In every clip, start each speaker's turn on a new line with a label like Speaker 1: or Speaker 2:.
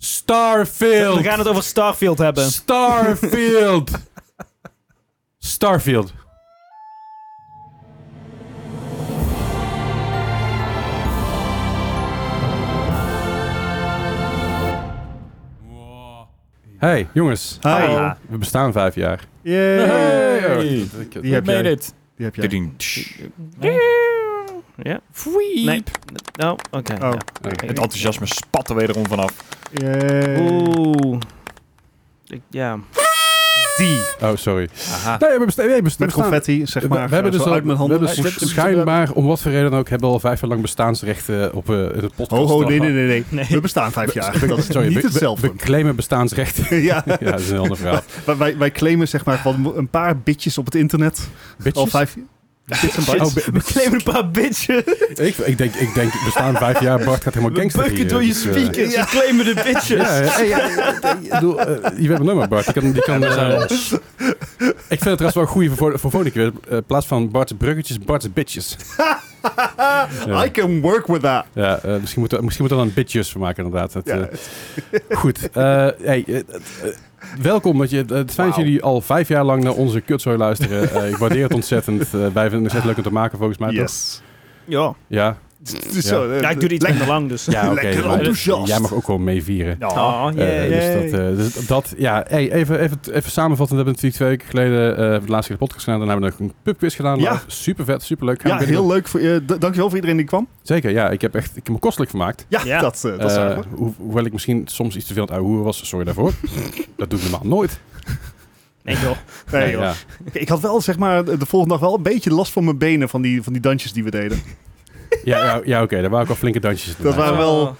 Speaker 1: Starfield.
Speaker 2: We gaan het over Starfield hebben.
Speaker 1: Starfield. Starfield. Hey jongens,
Speaker 3: Hi.
Speaker 2: Ah,
Speaker 1: we bestaan vijf jaar.
Speaker 3: Yay.
Speaker 1: Hey.
Speaker 3: Die heb
Speaker 4: made
Speaker 3: jij.
Speaker 4: it.
Speaker 3: Die heb jij.
Speaker 4: Tudum.
Speaker 2: Ja.
Speaker 4: Fwee.
Speaker 2: Nee. Nou, oké.
Speaker 3: Oh.
Speaker 2: ja.
Speaker 4: Het enthousiasme spat er wederom vanaf.
Speaker 3: Yay.
Speaker 2: Oeh. Ik, ja.
Speaker 3: Die.
Speaker 1: Oh, sorry.
Speaker 4: Aha.
Speaker 1: Nee, we besta- nee, we besta-
Speaker 3: Met
Speaker 1: we staan-
Speaker 3: confetti, zeg maar.
Speaker 1: we hebben
Speaker 3: zo
Speaker 1: dus al,
Speaker 3: uit mijn
Speaker 1: we
Speaker 3: handen.
Speaker 1: hebben dus
Speaker 4: Shit.
Speaker 1: schijnbaar, om wat voor reden dan ook, hebben we al vijf jaar lang bestaansrechten op eh, het podcast.
Speaker 3: Ho, ho, nee, nee, nee, nee.
Speaker 2: Nee.
Speaker 3: We bestaan vijf jaar. Dat is
Speaker 1: Sorry,
Speaker 3: niet
Speaker 1: we- we-
Speaker 3: hetzelfde.
Speaker 1: We, claimen bestaansrechten.
Speaker 3: ja,
Speaker 1: ja, dat is een ander verhaal.
Speaker 3: maar wij, wij claimen zeg maar van een paar bitjes op het internet. Al
Speaker 1: Bitches?
Speaker 3: Oh, vijf Bits en bytes.
Speaker 1: Oh, bi-
Speaker 2: We claimen een paar bitches.
Speaker 1: ik, ik, denk, ik denk, bestaan vijf jaar, Bart gaat helemaal
Speaker 2: We
Speaker 1: gangster
Speaker 2: bukken
Speaker 1: hier,
Speaker 2: door je
Speaker 1: dus, eh,
Speaker 2: speakers.
Speaker 3: Ja.
Speaker 2: We claimen de bitches.
Speaker 1: Ja, ja, ja, ja, ik bedoel, eh, je hebt een nummer, Bart. Die kan, die kan, eh, ik vind het trouwens wel goed voor, voor volgende keer. eh, in plaats van Bart's bruggetjes, Bart's bitches. Ja.
Speaker 3: I can work with that.
Speaker 1: Ja, eh, misschien moeten we misschien moeten we dan een bitches van maken, inderdaad. Het,
Speaker 3: Ja.
Speaker 1: eh, goed. Eh, hey, eh, eh, welkom. Dat je, het fijn dat
Speaker 3: Wauw.
Speaker 1: jullie al vijf jaar lang naar onze kutzooi luisteren. Eh, ik waardeer het ontzettend. Eh, wij vinden het ontzettend leuk om te maken, volgens mij. toch?
Speaker 3: yes.
Speaker 2: Ja.
Speaker 1: Ja,
Speaker 3: Zo, eh,
Speaker 2: Ja, ik doe dit
Speaker 3: lekker.
Speaker 2: lekker lang, dus.
Speaker 1: ja oké.
Speaker 3: Lekker
Speaker 1: maar
Speaker 3: enthousiast.
Speaker 1: Jij mag ook gewoon meevieren.
Speaker 3: Ja.
Speaker 2: Oh,
Speaker 1: Eh,
Speaker 2: jee.
Speaker 1: dus dat, eh, dus dat, ja, hey, even, even, even samenvatten. We hebben natuurlijk twee weken geleden eh, de laatste keer de podcast gedaan. Daarna hebben we nog een pubquiz gedaan.
Speaker 3: Ja.
Speaker 1: Super vet, super leuk.
Speaker 3: Ja, heel leuk. Voor, eh, d- dankjewel voor iedereen die kwam.
Speaker 1: Zeker, ja. Ik heb, echt, ik heb me kostelijk vermaakt.
Speaker 3: Ja,
Speaker 2: Ja.
Speaker 3: dat, eh, dat is
Speaker 1: Eh,
Speaker 3: waar.
Speaker 1: ho- hoewel ik misschien soms iets te veel aan het ouwe hoeren was, sorry daarvoor. dat doe ik normaal nooit.
Speaker 2: Nee, joh.
Speaker 3: Nee,
Speaker 2: nee,
Speaker 3: joh.
Speaker 1: ja.
Speaker 3: Ik had wel zeg maar de volgende dag wel een beetje last van mijn benen van die, van die dansjes die we deden.
Speaker 1: ja, ja, ja, oké, daar waren ook wel flinke dansjes.
Speaker 3: Dat waren
Speaker 1: maar
Speaker 3: we- wel-
Speaker 2: Oh,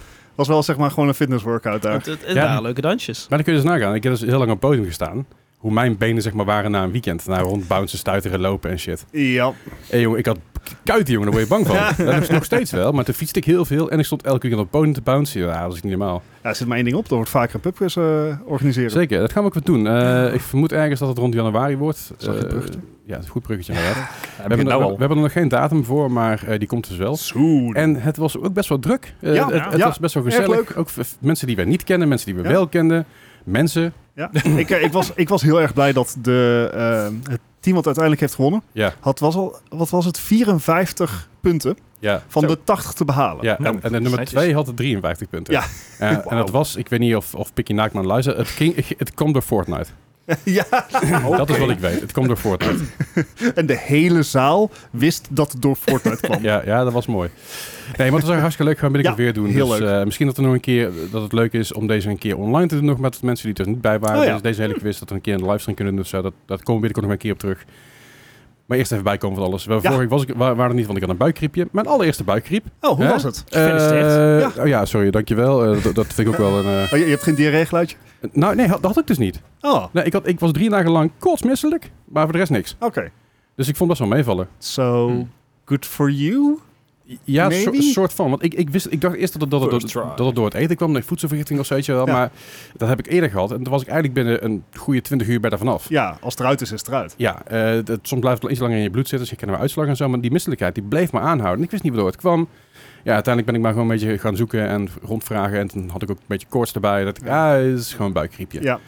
Speaker 3: Was wel zeg maar gewoon een fitness workout daar.
Speaker 2: Het, het, het
Speaker 1: Ja.
Speaker 2: waren leuke dansjes.
Speaker 1: dan kun je dus nagaan. Ik heb dus heel lang op het podium gestaan. Hoe mijn benen zeg maar waren na een weekend. Na rondbouncen, stuiteren, lopen en shit.
Speaker 3: Ja.
Speaker 1: Hé jongen, ik had kuiten jongen, daar word je bang van. Dat is nog steeds wel, maar toen fietste ik heel veel. En ik stond elke weekend op het podium te bouncen. Ja, dat is niet normaal.
Speaker 3: ja, er zit maar één ding op. Dan wordt vaker een pubquiz eh, organiseren.
Speaker 1: Zeker, dat gaan we ook weer doen. Eh, ik vermoed ergens dat het rond januari wordt.
Speaker 3: Is dat een
Speaker 1: Eh,
Speaker 3: bruggetje?
Speaker 1: ja, het is een goed bruggetje inderdaad.
Speaker 4: Heb
Speaker 1: We
Speaker 4: ik het
Speaker 1: hebben,
Speaker 4: nou
Speaker 1: er,
Speaker 4: al?
Speaker 1: we hebben er nog geen datum voor, maar eh, die komt dus wel.
Speaker 3: Zoen.
Speaker 1: En het was ook best wel druk. Eh,
Speaker 3: Ja,
Speaker 1: het het
Speaker 3: ja.
Speaker 1: was best wel gezellig.
Speaker 3: Erg leuk.
Speaker 1: Ook v- mensen die wij niet kennen, mensen die we
Speaker 3: Ja.
Speaker 1: wel kenden. Mensen.
Speaker 3: Ja, ik, eh, ik, was, ik was heel erg blij dat de, eh, het team wat uiteindelijk heeft gewonnen,
Speaker 1: Ja.
Speaker 3: had, was al, wat was het, 54 punten
Speaker 1: Ja.
Speaker 3: van
Speaker 4: Zo.
Speaker 3: de 80 te behalen.
Speaker 1: Ja, en,
Speaker 4: Nou,
Speaker 1: en de nummer
Speaker 4: netjes.
Speaker 1: 2 had er 53 punten.
Speaker 3: Ja.
Speaker 1: Eh, En dat was, ik weet niet of, of Picky Naakman luistert, het, ging, het kwam door Fortnite.
Speaker 3: Ja,
Speaker 1: Dat is wat ik weet, het kwam door Fortnite.
Speaker 3: en de hele zaal wist dat het door Fortnite kwam.
Speaker 1: Ja, ja dat was mooi. Nee, maar het was hartstikke leuk, gaan we binnenkort
Speaker 3: Ja,
Speaker 1: weer doen.
Speaker 3: heel
Speaker 1: dus,
Speaker 3: leuk.
Speaker 1: eh, misschien dat, er nog een keer, dat het leuk is om deze een keer online te doen, nog met mensen die er niet bij waren.
Speaker 3: Oh ja.
Speaker 1: Dus deze hele quiz, dat we een keer een livestream kunnen doen. Dus, eh, dat, dat komen we binnenkort nog een keer op terug. Maar eerst even bijkomen van alles. Wel,
Speaker 3: Ja.
Speaker 1: Vorige week was ik, wa- waren er niet, want ik had een buikgriepje. Mijn allereerste buikgriep.
Speaker 3: Oh, hoe
Speaker 1: Hè?
Speaker 3: was het?
Speaker 1: Eh,
Speaker 3: Ja.
Speaker 1: Oh ja, sorry, dankjewel. Eh, dat, dat vind ik ook wel een... eh,
Speaker 3: Oh, je, je hebt geen diarreegeluidje?
Speaker 1: Nou, nee, had- dat had ik dus niet.
Speaker 3: Oh, oké.
Speaker 1: Nee, ik, had, ik was drie dagen lang kotsmisselijk, maar voor de rest niks.
Speaker 3: Hm.
Speaker 1: Dus ik vond best wel meevallen.
Speaker 3: So, good for you?
Speaker 1: Ja, een
Speaker 3: Maybe?
Speaker 1: soort van. Want ik, ik, wist, ik dacht eerst dat het, dat, het,
Speaker 4: First
Speaker 1: dat,
Speaker 4: try.
Speaker 1: het door het eten kwam, nee, voedselvergifting of zoiets. wel,
Speaker 3: Ja.
Speaker 1: Maar dat heb ik eerder gehad. En toen was ik eigenlijk binnen een goede 20 uur bij daarvan af.
Speaker 3: Ja, als het eruit is, is het eruit.
Speaker 1: Ja, eh, dat, soms blijft het wel iets langer in je bloed zitten. Dus je kan wel uitslag en zo. Maar die misselijkheid die bleef me aanhouden. En ik wist niet waardoor het kwam. Ja, uiteindelijk ben ik maar gewoon een beetje gaan zoeken en rondvragen. En toen had ik ook een beetje koorts erbij. Dat ik, ah, het is gewoon een buikgriepje.
Speaker 3: Ja.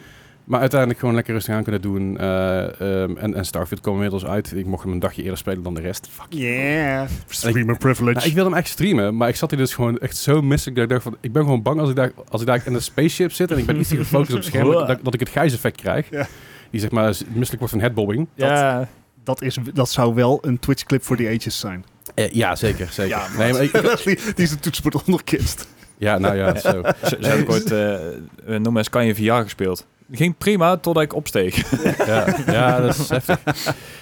Speaker 1: Maar uiteindelijk gewoon lekker rustig aan kunnen doen. eh, ehm, en, en Starfield kwam inmiddels uit. Ik mocht hem een dagje eerder spelen dan de rest. Fuck.
Speaker 3: Yeah. Streamer privilege.
Speaker 1: Nou, ik wilde hem echt streamen, maar ik zat hier dus gewoon echt zo misselijk dat ik dacht van, ik ben gewoon bang als ik daar, als ik daar in een spaceship zit en ik ben iets te gefocust op het scherm, dat, ik- dat ik het gijseffect krijg.
Speaker 3: Ja.
Speaker 1: Die zeg maar z- misselijk wordt van headbobbing.
Speaker 4: Ja.
Speaker 3: dat, is, dat zou wel een Twitch-clip voor die ages zijn.
Speaker 1: Eh, ja, zeker, zeker.
Speaker 3: Ja,
Speaker 1: nee, maar ik,
Speaker 3: die, die is de toetsenbord onderkist.
Speaker 1: ja, nou ja, zo.
Speaker 4: Zo zo heb ik ooit eh, eh, No Man's Sky in VR gespeeld. Ging prima totdat ik opsteeg.
Speaker 1: Ja, ja, dat is heftig.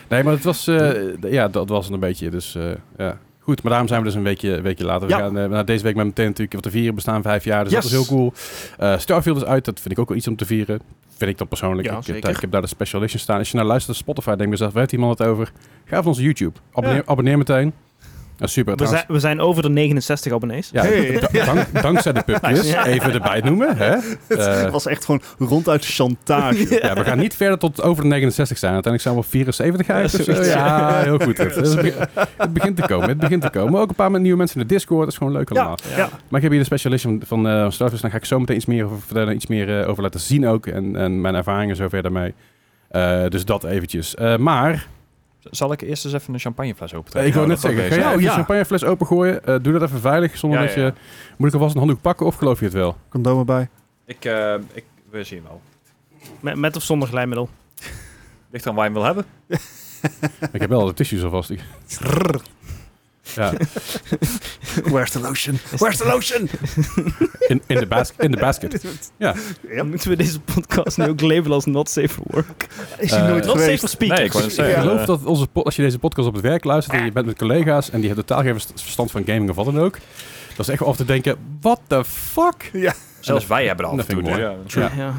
Speaker 1: Nee, maar het was, eh, d- ja, dat was het een beetje, dus eh, ja. Goed, maar daarom zijn we dus een weekje, weekje later. We
Speaker 3: Ja.
Speaker 1: gaan eh, nou, deze week met meteen natuurlijk, want de vieren bestaan vijf jaar, dus dat
Speaker 3: Yes.
Speaker 1: is heel cool. Eh, Starfield is uit, dat vind ik ook wel iets om te vieren. Vind ik dan persoonlijk.
Speaker 2: Ja,
Speaker 1: ik, heb,
Speaker 2: zeker.
Speaker 1: daar- ik heb daar de special edition staan. Als je nou luistert op Spotify, denk je zelf, waar heeft iemand het over? Ga van onze YouTube. Abonneer, abonneer meteen. Ja, super.
Speaker 2: We
Speaker 1: trouwens.
Speaker 2: zijn, we zijn over de 69 abonnees.
Speaker 1: Ja,
Speaker 3: Hey.
Speaker 1: da- dank- dankzij de pubquiz.
Speaker 2: Nice.
Speaker 1: Even erbij noemen. Hè? Eh,
Speaker 3: Het was echt gewoon ronduit chantage.
Speaker 1: ja, we gaan niet verder tot over de 69 zijn. Uiteindelijk zijn we op 74 eigenlijk.
Speaker 2: Ja,
Speaker 1: of zo.
Speaker 2: zoiets.
Speaker 1: Ja, heel goed. Het, het be- het begint te komen. Het begint te komen. Maar ook een paar met nieuwe mensen in de Discord. Dat is gewoon leuk allemaal.
Speaker 2: Ja.
Speaker 3: Ja.
Speaker 1: Maar ik heb hier de specialist van, van eh Star Wars. Daar ga ik zo meteen iets meer over vertellen. Iets meer eh, over laten zien ook. En, en mijn ervaringen zover daarmee. Eh, dus dat eventjes. Eh, maar,
Speaker 4: Zal ik eerst eens even een champagnefles open
Speaker 1: ik wou net zeggen, ga jij
Speaker 3: Oh,
Speaker 1: even
Speaker 3: ja.
Speaker 1: de champagnefles opengooien? Eh, doe dat even veilig, zonder
Speaker 4: Ja,
Speaker 1: dat
Speaker 4: ja,
Speaker 1: je...
Speaker 4: ja.
Speaker 1: Moet ik alvast een handdoek pakken of geloof je het wel?
Speaker 3: Condoom erbij.
Speaker 4: Ik, eh, ik, we zien wel.
Speaker 2: Met, met of zonder glijmiddel.
Speaker 4: Ligt aan waar je hem wil hebben.
Speaker 1: ik heb wel de tissues alvast. Ik- Ja,
Speaker 3: Where's the lotion? Where's the lotion?
Speaker 1: in, in, de bas- in de basket.
Speaker 3: Ja.
Speaker 2: Moeten we deze podcast nu ook labelen als not safe for work?
Speaker 3: Is hij
Speaker 1: Eh,
Speaker 2: Not
Speaker 3: nooit
Speaker 2: safe
Speaker 3: geweest?
Speaker 2: for speakers.
Speaker 4: Nee, ik wou net
Speaker 1: Ik
Speaker 4: zeggen.
Speaker 1: geloof
Speaker 4: eh,
Speaker 1: dat onze po- als je deze podcast op het werk luistert en je bent met collega's en die hebben totaal geen verst- verstand van gaming of wat dan ook, dat is echt wel af te denken, what the fuck?
Speaker 3: Ja.
Speaker 4: Zelfs wij hebben er af en
Speaker 1: Nothing
Speaker 4: toe.
Speaker 1: more.
Speaker 4: dus
Speaker 1: Ja.
Speaker 4: Ja.
Speaker 2: Ja.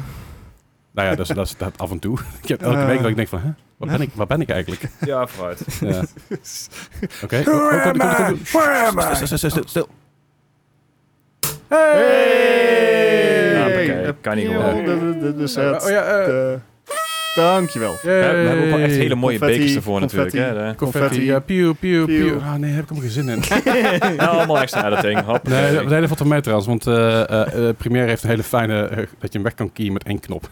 Speaker 1: Nou ja, dat is, dat is dat af en toe. Ik heb elke
Speaker 3: Eh.
Speaker 1: week dat ik denk van, hè, waar ben ik, waar ben ik eigenlijk?
Speaker 4: ja, vooruit.
Speaker 1: Ja. Oké. Oh,
Speaker 3: Who am I? Where am I?
Speaker 1: Stil, stil, stil, stil, stil.
Speaker 3: Hey!
Speaker 4: Ja, oké, kan niet
Speaker 3: Appeal,
Speaker 4: gewoon.
Speaker 3: de- de- de- Dus het...
Speaker 1: Oh ja, eh,
Speaker 3: de- Dankjewel.
Speaker 4: We hebben- we hebben ook echt hele mooie
Speaker 3: Confetti,
Speaker 4: bekers ervoor
Speaker 3: confetti.
Speaker 4: natuurlijk. Hè, de-
Speaker 1: confetti.
Speaker 3: confetti.
Speaker 1: Ja, piu, piu, piu.
Speaker 3: Piu.
Speaker 1: Ah nee, daar heb ik helemaal geen zin in.
Speaker 4: nou, allemaal extra editing. Hop.
Speaker 1: Nee, dat- nee, dat valt er mee trouwens, want eh, eh, eh, Premiere heeft een hele fijne, eh, dat je hem weg kan keyen met één knop.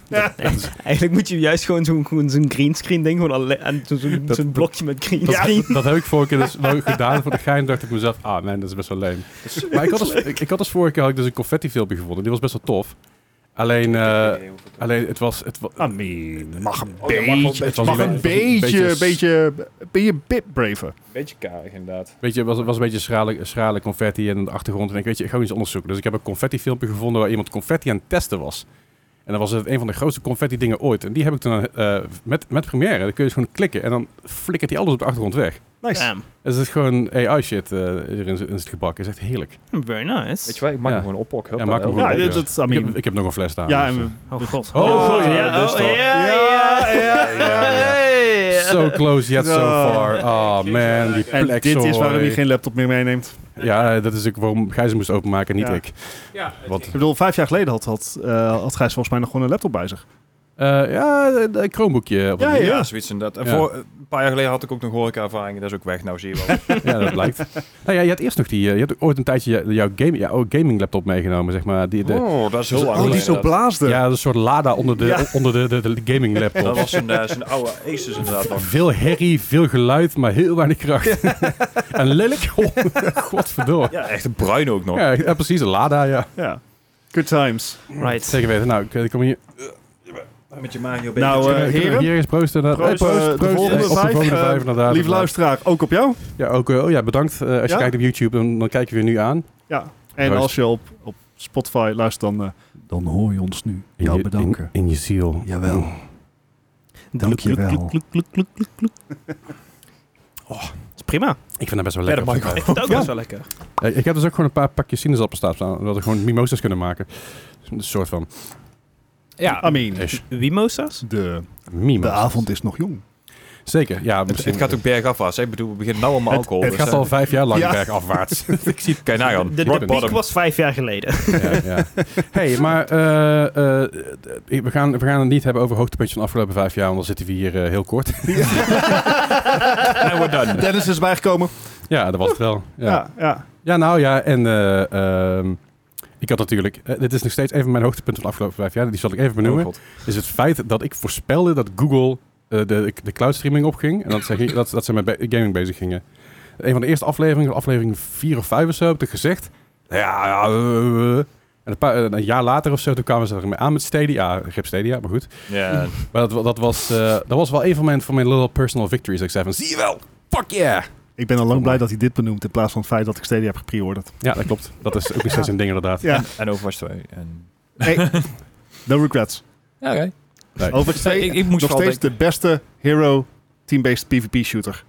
Speaker 2: Eigenlijk moet je juist gewoon zo'n gewoon zo'n greenscreen ding, gewoon alle- en zo- zo'n
Speaker 1: Dat-
Speaker 2: zo'n blokje met
Speaker 1: Dat,
Speaker 2: greenscreen.
Speaker 1: dat heb ik vorige keer dus wel gedaan. Voor de gein dacht ik mezelf, ah nee, dat is best wel leem. Maar ik had, dus, ik, ik had dus vorige keer had ik dus een confetti filmpje gevonden. Die was best wel tof. Alleen, eh, alleen het was... Het wa-
Speaker 3: I mean, mag een
Speaker 4: Oh, ja, mag wel een
Speaker 1: beetje.
Speaker 3: beetje. Het mag een
Speaker 1: Het was een
Speaker 3: beetje,
Speaker 1: beetje-
Speaker 3: beetje, ben je bit braver.
Speaker 1: eh,
Speaker 4: Beetje karig inderdaad.
Speaker 1: weet je, het was, was een beetje schrale, schrale confetti en de achtergrond. En ik weet je, ik ga iets onderzoeken. Dus ik heb een confetti filmpje gevonden waar iemand confetti aan het testen was. En dan was het een van de grootste confetti dingen ooit. En die heb ik toen eh, met, met première. Dan kun je dus gewoon klikken en dan flikkert hij alles op de achtergrond weg.
Speaker 3: Nice.
Speaker 2: Damn.
Speaker 1: Dus het is gewoon AI shit eh, erin in het gebak. Het is echt heerlijk.
Speaker 2: Very nice.
Speaker 4: Weet je wat, ik maak
Speaker 1: Ja.
Speaker 4: hem gewoon oppokken.
Speaker 1: Ja, maak hem
Speaker 3: Ja,
Speaker 1: gewoon
Speaker 3: dit- dat, I
Speaker 1: Ik heb,
Speaker 3: mean...
Speaker 1: ik heb nog een fles staan.
Speaker 3: Ja,
Speaker 1: dus,
Speaker 3: en
Speaker 1: eh.
Speaker 3: we-
Speaker 2: Oh god.
Speaker 1: Oh,
Speaker 2: god.
Speaker 1: ja,
Speaker 3: dus
Speaker 2: oh,
Speaker 3: dat.
Speaker 2: ja,
Speaker 3: Ja, ja,
Speaker 1: ja, ja. So close yet so
Speaker 3: Ja.
Speaker 1: far. Oh man, die
Speaker 3: en
Speaker 1: plek,
Speaker 3: dit is waarom
Speaker 1: sorry.
Speaker 3: je geen laptop meer meeneemt.
Speaker 1: Ja, dat is ook waarom Gijs hem moest openmaken, niet
Speaker 3: Ja.
Speaker 1: ik.
Speaker 4: Ja,
Speaker 1: Want,
Speaker 3: Ik bedoel, vijf jaar geleden had, had, eh, had Gijs volgens mij nog gewoon een laptop bij zich.
Speaker 1: eh, ja, een Chromebookje. op
Speaker 3: Ja,
Speaker 1: een-
Speaker 4: ja,
Speaker 3: ja.
Speaker 4: zoiets inderdaad. En
Speaker 1: Ja.
Speaker 4: voor, een paar jaar geleden had ik ook nog horeca-ervaring. Dat is ook weg, nou zie je wel.
Speaker 1: ja, dat blijkt. Nou ja, je had eerst nog die... eh, je had ooit een tijdje je- jouw game, jouw gaming laptop meegenomen, zeg maar. Die, de,
Speaker 4: oh, dat is heel
Speaker 1: Oh,
Speaker 4: lang
Speaker 3: Oh, die
Speaker 4: geleden,
Speaker 3: zo
Speaker 4: dat.
Speaker 3: blaasde.
Speaker 1: Ja, een soort Lada onder de,
Speaker 3: Ja.
Speaker 1: onder de, de, de gaming
Speaker 4: Dat
Speaker 1: laptop.
Speaker 4: was een, eh, zijn oude Aces inderdaad nog.
Speaker 1: Veel herrie, veel geluid, maar heel weinig kracht. en lelijk. Oh, Godverdoor.
Speaker 4: Ja, echt een bruin ook nog.
Speaker 1: Ja, ja, precies. Een Lada, ja.
Speaker 3: Ja. Good times.
Speaker 2: Right.
Speaker 1: Zeker weten. Nou, ik- ik kom hier...
Speaker 4: Met je Mario
Speaker 3: Nou,
Speaker 4: bekertje.
Speaker 3: eh,
Speaker 1: Kunnen we- kunnen we
Speaker 3: heren?
Speaker 1: hier eens proosten. inderdaad?
Speaker 3: Proost,
Speaker 1: Hey,
Speaker 3: eh, de volgende
Speaker 1: Hey, op
Speaker 3: vijf,
Speaker 1: de volgende
Speaker 3: eh,
Speaker 1: vijf, inderdaad.
Speaker 3: Lief luisteraar, ook op jou.
Speaker 1: Ja, ook, eh, oh ja, bedankt. Eh, als
Speaker 3: Ja?
Speaker 1: je kijkt op YouTube, dan, dan kijken we je nu aan.
Speaker 3: Ja. En
Speaker 1: Proost.
Speaker 3: als je op, op Spotify luistert, dan... eh, dan hoor je ons nu.
Speaker 1: In je, In, in je ziel.
Speaker 3: Jawel. Dankjewel.
Speaker 2: Kluk, kluk, kluk, kluk, kluk, kluk. Oh, is prima.
Speaker 1: Ik vind dat best wel
Speaker 4: Ja,
Speaker 1: lekker.
Speaker 4: dat mag
Speaker 2: Ik vind het ook
Speaker 3: Ja.
Speaker 2: best wel lekker.
Speaker 1: Eh, ik heb dus ook gewoon een paar pakjes sinaasappels staan, staan, zodat we gewoon mimosas kunnen maken. Dus Een soort van
Speaker 3: I mean,
Speaker 1: ish.
Speaker 2: Wimosa's?
Speaker 3: de,
Speaker 1: Mimosas.
Speaker 3: de avond is nog jong.
Speaker 1: Zeker, ja.
Speaker 4: Het,
Speaker 1: Misschien,
Speaker 4: het gaat ook bergafwaarts. hè. Ik bedoel, we beginnen nou allemaal
Speaker 3: Het-
Speaker 4: alcohol.
Speaker 1: het
Speaker 4: dus,
Speaker 1: gaat
Speaker 4: eh,
Speaker 1: al vijf jaar lang
Speaker 3: Ja.
Speaker 1: bergafwaarts.
Speaker 4: Ik zie het. Kijk, nou
Speaker 2: De, de
Speaker 1: rock
Speaker 2: piek
Speaker 1: bottom.
Speaker 2: was vijf jaar geleden.
Speaker 1: ja, ja. hey, maar eh, eh, we, gaan, we gaan het niet hebben over hoogtepuntjes van de afgelopen vijf jaar, want dan zitten we hier eh, heel kort.
Speaker 4: we're done.
Speaker 3: Dennis is bijgekomen.
Speaker 1: ja, dat was het wel. Ja.
Speaker 3: Ja, ja.
Speaker 1: Ja, nou ja, en eh, ehm, ik had natuurlijk... eh, dit is nog steeds een van mijn hoogtepunten van de afgelopen vijf jaar. Die zal ik even
Speaker 4: Oh,
Speaker 1: benoemen.
Speaker 4: God.
Speaker 1: is het feit dat ik voorspelde dat Google eh, de, de cloud streaming opging. En dat, ze, dat, dat ze met be- gaming bezig gingen. Een van de eerste afleveringen, aflevering 4 of 5 of zo, heb ik gezegd. Ja, ja, eh, eh. En een, paar, eh, een jaar later of zo, toen kwamen ze ermee aan met Stadia. Ik heb Stadia, maar goed.
Speaker 4: Ja,
Speaker 1: Maar dat, dat, was, eh, dat was wel een van mijn, van mijn little personal victories. Dat ik zei van, zie je wel, fuck yeah!
Speaker 3: Ik ben al lang blij dat hij dit benoemt in plaats van het feit dat ik Stadia heb gepreorderd.
Speaker 1: Ja, dat klopt. Dat is ook nog steeds een ding inderdaad.
Speaker 3: Ja.
Speaker 4: en Overwatch 2. En...
Speaker 3: No regrets.
Speaker 4: Ja, oké.
Speaker 1: Nee.
Speaker 3: Overwatch
Speaker 4: Nee,
Speaker 3: 2,
Speaker 4: ik- ik moest
Speaker 3: nog
Speaker 4: wel
Speaker 3: steeds de beste hero team-based PvP shooter.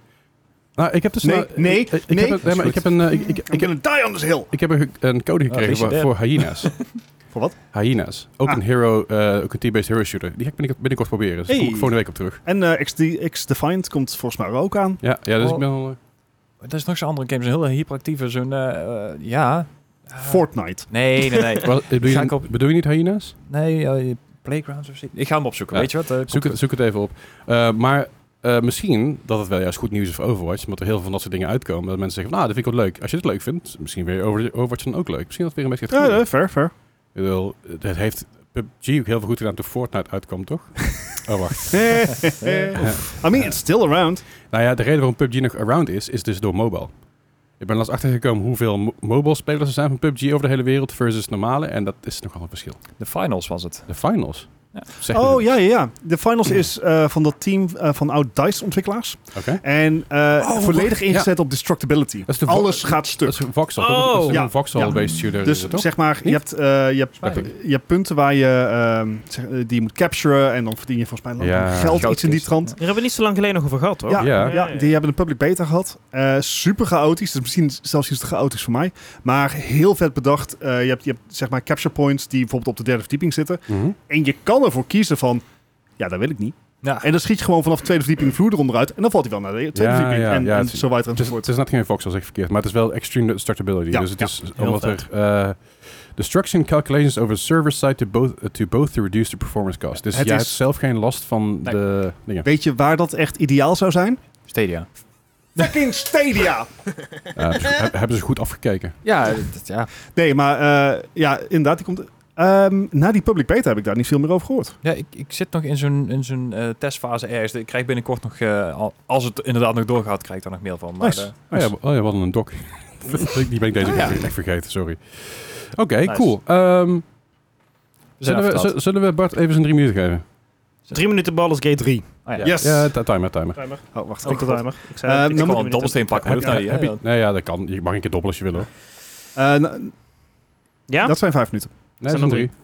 Speaker 1: Nou, ik heb dus...
Speaker 3: Nee,
Speaker 1: nou-
Speaker 3: nee,
Speaker 1: ik, ik,
Speaker 3: nee.
Speaker 1: Heb, een- nee, maar ik heb een... eh, Ik, ik, ik,
Speaker 3: Ik
Speaker 1: heb,
Speaker 3: ben een die on this hill.
Speaker 1: ik heb een, een code gekregen
Speaker 4: is je
Speaker 1: voor,
Speaker 4: dead?
Speaker 1: voor hyena's.
Speaker 3: Voor wat?
Speaker 1: Hyenas. Ook
Speaker 3: Ah.
Speaker 1: een hero, eh, ook een team-based hero shooter. Die ga ik binnenkort, binnenkort proberen. Dus daar
Speaker 2: Hey.
Speaker 1: kom ik volgende week op terug.
Speaker 3: En eh, XD, X Defiant komt volgens mij er ook aan.
Speaker 1: Ja, ja dus
Speaker 4: Oh.
Speaker 1: ik ben al... eh,
Speaker 4: Dat is nog zo'n andere game. Zo'n heel hyperactieve, zo'n... eh, eh, ja.
Speaker 1: Ah.
Speaker 4: Eh,
Speaker 3: Fortnite.
Speaker 4: Nee, nee, nee.
Speaker 1: Wat, bedoel,
Speaker 4: Ga
Speaker 1: eh, je,
Speaker 4: ik op-
Speaker 1: bedoel je niet hyena's?
Speaker 4: nee, eh, Playgrounds of zoiets. Ik ga hem opzoeken,
Speaker 1: Ja.
Speaker 4: weet je wat? eh, komt
Speaker 1: Zoek
Speaker 4: goed.
Speaker 1: het, zoek het even op. Eh, maar eh, misschien dat het wel juist goed nieuws is voor Overwatch. Omdat er heel veel van dat soort dingen uitkomen. Dat mensen zeggen, nou, dat vind ik wel leuk. Als je dit leuk vindt, misschien weer Over- Overwatch dan ook leuk. Misschien dat het weer een beetje gaat
Speaker 3: Ja,
Speaker 1: groeien.
Speaker 3: ja, fair, fair.
Speaker 1: Ik bedoel, het heeft PUBG ook heel veel goed gedaan toen Fortnite uitkwam, toch? oh, wacht.
Speaker 3: I mean, it's still around.
Speaker 1: Nou ja, de reden waarom PUBG nog around is, is dus door mobile. Ik ben laatst achtergekomen hoeveel mo- mobile spelers er zijn van PUBG over de hele wereld versus normale. En dat is nogal een verschil.
Speaker 4: De finals was het.
Speaker 1: De finals.
Speaker 4: Ja.
Speaker 1: Zeg me
Speaker 3: Oh
Speaker 1: dit.
Speaker 3: ja, ja, ja. De finals is eh, van dat team eh, van oud DICE ontwikkelaars.
Speaker 1: Oké.
Speaker 3: En eh, volledig ingezet op destructibility.
Speaker 1: is de vo-
Speaker 3: Alles gaat
Speaker 1: Oh, Dat
Speaker 3: stuk.
Speaker 1: is een voxel.
Speaker 2: Oh!
Speaker 1: toch? Dat is een
Speaker 3: Ja.
Speaker 1: voxel-based shooter. is
Speaker 3: Dus
Speaker 1: het toch?
Speaker 3: zeg maar, je
Speaker 1: Niet?
Speaker 3: hebt, eh, je, hebt,
Speaker 4: Dacht ik.
Speaker 3: je hebt punten waar je, ehm, zeg- eh, die je moet capturen. En dan verdien je volgens mij
Speaker 1: Ja.
Speaker 3: geld, iets in die
Speaker 4: Goudkist.
Speaker 3: trant.
Speaker 2: Daar hebben we niet zo lang geleden nog over gehad, toch?
Speaker 3: Ja,
Speaker 1: Ja.
Speaker 3: ja. die hebben een public beta gehad. Eh, super chaotisch. Dus misschien zelfs iets te chaotisch voor mij. Maar heel vet bedacht. Eh, je, hebt, je hebt zeg maar capture points die bijvoorbeeld op de derde verdieping zitten.
Speaker 1: Mhm.
Speaker 3: En je kan ervoor kiezen van... Ja, dat wil ik niet.
Speaker 4: Ja.
Speaker 3: En dan schiet je gewoon vanaf de tweede verdieping vloer eronder uit. En dan valt hij wel naar de tweede
Speaker 1: Ja,
Speaker 3: verdieping.
Speaker 1: ja,
Speaker 3: en,
Speaker 1: ja,
Speaker 3: en
Speaker 1: het is-
Speaker 3: zo verder
Speaker 1: Het is,
Speaker 3: enzovoort.
Speaker 1: het is net geen voxel, zeg ik verkeerd. Maar het is wel extreme destructibility.
Speaker 3: Ja,
Speaker 1: dus het
Speaker 3: ja.
Speaker 1: is
Speaker 4: Heel
Speaker 1: omdat er... eh, destruction calculations over server side to both, eh, to both to reduce the performance cost. Dus
Speaker 3: Het
Speaker 1: jij
Speaker 3: is-
Speaker 1: hebt zelf geen last van
Speaker 4: Nee.
Speaker 1: de dingen.
Speaker 3: Weet je waar dat echt ideaal zou zijn?
Speaker 4: Stadia.
Speaker 3: Fucking Stadia!
Speaker 1: Eh, hebben ze- he- hebben ze goed afgekeken.
Speaker 4: Ja, dat- ja.
Speaker 3: Nee, maar eh, ja, inderdaad, die komt... ehm, na die public beta heb ik daar niet veel meer over gehoord.
Speaker 4: ja ik, ik zit nog in zo'n in zo'n eh, testfase ergens. Ik krijg binnenkort nog, eh, al- als het inderdaad nog doorgaat, krijg ik daar nog mail van. Maar,
Speaker 3: Nice.
Speaker 4: eh,
Speaker 1: Oh ja, we- oh ja, we hadden een doc. Die ben ik deze
Speaker 4: Ah,
Speaker 1: keer
Speaker 4: ja.
Speaker 1: echt vergeten, sorry. Oké,
Speaker 4: Nice.
Speaker 1: cool. Ehm,
Speaker 4: we zijn
Speaker 1: zullen, we,
Speaker 4: afgetaald.
Speaker 1: z- zullen we Bart even zijn drie minuten geven?
Speaker 2: Drie minuten Baldur's Gate 3.
Speaker 4: Ah, ja.
Speaker 3: Yes!
Speaker 1: Ja, ti- timer, timer.
Speaker 2: Timer.
Speaker 3: Oh, wacht.
Speaker 2: Ook
Speaker 3: ik
Speaker 2: de
Speaker 3: had-
Speaker 2: timer. Ik
Speaker 3: Eh,
Speaker 2: zei het, ik
Speaker 3: dan
Speaker 4: Ik
Speaker 2: heb
Speaker 4: kan
Speaker 3: moet
Speaker 4: wel
Speaker 2: al
Speaker 4: een
Speaker 2: een
Speaker 4: dobbelsteen pakken, maar
Speaker 1: Heb-
Speaker 4: dat hoeft nou
Speaker 1: heb
Speaker 4: niet.
Speaker 1: je-
Speaker 4: hè.
Speaker 1: nee, ja, dat kan. Je mag een keer dobbelen als je wil hoor.
Speaker 3: eh, nou,
Speaker 2: Ja?
Speaker 3: Dat zijn vijf minuten.
Speaker 1: Nee,
Speaker 2: Zijn
Speaker 1: dat
Speaker 2: er
Speaker 1: drie.
Speaker 2: drie?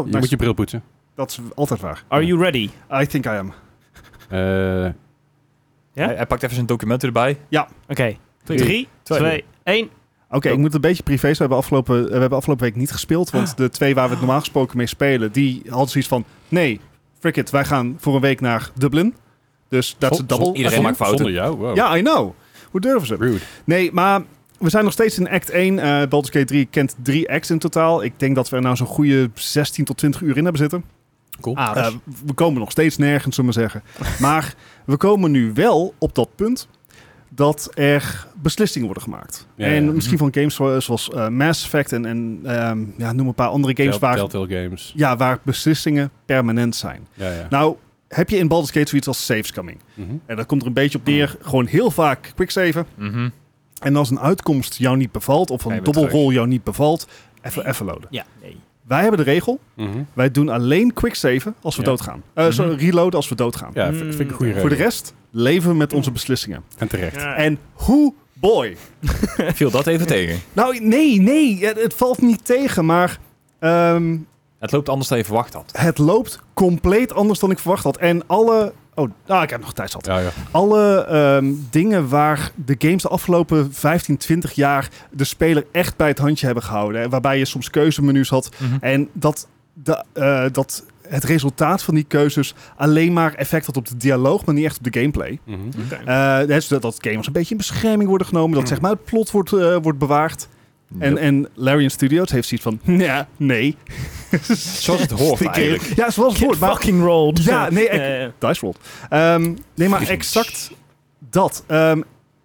Speaker 3: Oh,
Speaker 1: Je
Speaker 3: nice.
Speaker 1: moet je bril poetsen.
Speaker 3: dat is altijd waar.
Speaker 2: Are you ready?
Speaker 3: I think I am.
Speaker 1: Eh,
Speaker 2: Ja?
Speaker 4: Hij, hij pakt even zijn documenten erbij.
Speaker 2: Oké. Drie,
Speaker 4: Twee.
Speaker 2: twee, één.
Speaker 3: Oké, ik moet het een beetje privé zijn. We hebben afgelopen, eh, we hebben afgelopen week niet gespeeld. Want de twee waar we het normaal gesproken mee spelen, die hadden zoiets van... Nee, frick it, wij gaan voor een week naar Dublin. Dus dat is
Speaker 1: Zon-
Speaker 3: double.
Speaker 1: zon-
Speaker 4: Iedereen
Speaker 1: zon-
Speaker 4: maakt fouten.
Speaker 1: Zonder jou? Wow.
Speaker 3: Ja, I know. Hoe durven ze?
Speaker 1: Rude.
Speaker 3: Nee, maar we zijn nog steeds in act 1. eh Baldur's Gate 3 kent 3 acts in totaal. Ik denk dat we er nou zo'n goede 16 tot 20 uur in hebben zitten.
Speaker 1: Cool.
Speaker 3: Eh,
Speaker 2: Ehm,
Speaker 3: we komen nog steeds nergens, zullen we zeggen. Maar we komen nu wel op dat punt dat er beslissingen worden gemaakt.
Speaker 1: Ja, Mhm.
Speaker 3: en
Speaker 1: ja.
Speaker 3: misschien van games zo- zoals eh, Mass Effect en, en ehm, ja, noem een paar andere games
Speaker 1: Tell-
Speaker 3: waar,
Speaker 1: Telltale Games.
Speaker 3: ja, waar beslissingen permanent zijn.
Speaker 1: Ja, ja.
Speaker 3: Nou, heb je in Baldur's Gate zoiets als saves coming?
Speaker 1: Mhm.
Speaker 3: En dat komt er een beetje op neer. Gewoon heel vaak quicksaven.
Speaker 4: Mhm.
Speaker 3: En als een uitkomst jou niet bevalt, of
Speaker 4: Ga je
Speaker 3: een
Speaker 4: weer
Speaker 3: dobbelrol jou niet bevalt, even even loaden.
Speaker 2: Ja. Nee.
Speaker 3: Wij hebben de regel,
Speaker 1: Mhm.
Speaker 3: wij doen alleen quicksaven als we
Speaker 1: Ja. Mhm.
Speaker 3: doodgaan. Eh sorry, reloaden als we doodgaan.
Speaker 1: Ja, v- vind ik een goede
Speaker 3: Voor de
Speaker 1: reden.
Speaker 3: rest leven we met onze beslissingen.
Speaker 1: En terecht.
Speaker 3: En hoe boy.
Speaker 4: Viel dat even tegen.
Speaker 3: Nou, nee, nee, het, het valt niet tegen, maar ehm,
Speaker 4: Het loopt anders dan je verwacht had.
Speaker 3: het loopt compleet anders dan ik verwacht had. En alle... Oh, ah, ik heb nog tijd zat.
Speaker 1: Ja, ja.
Speaker 3: Alle ehm, dingen waar de games de afgelopen 15, 20 jaar de speler echt bij het handje hebben gehouden. hè, Waarbij je soms keuzemenu's had En dat, de, eh, dat het resultaat van die keuzes alleen maar effect had op de dialoog, maar niet echt op de gameplay.
Speaker 1: Mhm.
Speaker 3: Eh, dus dat, dat gamers een beetje in bescherming worden genomen, dat zeg maar het plot wordt, eh, wordt bewaard. En, en Larian Studios heeft zoiets van, ja, nee.
Speaker 4: Zoals het hoort eigenlijk.
Speaker 3: Ja, zoals het hoort. Maar,
Speaker 2: fucking rolled.
Speaker 3: ja, nee, ik-
Speaker 2: Eh,
Speaker 3: Dice World. Ehm, nee, maar exact dat. Ehm,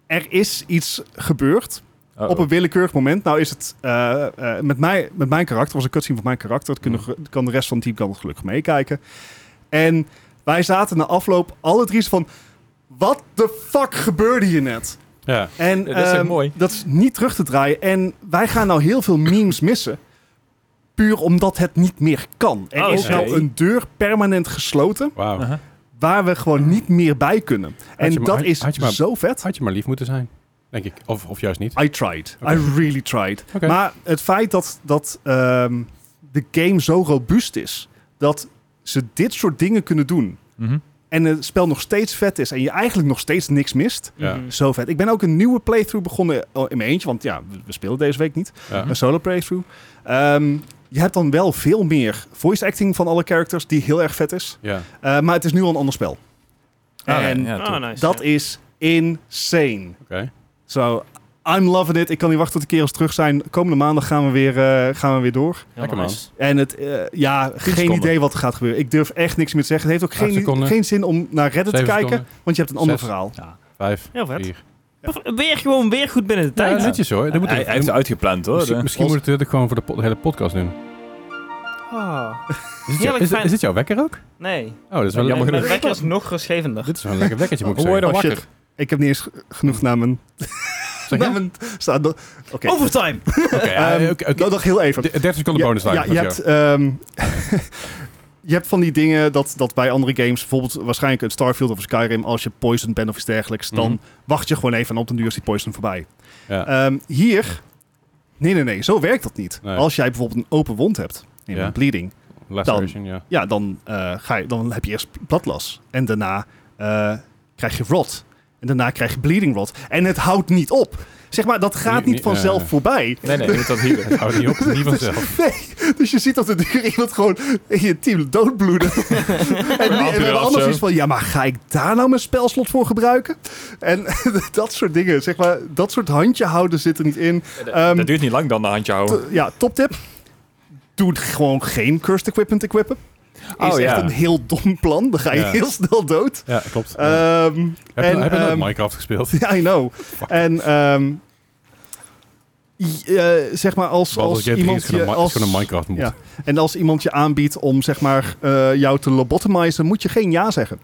Speaker 3: er is iets gebeurd.
Speaker 4: Uh-oh.
Speaker 3: Op een willekeurig moment. Nou is het eh, eh, met, mij, met mijn karakter, was een cutscene van mijn karakter. Dat
Speaker 4: Mm.
Speaker 3: kunnen, kan de rest van het team kan gelukkig meekijken. En wij zaten na afloop alle drie zo van. Wat de fuck gebeurde hier net?
Speaker 1: Ja.
Speaker 3: En
Speaker 4: Ja, dat is echt
Speaker 3: ehm,
Speaker 4: mooi.
Speaker 3: dat is niet terug te draaien. En wij gaan nou heel veel memes missen. Puur omdat het niet meer kan. Er
Speaker 2: Oh,
Speaker 3: is
Speaker 4: oké.
Speaker 3: nou een deur permanent gesloten
Speaker 1: Wauw.
Speaker 4: Uh-huh.
Speaker 3: waar we gewoon niet meer bij kunnen. En
Speaker 1: je maar-
Speaker 3: dat
Speaker 1: had-
Speaker 3: is
Speaker 1: had je maar-
Speaker 3: zo vet.
Speaker 1: Had je maar lief moeten zijn. Denk ik. Of, of juist niet.
Speaker 3: I tried.
Speaker 1: Oké.
Speaker 3: I really tried.
Speaker 1: Oké.
Speaker 3: Maar het feit dat, dat ehm, de game zo robuust is, dat ze dit soort dingen kunnen doen.
Speaker 4: Mhm.
Speaker 3: En het spel nog steeds vet is en je eigenlijk nog steeds niks mist.
Speaker 1: Ja.
Speaker 2: mhm.
Speaker 3: Zo vet. Ik ben ook een nieuwe playthrough begonnen eh, in mijn eentje. Want ja, we- we spelen deze week niet.
Speaker 1: Ja.
Speaker 3: Een solo playthrough. Ehm, je hebt dan wel veel meer voice acting van alle characters die heel erg vet is.
Speaker 1: Ja.
Speaker 3: Eh, maar het is nu al een ander spel.
Speaker 4: Ah,
Speaker 3: en nou,
Speaker 4: ja,
Speaker 2: Ah,
Speaker 4: toen-
Speaker 2: nice.
Speaker 3: dat
Speaker 2: ja.
Speaker 3: is insane.
Speaker 1: Oké.
Speaker 3: So, I'm loving it. Ik kan niet wachten tot de kerels terug zijn. Komende maandag gaan we weer, eh, gaan we weer door.
Speaker 1: Lekker man.
Speaker 3: En het, eh, ja, geen
Speaker 4: seconden.
Speaker 3: idee wat er gaat gebeuren. Ik durf echt niks meer te zeggen. Het heeft ook
Speaker 1: Acht
Speaker 3: geen,
Speaker 1: seconden.
Speaker 3: geen zin om naar Reddit te
Speaker 1: Zeven
Speaker 3: kijken,
Speaker 1: seconden.
Speaker 3: want je hebt een ander
Speaker 1: Zes.
Speaker 3: verhaal.
Speaker 1: Vijf.
Speaker 2: Heel vet.
Speaker 1: Vier.
Speaker 2: Of Weer gewoon weer goed binnen de
Speaker 1: Ja,
Speaker 2: tijd.
Speaker 1: netjes hoor. Dat moet
Speaker 4: Hij, hij heeft het uitgepland hoor. Eh,
Speaker 1: misschien
Speaker 4: De-
Speaker 1: misschien moet ik het gewoon voor de, po- de hele podcast doen.
Speaker 2: Ah,
Speaker 1: Is dit, jou-
Speaker 2: Heerlijk
Speaker 1: is, dit-
Speaker 2: fijn.
Speaker 1: is dit jouw wekker ook?
Speaker 2: nee.
Speaker 1: Oh, dat is wel jammer
Speaker 4: Ja, maar
Speaker 2: Mijn
Speaker 1: genoeg.
Speaker 2: wekker is nog rustgevender.
Speaker 1: Dit is wel een lekker wekkertje, moet ik
Speaker 4: Hoe word je
Speaker 1: zeggen.
Speaker 4: dan
Speaker 3: Oh,
Speaker 4: wakker?
Speaker 3: shit. Ik heb niet eens genoeg naar mijn...
Speaker 1: Nou, Zeg
Speaker 3: naar
Speaker 1: je?
Speaker 3: mijn staat- Oké,
Speaker 2: Overtime!
Speaker 1: Oké, ja,
Speaker 3: Ehm,
Speaker 1: oké, oké.
Speaker 3: nou, nog heel even.
Speaker 1: D- 30 seconden bonus
Speaker 3: ja,
Speaker 1: line.
Speaker 3: je hebt, ehm, je hebt van die dingen dat, dat bij andere games, bijvoorbeeld waarschijnlijk een Starfield of een Skyrim, als je poisoned bent of iets dergelijks, dan
Speaker 1: Mhm.
Speaker 3: wacht je gewoon even en op den duur is die poison voorbij.
Speaker 1: Ja.
Speaker 3: Ehm, hier, nee, nee, nee, zo werkt dat niet.
Speaker 1: Nee.
Speaker 3: Als jij bijvoorbeeld een open wond hebt, in
Speaker 1: Ja.
Speaker 3: een bleeding,
Speaker 1: Laceration, ja.
Speaker 3: ja, dan, eh, ga je, dan heb je eerst bladlas en daarna eh, krijg je rot. En daarna krijg je bleeding rot. En het houdt niet op. Zeg maar, dat gaat
Speaker 1: Niet-
Speaker 3: niet
Speaker 1: niet-
Speaker 3: vanzelf
Speaker 1: ja.
Speaker 3: voorbij.
Speaker 4: Nee, nee, je moet dat hier.
Speaker 3: Ehm,
Speaker 1: Het houdt niet op, niet vanzelf.
Speaker 3: Nee, dus je ziet dat de duur iemand gewoon in je team doodbloeden. en, die- en we
Speaker 4: Amper
Speaker 3: hebben
Speaker 4: of
Speaker 3: anders
Speaker 4: zo.
Speaker 3: iets van, ja, maar ga ik daar nou mijn spelslot voor gebruiken? En dat soort dingen, zeg maar, dat soort handje houden zit er niet in. Ehm,
Speaker 4: dat duurt niet lang dan de handje houden.
Speaker 3: t- ja, toptip. Doe gewoon geen cursed equipment equippen. Is
Speaker 4: Oh, ja.
Speaker 3: echt een heel dom plan. Dan ga je
Speaker 1: Ja.
Speaker 3: heel snel dood.
Speaker 1: Ja, klopt. Ja.
Speaker 3: Ehm
Speaker 1: heb
Speaker 3: en,
Speaker 1: je, heb je nooit
Speaker 3: ehm,
Speaker 1: Minecraft gespeeld?
Speaker 3: ja, I know. En ehm, i- eh, zeg maar als,
Speaker 1: Baldur's
Speaker 3: als
Speaker 1: Gate 3 is
Speaker 3: iemand
Speaker 1: gewoon een,
Speaker 3: je
Speaker 1: mi- is
Speaker 3: als,
Speaker 1: gewoon een Minecraft mod.
Speaker 3: Ja. en als iemand je aanbiedt om zeg maar eh, jou te lobotomizen, moet je geen ja zeggen.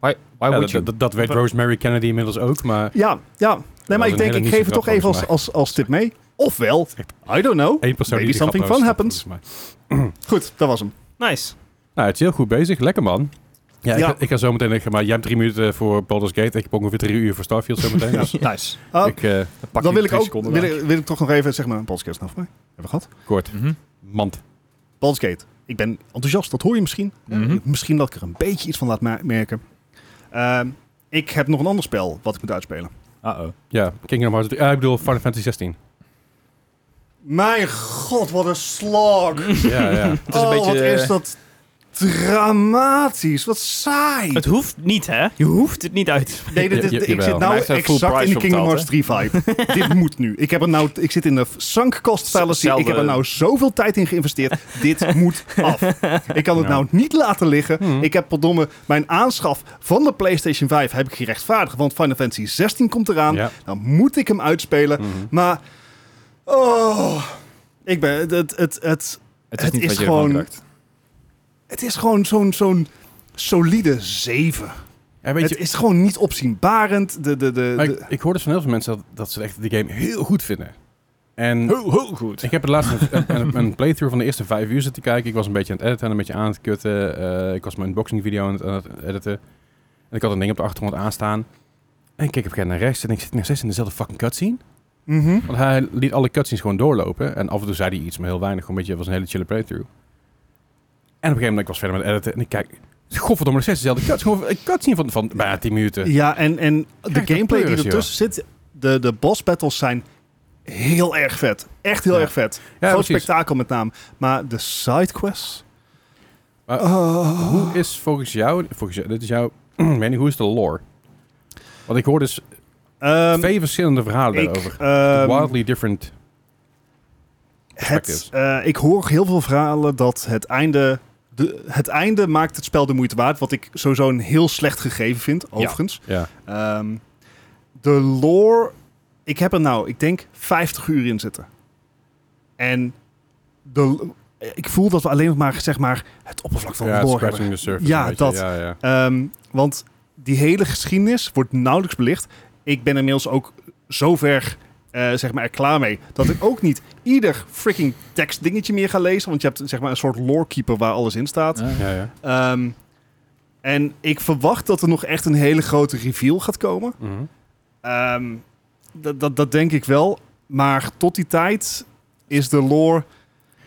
Speaker 4: Why, why
Speaker 1: Ja,
Speaker 4: would
Speaker 1: dat,
Speaker 4: you?
Speaker 1: dat, dat weet Rosemary Kennedy inmiddels ook, maar
Speaker 3: Ja, ja. Nee, maar
Speaker 1: was
Speaker 3: ik
Speaker 1: een
Speaker 3: denk
Speaker 1: hele
Speaker 3: ik
Speaker 1: niche
Speaker 3: geef het toch
Speaker 1: grap,
Speaker 3: even als,
Speaker 1: volgens
Speaker 3: als, als tip mee. Ofwel, I don't know.
Speaker 1: één persoon
Speaker 3: Maybe
Speaker 1: die die grap
Speaker 3: something
Speaker 1: trouwens
Speaker 3: fun
Speaker 1: snapt,
Speaker 3: happens.
Speaker 1: volgens mij.
Speaker 3: Goed, dat was hem.
Speaker 2: Nice.
Speaker 1: Nou, het is heel goed bezig. Lekker man. Ja,
Speaker 3: Ja.
Speaker 1: Ik, ga, ik ga zo meteen, maar jij hebt drie minuten voor Baldur's Gate. Ik heb ongeveer drie uur voor Starfield zo meteen. Dus
Speaker 4: Nice.
Speaker 3: Ah,
Speaker 1: ik, eh,
Speaker 4: pak
Speaker 3: dan
Speaker 4: je
Speaker 3: wil ik
Speaker 4: drie
Speaker 3: ook
Speaker 4: seconden
Speaker 3: wil
Speaker 4: daar.
Speaker 3: ik, wil ik toch nog even zeg maar een podcast nou voor mij. Hebben we gehad?
Speaker 1: kort,
Speaker 4: Mhm.
Speaker 1: mand.
Speaker 3: Baldur's Gate. Ik ben enthousiast, dat hoor je misschien.
Speaker 4: Mhm.
Speaker 3: Misschien dat ik er een beetje iets van laat ma- merken. Ehm, ik heb nog een ander spel wat ik moet uitspelen.
Speaker 4: Uh-oh.
Speaker 1: Ja, Kingdom Hearts 3. Ah, ik bedoel Final Fantasy 16.
Speaker 3: Mijn god, wat een slag!
Speaker 1: ja, ja.
Speaker 4: Het is een
Speaker 3: oh,
Speaker 4: beetje,
Speaker 3: wat
Speaker 4: eh,
Speaker 3: is dat dramatisch. Wat saai.
Speaker 2: Het hoeft niet, hè? Je hoeft het niet uit.
Speaker 3: Nee, dit is,
Speaker 1: Ja, ja,
Speaker 3: ik
Speaker 1: jawel.
Speaker 3: zit
Speaker 4: Hij
Speaker 3: nou
Speaker 4: heeft er full
Speaker 3: exact
Speaker 4: price
Speaker 3: in de
Speaker 4: voor
Speaker 3: Kingdom Hearts
Speaker 4: betaald,
Speaker 3: 3 vibe. dit moet nu. Ik, heb er nou, ik zit in de sunk-cost fallacy. Ik heb er
Speaker 4: Hetzelfde.
Speaker 3: nou zoveel tijd in geïnvesteerd. dit moet af. Ik kan het
Speaker 1: Ja.
Speaker 3: nou niet laten liggen.
Speaker 1: Hmm.
Speaker 3: Ik heb, verdomme, mijn aanschaf van de PlayStation 5 heb ik gerechtvaardigd. Want Final Fantasy 16 komt eraan.
Speaker 1: ja.
Speaker 3: Dan moet ik hem uitspelen.
Speaker 1: Mhm.
Speaker 3: Maar, oh, ik ben, het, het, het, het,
Speaker 4: Het is
Speaker 3: Het
Speaker 4: niet
Speaker 3: is
Speaker 4: wat je ervan
Speaker 3: gewoon-
Speaker 4: dacht.
Speaker 3: het is gewoon zo'n zo'n solide 7.
Speaker 1: Ja, weet je,
Speaker 3: het is gewoon niet opzienbarend. De, de, de,
Speaker 1: maar ik,
Speaker 3: de-
Speaker 1: ik hoor dus van heel veel mensen dat, dat ze echt de game heel goed vinden. En
Speaker 4: Heel, heel goed.
Speaker 1: Ik heb het laatst een, een, een playthrough van de eerste vijf uur zitten kijken. Ik was een beetje aan het editen, een beetje aan het kutten. Eh, ik was mijn unboxing video aan het, aan het editen. En ik had een ding op de achtergrond aanstaan. En ik keek op een gegeven moment naar rechts en ik zit nog steeds in dezelfde fucking cutscene.
Speaker 3: Mhm.
Speaker 1: Want hij liet alle cutscenes gewoon doorlopen. En af en toe zei hij iets, maar heel weinig. Gewoon een beetje, het was een hele chille playthrough. En op een gegeven moment ik was verder met editen en ik kijk... Godverdomme, nog steeds dezelfde cuts. Gewoon een cutscene van, van bijna 10 minuten.
Speaker 3: Ja, en, en de
Speaker 1: Kijk, de
Speaker 3: gameplay die
Speaker 1: pleurs,
Speaker 3: ertussen zit, de, de boss battles zijn heel erg vet. Echt heel
Speaker 1: Ja.
Speaker 3: erg vet.
Speaker 1: Ja,
Speaker 3: Groot
Speaker 1: precies.
Speaker 3: spektakel met name. Maar de sidequests...
Speaker 1: Maar
Speaker 3: Oh.
Speaker 1: Hoe is volgens jou, volgens jou, dit is jouw mening, hoe is de lore? Want ik hoor dus
Speaker 3: Ehm,
Speaker 1: twee verschillende verhalen
Speaker 3: ik,
Speaker 1: daarover.
Speaker 3: ehm,
Speaker 1: Wildly different.
Speaker 3: het, eh, ik hoor heel veel verhalen dat het einde... De, het einde maakt het spel de moeite waard. Wat ik sowieso een heel slecht gegeven vind, overigens.
Speaker 1: Ja.
Speaker 3: Ehm, de lore... Ik heb er nou, ik denk, 50 uur in zitten. En de, ik voel dat we alleen nog maar, zeg maar, het oppervlak van
Speaker 1: ja,
Speaker 3: de lore hebben
Speaker 1: scratching the surface.
Speaker 3: Ja,
Speaker 1: een beetje.
Speaker 3: dat.
Speaker 1: Ja, ja.
Speaker 3: Ehm, want die hele geschiedenis wordt nauwelijks belicht. Ik ben inmiddels ook zover eh zeg maar, er klaar mee dat ik ook niet ieder freaking tekstdingetje meer ga lezen. Want je hebt zeg maar, een soort lorekeeper waar alles in staat.
Speaker 1: Ja, ja.
Speaker 3: Ehm, en ik verwacht dat er nog echt een hele grote reveal gaat komen.
Speaker 1: Mhm.
Speaker 3: Ehm, dat, dat, dat denk ik wel. Maar tot die tijd is de lore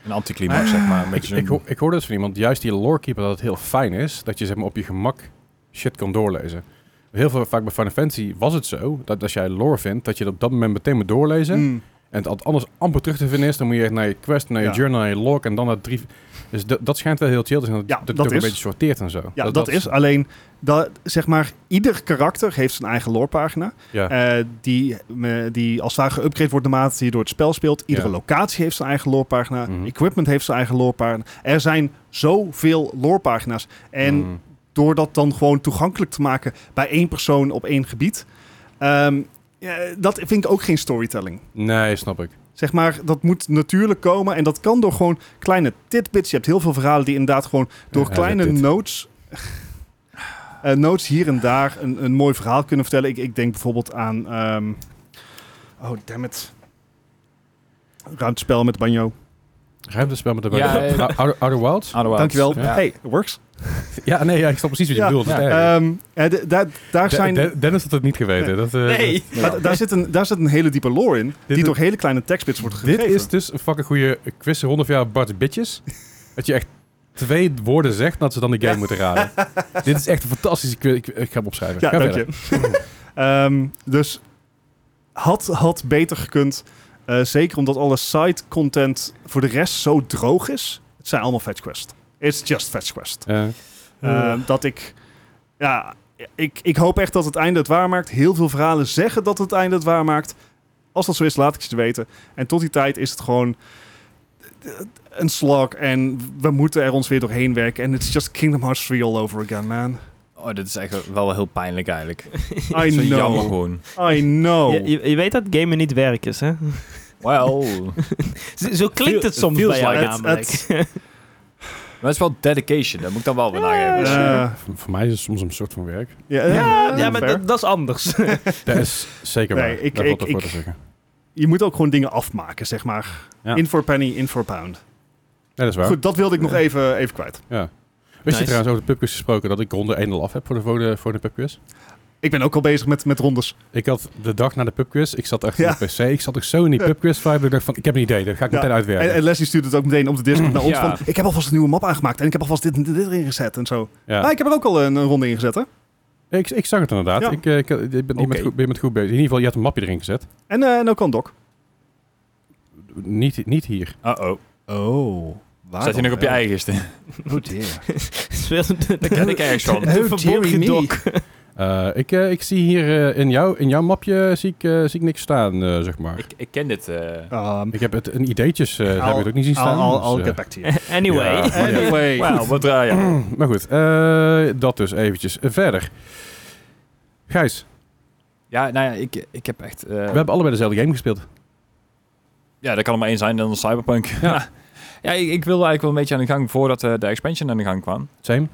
Speaker 4: Een anticlimax, zeg maar. Een
Speaker 1: Ik,
Speaker 4: beetje
Speaker 1: ik, hoor, ik hoor dus van iemand, juist die lorekeeper, dat het heel fijn is dat je zeg maar, op je gemak shit kan doorlezen. Heel veel, vaak bij Final Fantasy was het zo, dat als jij lore vindt, dat je het op dat moment meteen moet doorlezen.
Speaker 3: mm,
Speaker 1: En het anders amper terug te vinden is, dan moet je echt naar je quest, naar je
Speaker 3: Ja.
Speaker 1: journal, naar je log en dan naar drie... Dus dat- dat schijnt wel heel chill te zijn. Dat,
Speaker 3: Ja,
Speaker 1: dat, het
Speaker 3: dat
Speaker 1: ook een
Speaker 3: is.
Speaker 1: beetje sorteert en zo.
Speaker 3: Ja, dat, is. Alleen, dat, zeg maar, ieder karakter heeft zijn eigen lorepagina.
Speaker 1: Ja.
Speaker 3: Eh, die, me- die als het ware geüpgrade wordt naarmate je door het spel speelt. Iedere
Speaker 1: Ja.
Speaker 3: locatie heeft zijn eigen lorepagina.
Speaker 1: Mhm.
Speaker 3: Equipment heeft zijn eigen lorepagina. Er zijn zoveel lorepagina's. En
Speaker 1: Mm.
Speaker 3: door dat dan gewoon toegankelijk te maken bij één persoon op één gebied. ehm, ja, dat vind ik ook geen storytelling.
Speaker 1: Nee, snap ik.
Speaker 3: Zeg maar, dat moet natuurlijk komen. En dat kan door gewoon kleine tidbits. Je hebt heel veel verhalen die inderdaad gewoon door
Speaker 1: Ja,
Speaker 3: kleine
Speaker 1: dit.
Speaker 3: notes... eh, notes hier en daar een, een mooi verhaal kunnen vertellen. Ik, ik denk bijvoorbeeld aan... ehm oh, damn it. Ruimtespel met Banjo.
Speaker 1: Ruimte spel met de
Speaker 4: Ja, eh,
Speaker 1: Outer, Outer Wilds?
Speaker 4: Otherwise.
Speaker 3: Dankjewel.
Speaker 4: Ja.
Speaker 3: Hey, it works.
Speaker 1: Ja, nee, ja, ik snap precies wat je
Speaker 3: Ja,
Speaker 1: bedoelt. Dat is
Speaker 4: ja.
Speaker 1: erg.
Speaker 3: Ehm, eh, d- daar- daar
Speaker 1: De-
Speaker 3: zijn...
Speaker 1: De- Dennis had het niet geweten. Dat, eh,
Speaker 2: Nee.
Speaker 3: Maar d- daar, zit een, daar zit een hele diepe lore in, die
Speaker 1: is-
Speaker 3: door hele kleine tekstbits wordt
Speaker 1: Dit
Speaker 3: gegeven.
Speaker 1: is dus een fucking goede quiz rond of jaar Bart Bitches. Dat je echt twee woorden zegt dat ze dan de game moeten raden. Dit is echt een fantastische quiz. Ik, ik ga hem opschrijven.
Speaker 3: Ja,
Speaker 1: Ga
Speaker 3: dank je.
Speaker 1: verder.
Speaker 3: Ehm, dus had, had beter gekund. Eh, zeker omdat alle side content voor de rest zo droog is. Het zijn allemaal fetch quest. It's just fetch quest.
Speaker 1: Eh,
Speaker 3: Ehm, dat ik... Ja, ik, ik hoop echt dat het einde het waar maakt. Heel veel verhalen zeggen dat het einde het waar maakt. Als dat zo is, laat ik het je weten. En tot die tijd is het gewoon een slog. En we moeten er ons weer doorheen werken. En it's just Kingdom Hearts 3 all over again, man.
Speaker 4: Oh, dit is echt wel heel pijnlijk eigenlijk.
Speaker 3: I
Speaker 4: Zo jammer
Speaker 3: know.
Speaker 4: gewoon.
Speaker 3: I know.
Speaker 2: Je, je, je weet dat gamen niet werk is, hè?
Speaker 4: Well.
Speaker 2: Zo, zo klinkt het soms
Speaker 4: feels
Speaker 2: bij jou
Speaker 3: like it.
Speaker 2: namelijk.
Speaker 4: maar het is wel dedication. Dat moet ik dan wel weer nageven.
Speaker 3: Eh,
Speaker 1: voor, voor mij is het soms een soort van werk.
Speaker 3: ja,
Speaker 2: ja,
Speaker 3: eh,
Speaker 2: ja, maar
Speaker 3: fair.
Speaker 2: dat, dat is anders.
Speaker 1: Dat is zeker
Speaker 3: Nee,
Speaker 1: waar.
Speaker 3: ik-
Speaker 1: Daar valt
Speaker 3: ik-
Speaker 1: wat voor
Speaker 3: ik-
Speaker 1: te zeggen.
Speaker 3: Je moet ook gewoon dingen afmaken, zeg maar.
Speaker 1: Ja.
Speaker 3: In for penny, in for pound.
Speaker 1: Ja, dat is waar.
Speaker 3: Goed, dat wilde ik nog even, even kwijt.
Speaker 1: Wist
Speaker 2: Nice.
Speaker 1: je trouwens over de pubquiz gesproken dat ik ronde 1 al af heb voor de, voor de, voor de pubquiz?
Speaker 3: Ik ben ook al bezig met, met rondes.
Speaker 1: Ik had de dag na de pubquiz, ik zat echt
Speaker 3: Ja.
Speaker 1: op de pc, ik zat ook zo in die pubquiz vibe, dat ik dacht van, ik heb een idee, dat ga ik
Speaker 3: Ja.
Speaker 1: meteen
Speaker 3: En,
Speaker 1: uitwerken.
Speaker 3: en Leslie stuurt het ook meteen op de Discord naar ons.
Speaker 4: Ja.
Speaker 3: Van, ik heb alvast een nieuwe map aangemaakt en ik heb alvast dit en dit erin gezet en zo.
Speaker 1: ja.
Speaker 3: Ah, ik heb er ook al een, een ronde in gezet, hè?
Speaker 1: ik, ik zag het inderdaad.
Speaker 3: Ja.
Speaker 1: Ik, eh, ik, ik ben, je bent
Speaker 4: Oké.
Speaker 1: goed, je bent goed bezig. In ieder geval, je had een mapje erin gezet.
Speaker 3: En, eh en ook al een doc.
Speaker 1: Niet, niet hier.
Speaker 4: Uh-oh.
Speaker 3: Oh. Waar
Speaker 4: Zet je nog op je eigenste.
Speaker 3: Oh dear.
Speaker 4: Daar ken ik ergens van.
Speaker 2: De verborgen dok.
Speaker 1: Eh, ik, eh, ik zie hier eh, in, jou, in jouw mapje zie ik, eh, zie ik niks staan, eh, zeg maar. Ik,
Speaker 4: Ik, ik ken dit. eh.
Speaker 3: Ah,
Speaker 1: heb het in ideetjes, eh heb ik het ook niet zien staan.
Speaker 3: I'll, I'll
Speaker 1: dus, eh,
Speaker 3: get back to you.
Speaker 2: Anyway.
Speaker 1: Ja.
Speaker 3: Anyway.
Speaker 4: Wauw, wat draai je?
Speaker 1: maar goed, eh, dat dus eventjes. Eh, verder. Gijs,
Speaker 4: Ja, nou ja, ik, ik heb echt... eh,
Speaker 1: we hebben allebei dezelfde game gespeeld.
Speaker 4: Ja, dat kan er maar één zijn dan Cyberpunk. Ja, ja ik, ik wilde eigenlijk wel een beetje aan de gang voordat eh, de expansion aan de gang kwam.
Speaker 1: Same.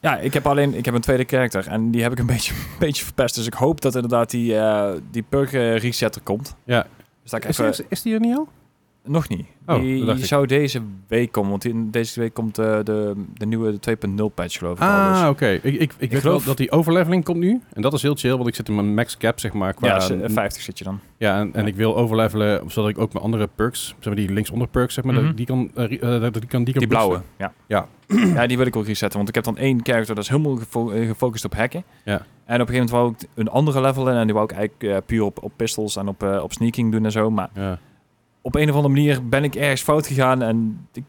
Speaker 4: Ja, ik heb alleen ik heb een tweede karakter en die heb ik een beetje, een beetje verpest. Dus ik hoop dat inderdaad die, eh die perk eh, reset er komt.
Speaker 1: Ja.
Speaker 4: Dus dat ik
Speaker 1: Is,
Speaker 4: even...
Speaker 1: is, is die er niet al?
Speaker 4: Nog niet.
Speaker 1: Oh,
Speaker 4: die
Speaker 1: dat dacht ik.
Speaker 4: zou deze week komen, want in deze week komt eh, de, de nieuwe 2.0 patch geloof ik al. Dus-
Speaker 1: Ah, oké. Ik, ik, ik, weet
Speaker 4: geloof-
Speaker 1: wel dat die overleveling komt nu. En dat is heel chill, want ik zit in mijn max cap, zeg maar. Qua,
Speaker 4: Ja, ze- eh, 50 zit je dan.
Speaker 1: Ja, en, en ik wil overlevelen, zodat ik ook mijn andere perks, zeg maar die linksonder perks, zeg maar, dat
Speaker 4: Mhm.
Speaker 1: ik die, kan, eh, re- eh, dat ik die kan... kan
Speaker 4: Die blauwe, ja.
Speaker 1: Ja.
Speaker 4: ja, die wil ik ook resetten. Want ik heb dan één character dat is helemaal gefo- eh, gefocust op hacken.
Speaker 1: Ja.
Speaker 4: En op een gegeven moment wou ik een andere level in. En die wou ik eigenlijk eh, puur op, op pistols en op, eh, op sneaking doen en zo. Maar
Speaker 1: Ja.
Speaker 4: op een of andere manier ben ik ergens fout gegaan. En ik,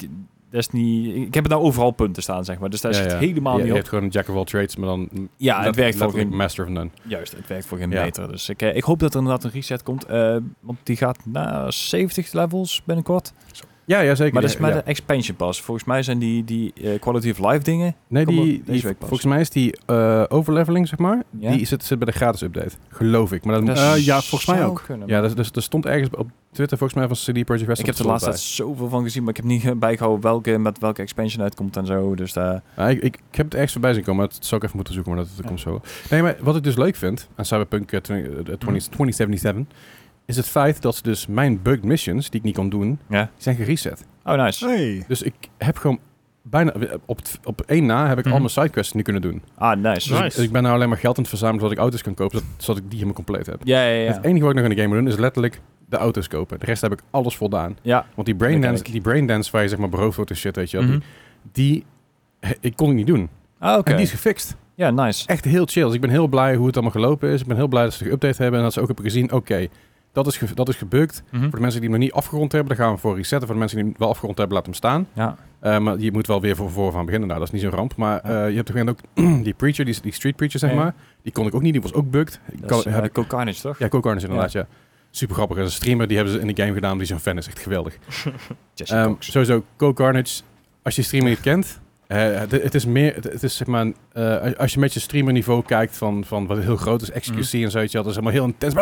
Speaker 4: dat is niet, ik heb het nou overal punten staan, zeg maar. Dus daar
Speaker 1: Ja,
Speaker 4: zit
Speaker 1: ja. Je-
Speaker 4: helemaal niet
Speaker 1: Je
Speaker 4: op.
Speaker 1: hebt gewoon een jack of all trades, maar dan...
Speaker 4: Ja, het
Speaker 1: let-
Speaker 4: werkt voor
Speaker 1: letterlijk
Speaker 4: geen-
Speaker 1: Master of none.
Speaker 4: Juist, het werkt voor geen
Speaker 1: Ja.
Speaker 4: meter. Dus ik, eh, ik hoop dat er inderdaad een reset komt. eh, want die gaat naar 70 levels binnenkort.
Speaker 1: Ja, ja, zeker.
Speaker 4: maar dat
Speaker 1: Ja,
Speaker 4: is maar
Speaker 1: ja.
Speaker 4: de expansion pas. Volgens mij zijn die, die eh, quality of life dingen.
Speaker 1: Nee,
Speaker 4: Kom
Speaker 1: die,
Speaker 4: op, deze
Speaker 1: die-
Speaker 4: week pas.
Speaker 1: volgens mij is die eh, overleveling, zeg maar,
Speaker 4: Ja.
Speaker 1: die zit, zit bij de gratis update. Geloof ik. Maar dat moet- Ah,
Speaker 3: Eh, ja, volgens mij
Speaker 4: zou
Speaker 3: ook.
Speaker 4: kunnen.
Speaker 1: ja, dus, dus, er stond ergens op Twitter volgens mij van CD Projekt Red.
Speaker 4: Ik
Speaker 1: stond
Speaker 4: heb er
Speaker 1: het
Speaker 4: laatst
Speaker 1: bij.
Speaker 4: tijd zoveel van gezien, maar ik heb niet eh, bijgehouden welke met welke expansion uitkomt en zo. Dus daar.
Speaker 1: Ah, ik, ik, ik heb het ergens voorbij zien komen, maar dat zou ik even moeten zoeken, maar dat, dat
Speaker 4: Ja.
Speaker 1: komt zo wel. Nee, maar wat ik dus leuk vind aan Cyberpunk eh, 20, eh, 20
Speaker 4: Hm.
Speaker 1: 2077, is het feit dat ze dus mijn bugged missions, die ik niet kon doen,
Speaker 4: Ja.
Speaker 1: die zijn gereset.
Speaker 4: Oh, nice.
Speaker 3: Hey.
Speaker 1: Dus ik heb gewoon bijna, op, het- op één na heb ik
Speaker 4: Mhm.
Speaker 1: al mijn sidequests nu kunnen doen.
Speaker 4: Ah, nice.
Speaker 1: Dus ik-
Speaker 3: Nice.
Speaker 1: ik, ben nou alleen maar geld aan het verzamelen zodat ik auto's kan kopen, zodat, zodat ik die helemaal compleet heb.
Speaker 4: Ja, ja, ja.
Speaker 1: Het enige wat ik nog in de game moet doen is letterlijk de auto's kopen. De rest heb ik alles voldaan.
Speaker 4: Ja,
Speaker 1: Want die
Speaker 4: Dat ken
Speaker 1: braindance,
Speaker 4: ik.
Speaker 1: die braindance waar je zeg maar beroofd wordt en shit, weet je wel,
Speaker 4: Mhm.
Speaker 1: die, die ik kon ik niet doen.
Speaker 4: Ah, oké.
Speaker 1: En die is gefixt
Speaker 4: Ja, nice.
Speaker 1: echt heel chill. Dus ik ben heel blij hoe het allemaal gelopen is. Ik ben heel blij dat ze de update hebben en dat ze ook hebben gezien, oké, Dat is, ge- dat is gebukt.
Speaker 4: Mhm.
Speaker 1: Voor de mensen die hem nog niet afgerond hebben, daar gaan we voor resetten. Voor de mensen die hem wel afgerond hebben, laat hem staan.
Speaker 4: Ja.
Speaker 1: Eh, maar je moet wel weer voor, voor van beginnen. Nou, dat is niet zo'n ramp. Maar eh, je hebt op een gegeven moment ook die preacher, die, die street preacher, zeg
Speaker 4: Ja.
Speaker 1: maar. Die kon ik ook niet, die was ook bugged. Ik
Speaker 4: Dat
Speaker 1: kan-
Speaker 4: is, eh,
Speaker 1: heb ik-
Speaker 4: Cold Carnage, toch?
Speaker 1: ja, Coco Carnage inderdaad, ja. Super grappig. Dat is een streamer, die hebben ze in de game gedaan, die zo'n fan is. Echt geweldig.
Speaker 4: Jesse
Speaker 1: Ehm,
Speaker 4: Cox.
Speaker 1: sowieso, Coco Carnage, als je streamer niet kent... eh, het, het is meer, het, het is zeg maar, een, eh, als je met je streamerniveau kijkt van, van wat heel groot is, XQC
Speaker 4: Mm.
Speaker 1: en zoiets, dat is allemaal heel intens.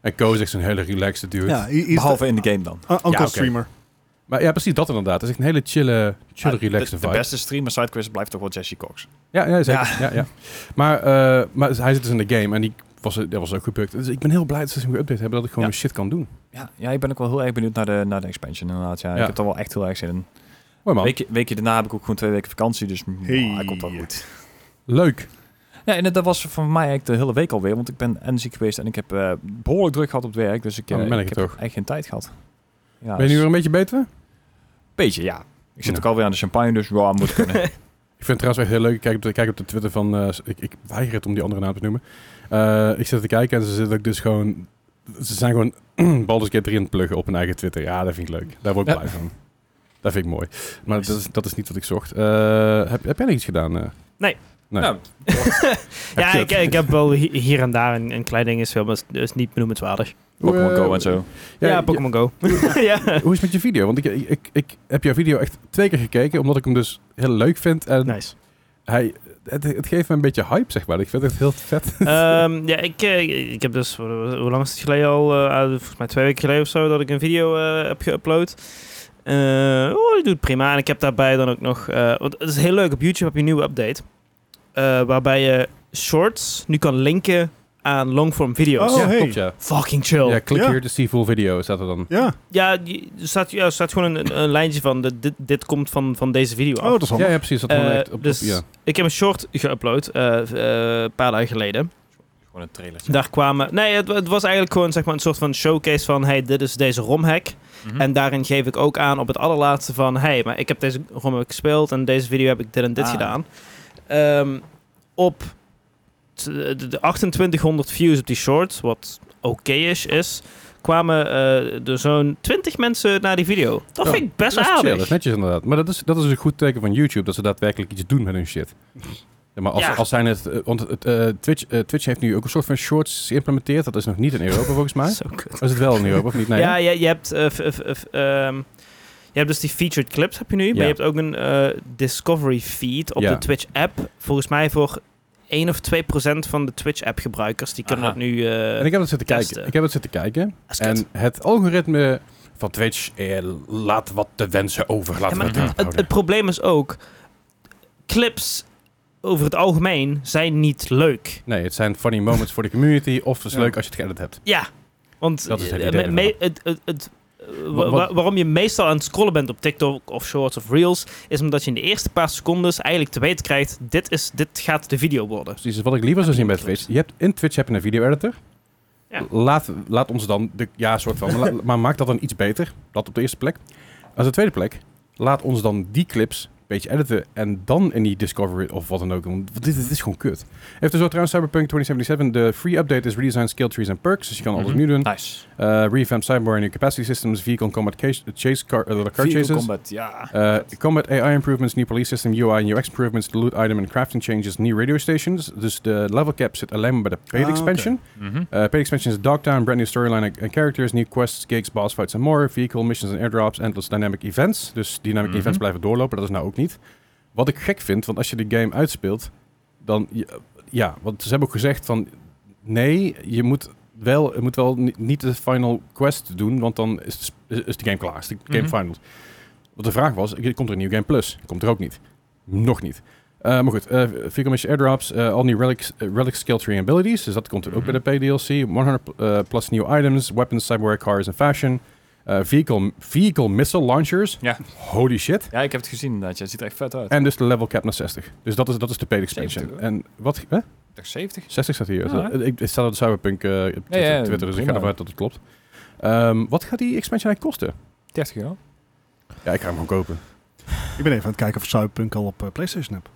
Speaker 1: En Koos is echt zo'n hele relaxed dude.
Speaker 3: Ja, i- i-
Speaker 4: Behalve in de game dan.
Speaker 3: Un- Uncle
Speaker 1: Ja, oké.
Speaker 3: Streamer.
Speaker 1: Maar ja, precies dat inderdaad. Het is echt een hele chille, chille
Speaker 4: Ah,
Speaker 1: relaxed
Speaker 4: de, de
Speaker 1: vibe.
Speaker 4: beste streamer sidequest blijft toch wel Jesse Cox.
Speaker 1: Ja, ja zeker. Ja. Ja, Maar, eh, maar hij zit dus in de game en die was, dat was ook gebukt. Dus ik ben heel blij dat ze hem geüpdate hebben, dat ik gewoon
Speaker 4: Ja.
Speaker 1: mijn shit kan doen.
Speaker 4: Ja, ja, ik ben ook wel heel erg benieuwd naar de, naar de expansion inderdaad. Ja,
Speaker 1: Ja.
Speaker 4: Ik heb er wel echt heel erg zin in.
Speaker 1: Mooi man.
Speaker 4: Weekje, weekje daarna heb ik ook gewoon twee weken vakantie, dus mm,
Speaker 3: Hey.
Speaker 4: hij komt wel goed.
Speaker 1: Leuk.
Speaker 4: Ja, en dat was voor mij eigenlijk de hele week alweer, want ik ben en ziek geweest en ik heb eh, behoorlijk druk gehad op het werk, dus ik, eh,
Speaker 1: Dan merk ik
Speaker 4: ik heb
Speaker 1: toch.
Speaker 4: eigenlijk geen tijd gehad. Ja,
Speaker 1: ben je nu
Speaker 4: dus
Speaker 1: weer een beetje beter?
Speaker 4: een beetje, ja. Ik zit
Speaker 1: Ja.
Speaker 4: ook alweer aan de champagne, dus ja, moet kunnen.
Speaker 1: Ik vind het trouwens echt heel leuk. Ik kijk op de, kijk op de Twitter van... eh, ik, ik weiger het om die andere naam te noemen. Eh, ik zit te kijken en ze zitten ook dus gewoon... Ze zijn gewoon Baldur's Gate 3 aan het pluggen op hun eigen Twitter. Ja, dat vind ik leuk. Daar word ik
Speaker 4: Ja.
Speaker 1: blij van. Dat vind ik mooi. Maar dat is, dat is niet wat ik zocht. Eh, heb, heb jij nog iets gedaan? eh?
Speaker 2: Nee.
Speaker 1: nee.
Speaker 4: Nou,
Speaker 2: Ja,
Speaker 1: je
Speaker 2: ik,
Speaker 1: het?
Speaker 2: ik heb wel hi- hier en daar een, een klein ding is wel, maar het is niet benoemenswaardig.
Speaker 4: Pokémon
Speaker 1: Eh,
Speaker 4: Go en zo.
Speaker 2: Ja,
Speaker 1: Ja, ja,
Speaker 2: Pokémon Go. ja.
Speaker 1: Hoe is het met je video? Want ik, ik, ik heb jouw video echt twee keer gekeken, omdat ik hem dus heel leuk vind. En
Speaker 2: Nice.
Speaker 1: hij, het, het geeft me een beetje hype, zeg maar. Ik vind het heel vet.
Speaker 2: Ehm, ja, ik, eh, ik heb dus, eh, hoe lang is het geleden al? Eh, eh, volgens mij twee weken geleden of zo, dat ik een video eh, heb geüpload. Eh, oh, die doet het prima. En ik heb daarbij dan ook nog, eh, want het is heel leuk, op YouTube heb je een nieuwe update. eh, waarbij je shorts nu kan linken aan longform video's.
Speaker 3: Oh,
Speaker 1: ja,
Speaker 3: hey.
Speaker 1: klopt, ja.
Speaker 2: Fucking chill.
Speaker 1: Ja, click
Speaker 3: Ja.
Speaker 1: here to see full video, staat er dan.
Speaker 3: Ja.
Speaker 2: Ja, je- er staat, ja, er staat gewoon een, een lijntje van, de- dit, dit komt van, van deze video af.
Speaker 3: Oh, dat is handig.
Speaker 1: Ja, ja, precies. Dat gewoon
Speaker 2: Eh,
Speaker 1: echt op, op-
Speaker 2: dus
Speaker 1: ja.
Speaker 2: ik heb een short geüpload, eh, v- eh, een paar dagen geleden.
Speaker 4: Gewoon een trailertje.
Speaker 2: Daar kwamen. Nee, het, het was eigenlijk gewoon zeg maar, een soort van showcase van: hey, dit is deze romhack.
Speaker 4: Mhm.
Speaker 2: En daarin geef ik ook aan op het allerlaatste van: hey, maar ik heb deze romhack gespeeld en deze video heb ik dit en dit
Speaker 4: Ah.
Speaker 2: gedaan. Ehm, op t- de, de 2800 views op die short, wat oké-ish is, kwamen eh, er zo'n 20 mensen naar die video. Dat
Speaker 1: Ja,
Speaker 2: vind ik best
Speaker 1: Dat is chill, dat
Speaker 2: aardig.
Speaker 1: is netjes inderdaad. Maar dat is, dat is een goed teken van YouTube, dat ze daadwerkelijk iets doen met hun shit. Ja, maar als,
Speaker 2: Ja.
Speaker 1: als zijn het... eh, Want het, eh, Twitch, eh, Twitch heeft nu ook een soort van shorts geïmplementeerd. Dat is nog niet in Europa, volgens mij.
Speaker 2: Zo kut.
Speaker 1: Is het wel in Europa, of niet? Nee,
Speaker 2: Ja, je, je hebt. eh, f- f- f- ehm, je hebt dus die featured clips heb je nu, maar
Speaker 1: Ja.
Speaker 2: je hebt ook een eh, discovery feed op
Speaker 1: Ja.
Speaker 2: de Twitch app. Volgens mij voor 1 of 2 procent van de Twitch app gebruikers. Die kunnen
Speaker 4: Aha.
Speaker 2: dat nu. eh
Speaker 1: En ik heb het zitten
Speaker 2: testen.
Speaker 1: kijken. Ik heb het zitten kijken.
Speaker 2: als kut.
Speaker 1: En het algoritme van Twitch eh, laat wat te wensen over.
Speaker 2: Ja,
Speaker 1: Laten
Speaker 2: maar
Speaker 1: we het
Speaker 2: het, het, het probleem is ook, clips over het algemeen zijn niet leuk.
Speaker 1: Nee, het zijn funny moments voor de community. Of het is
Speaker 3: Ja.
Speaker 1: leuk als je het geëdit hebt.
Speaker 2: Ja, want
Speaker 1: Dat is het
Speaker 2: eh,
Speaker 1: idee
Speaker 2: me-
Speaker 1: ervan.
Speaker 2: me- het, het, het- wa-
Speaker 1: Wat- wat-
Speaker 2: wa- waarom je meestal aan het scrollen bent op TikTok of Shorts of Reels, is omdat je in de eerste paar secondes eigenlijk te weten krijgt, dit, is, dit gaat de video worden.
Speaker 1: Precies, dus wat ik liever zou zien bij
Speaker 2: klopt.
Speaker 1: Twitch. Je hebt, in Twitch heb je een video-editor.
Speaker 2: Ja.
Speaker 1: Laat, laat ons dan, de, ja, soort van, maar, la- maar maak dat dan iets beter. Dat op de eerste plek. Als de tweede plek, laat ons dan die clips een beetje editen. En dan in die Discovery of wat dan ook. doen. Want dit, dit is gewoon kut. Heeft dus ook trouwens Cyberpunk 2077. De free update is redesign, skill trees en perks. Dus je kan alles
Speaker 4: Mhm.
Speaker 1: nu doen.
Speaker 4: Nice.
Speaker 1: eh revamp Cyber New Capacity Systems, Vehicle and Combat case, Chase Car, eh, car
Speaker 4: Vehicle
Speaker 1: Chases,
Speaker 4: Combat, ja.
Speaker 1: eh, Combat AI Improvements, New Police System, UI and UX Improvements, the Loot Item and Crafting Changes, New Radio Stations. Dus de level cap zit alleen maar bij de paid
Speaker 3: Ah,
Speaker 1: expansion.
Speaker 4: Mhm.
Speaker 1: Eh, paid expansion is Dogtown, brand new storyline and- and characters, new quests, gigs, boss fights and more, vehicle missions and airdrops, endless dynamic events. Dus dynamic
Speaker 4: Mhm.
Speaker 1: events blijven doorlopen, dat is nou ook niet. Wat ik gek vind, want als je de game uitspeelt, dan... je- Ja, want ze hebben ook gezegd van... Nee, je moet wel, je moet wel ni- niet de final quest doen, want dan is de, sp- is- is de game klaar. Is de game
Speaker 4: Mhm.
Speaker 1: final. Wat de vraag was, komt er een nieuw game plus? Komt er ook niet. Nog niet. Eh, maar goed, eh Vehicle Mission Airdrops, eh, all new relics, eh, relic skill tree and abilities. Dus dat komt er ook bij de PDLC. 100 pl- eh, plus new items, weapons, cyberware, cars en fashion. Eh, vehicle, vehicle missile launchers.
Speaker 4: Ja.
Speaker 1: Holy shit.
Speaker 4: ja, ik heb het gezien inderdaad. Ja, het ziet er echt vet uit.
Speaker 1: En dus de level cap naar 60. Dus dat is, dat is de paid expansion.
Speaker 4: 70,
Speaker 1: En wat... Hè?
Speaker 4: Ik dacht 70?
Speaker 1: 60 staat hier. eh,
Speaker 4: Ja.
Speaker 1: ik, ik sta op de Cyberpunk eh, op Twitter,
Speaker 4: ja,
Speaker 1: Twitter, dus ik ga
Speaker 4: prima.
Speaker 1: ervan uit dat het klopt. Ehm, wat gaat die expansion eigenlijk kosten?
Speaker 4: 30 euro.
Speaker 1: Ja, ik ga hem gewoon kopen.
Speaker 3: Ik ben even aan het kijken of Cyberpunk al op eh, PlayStation heb.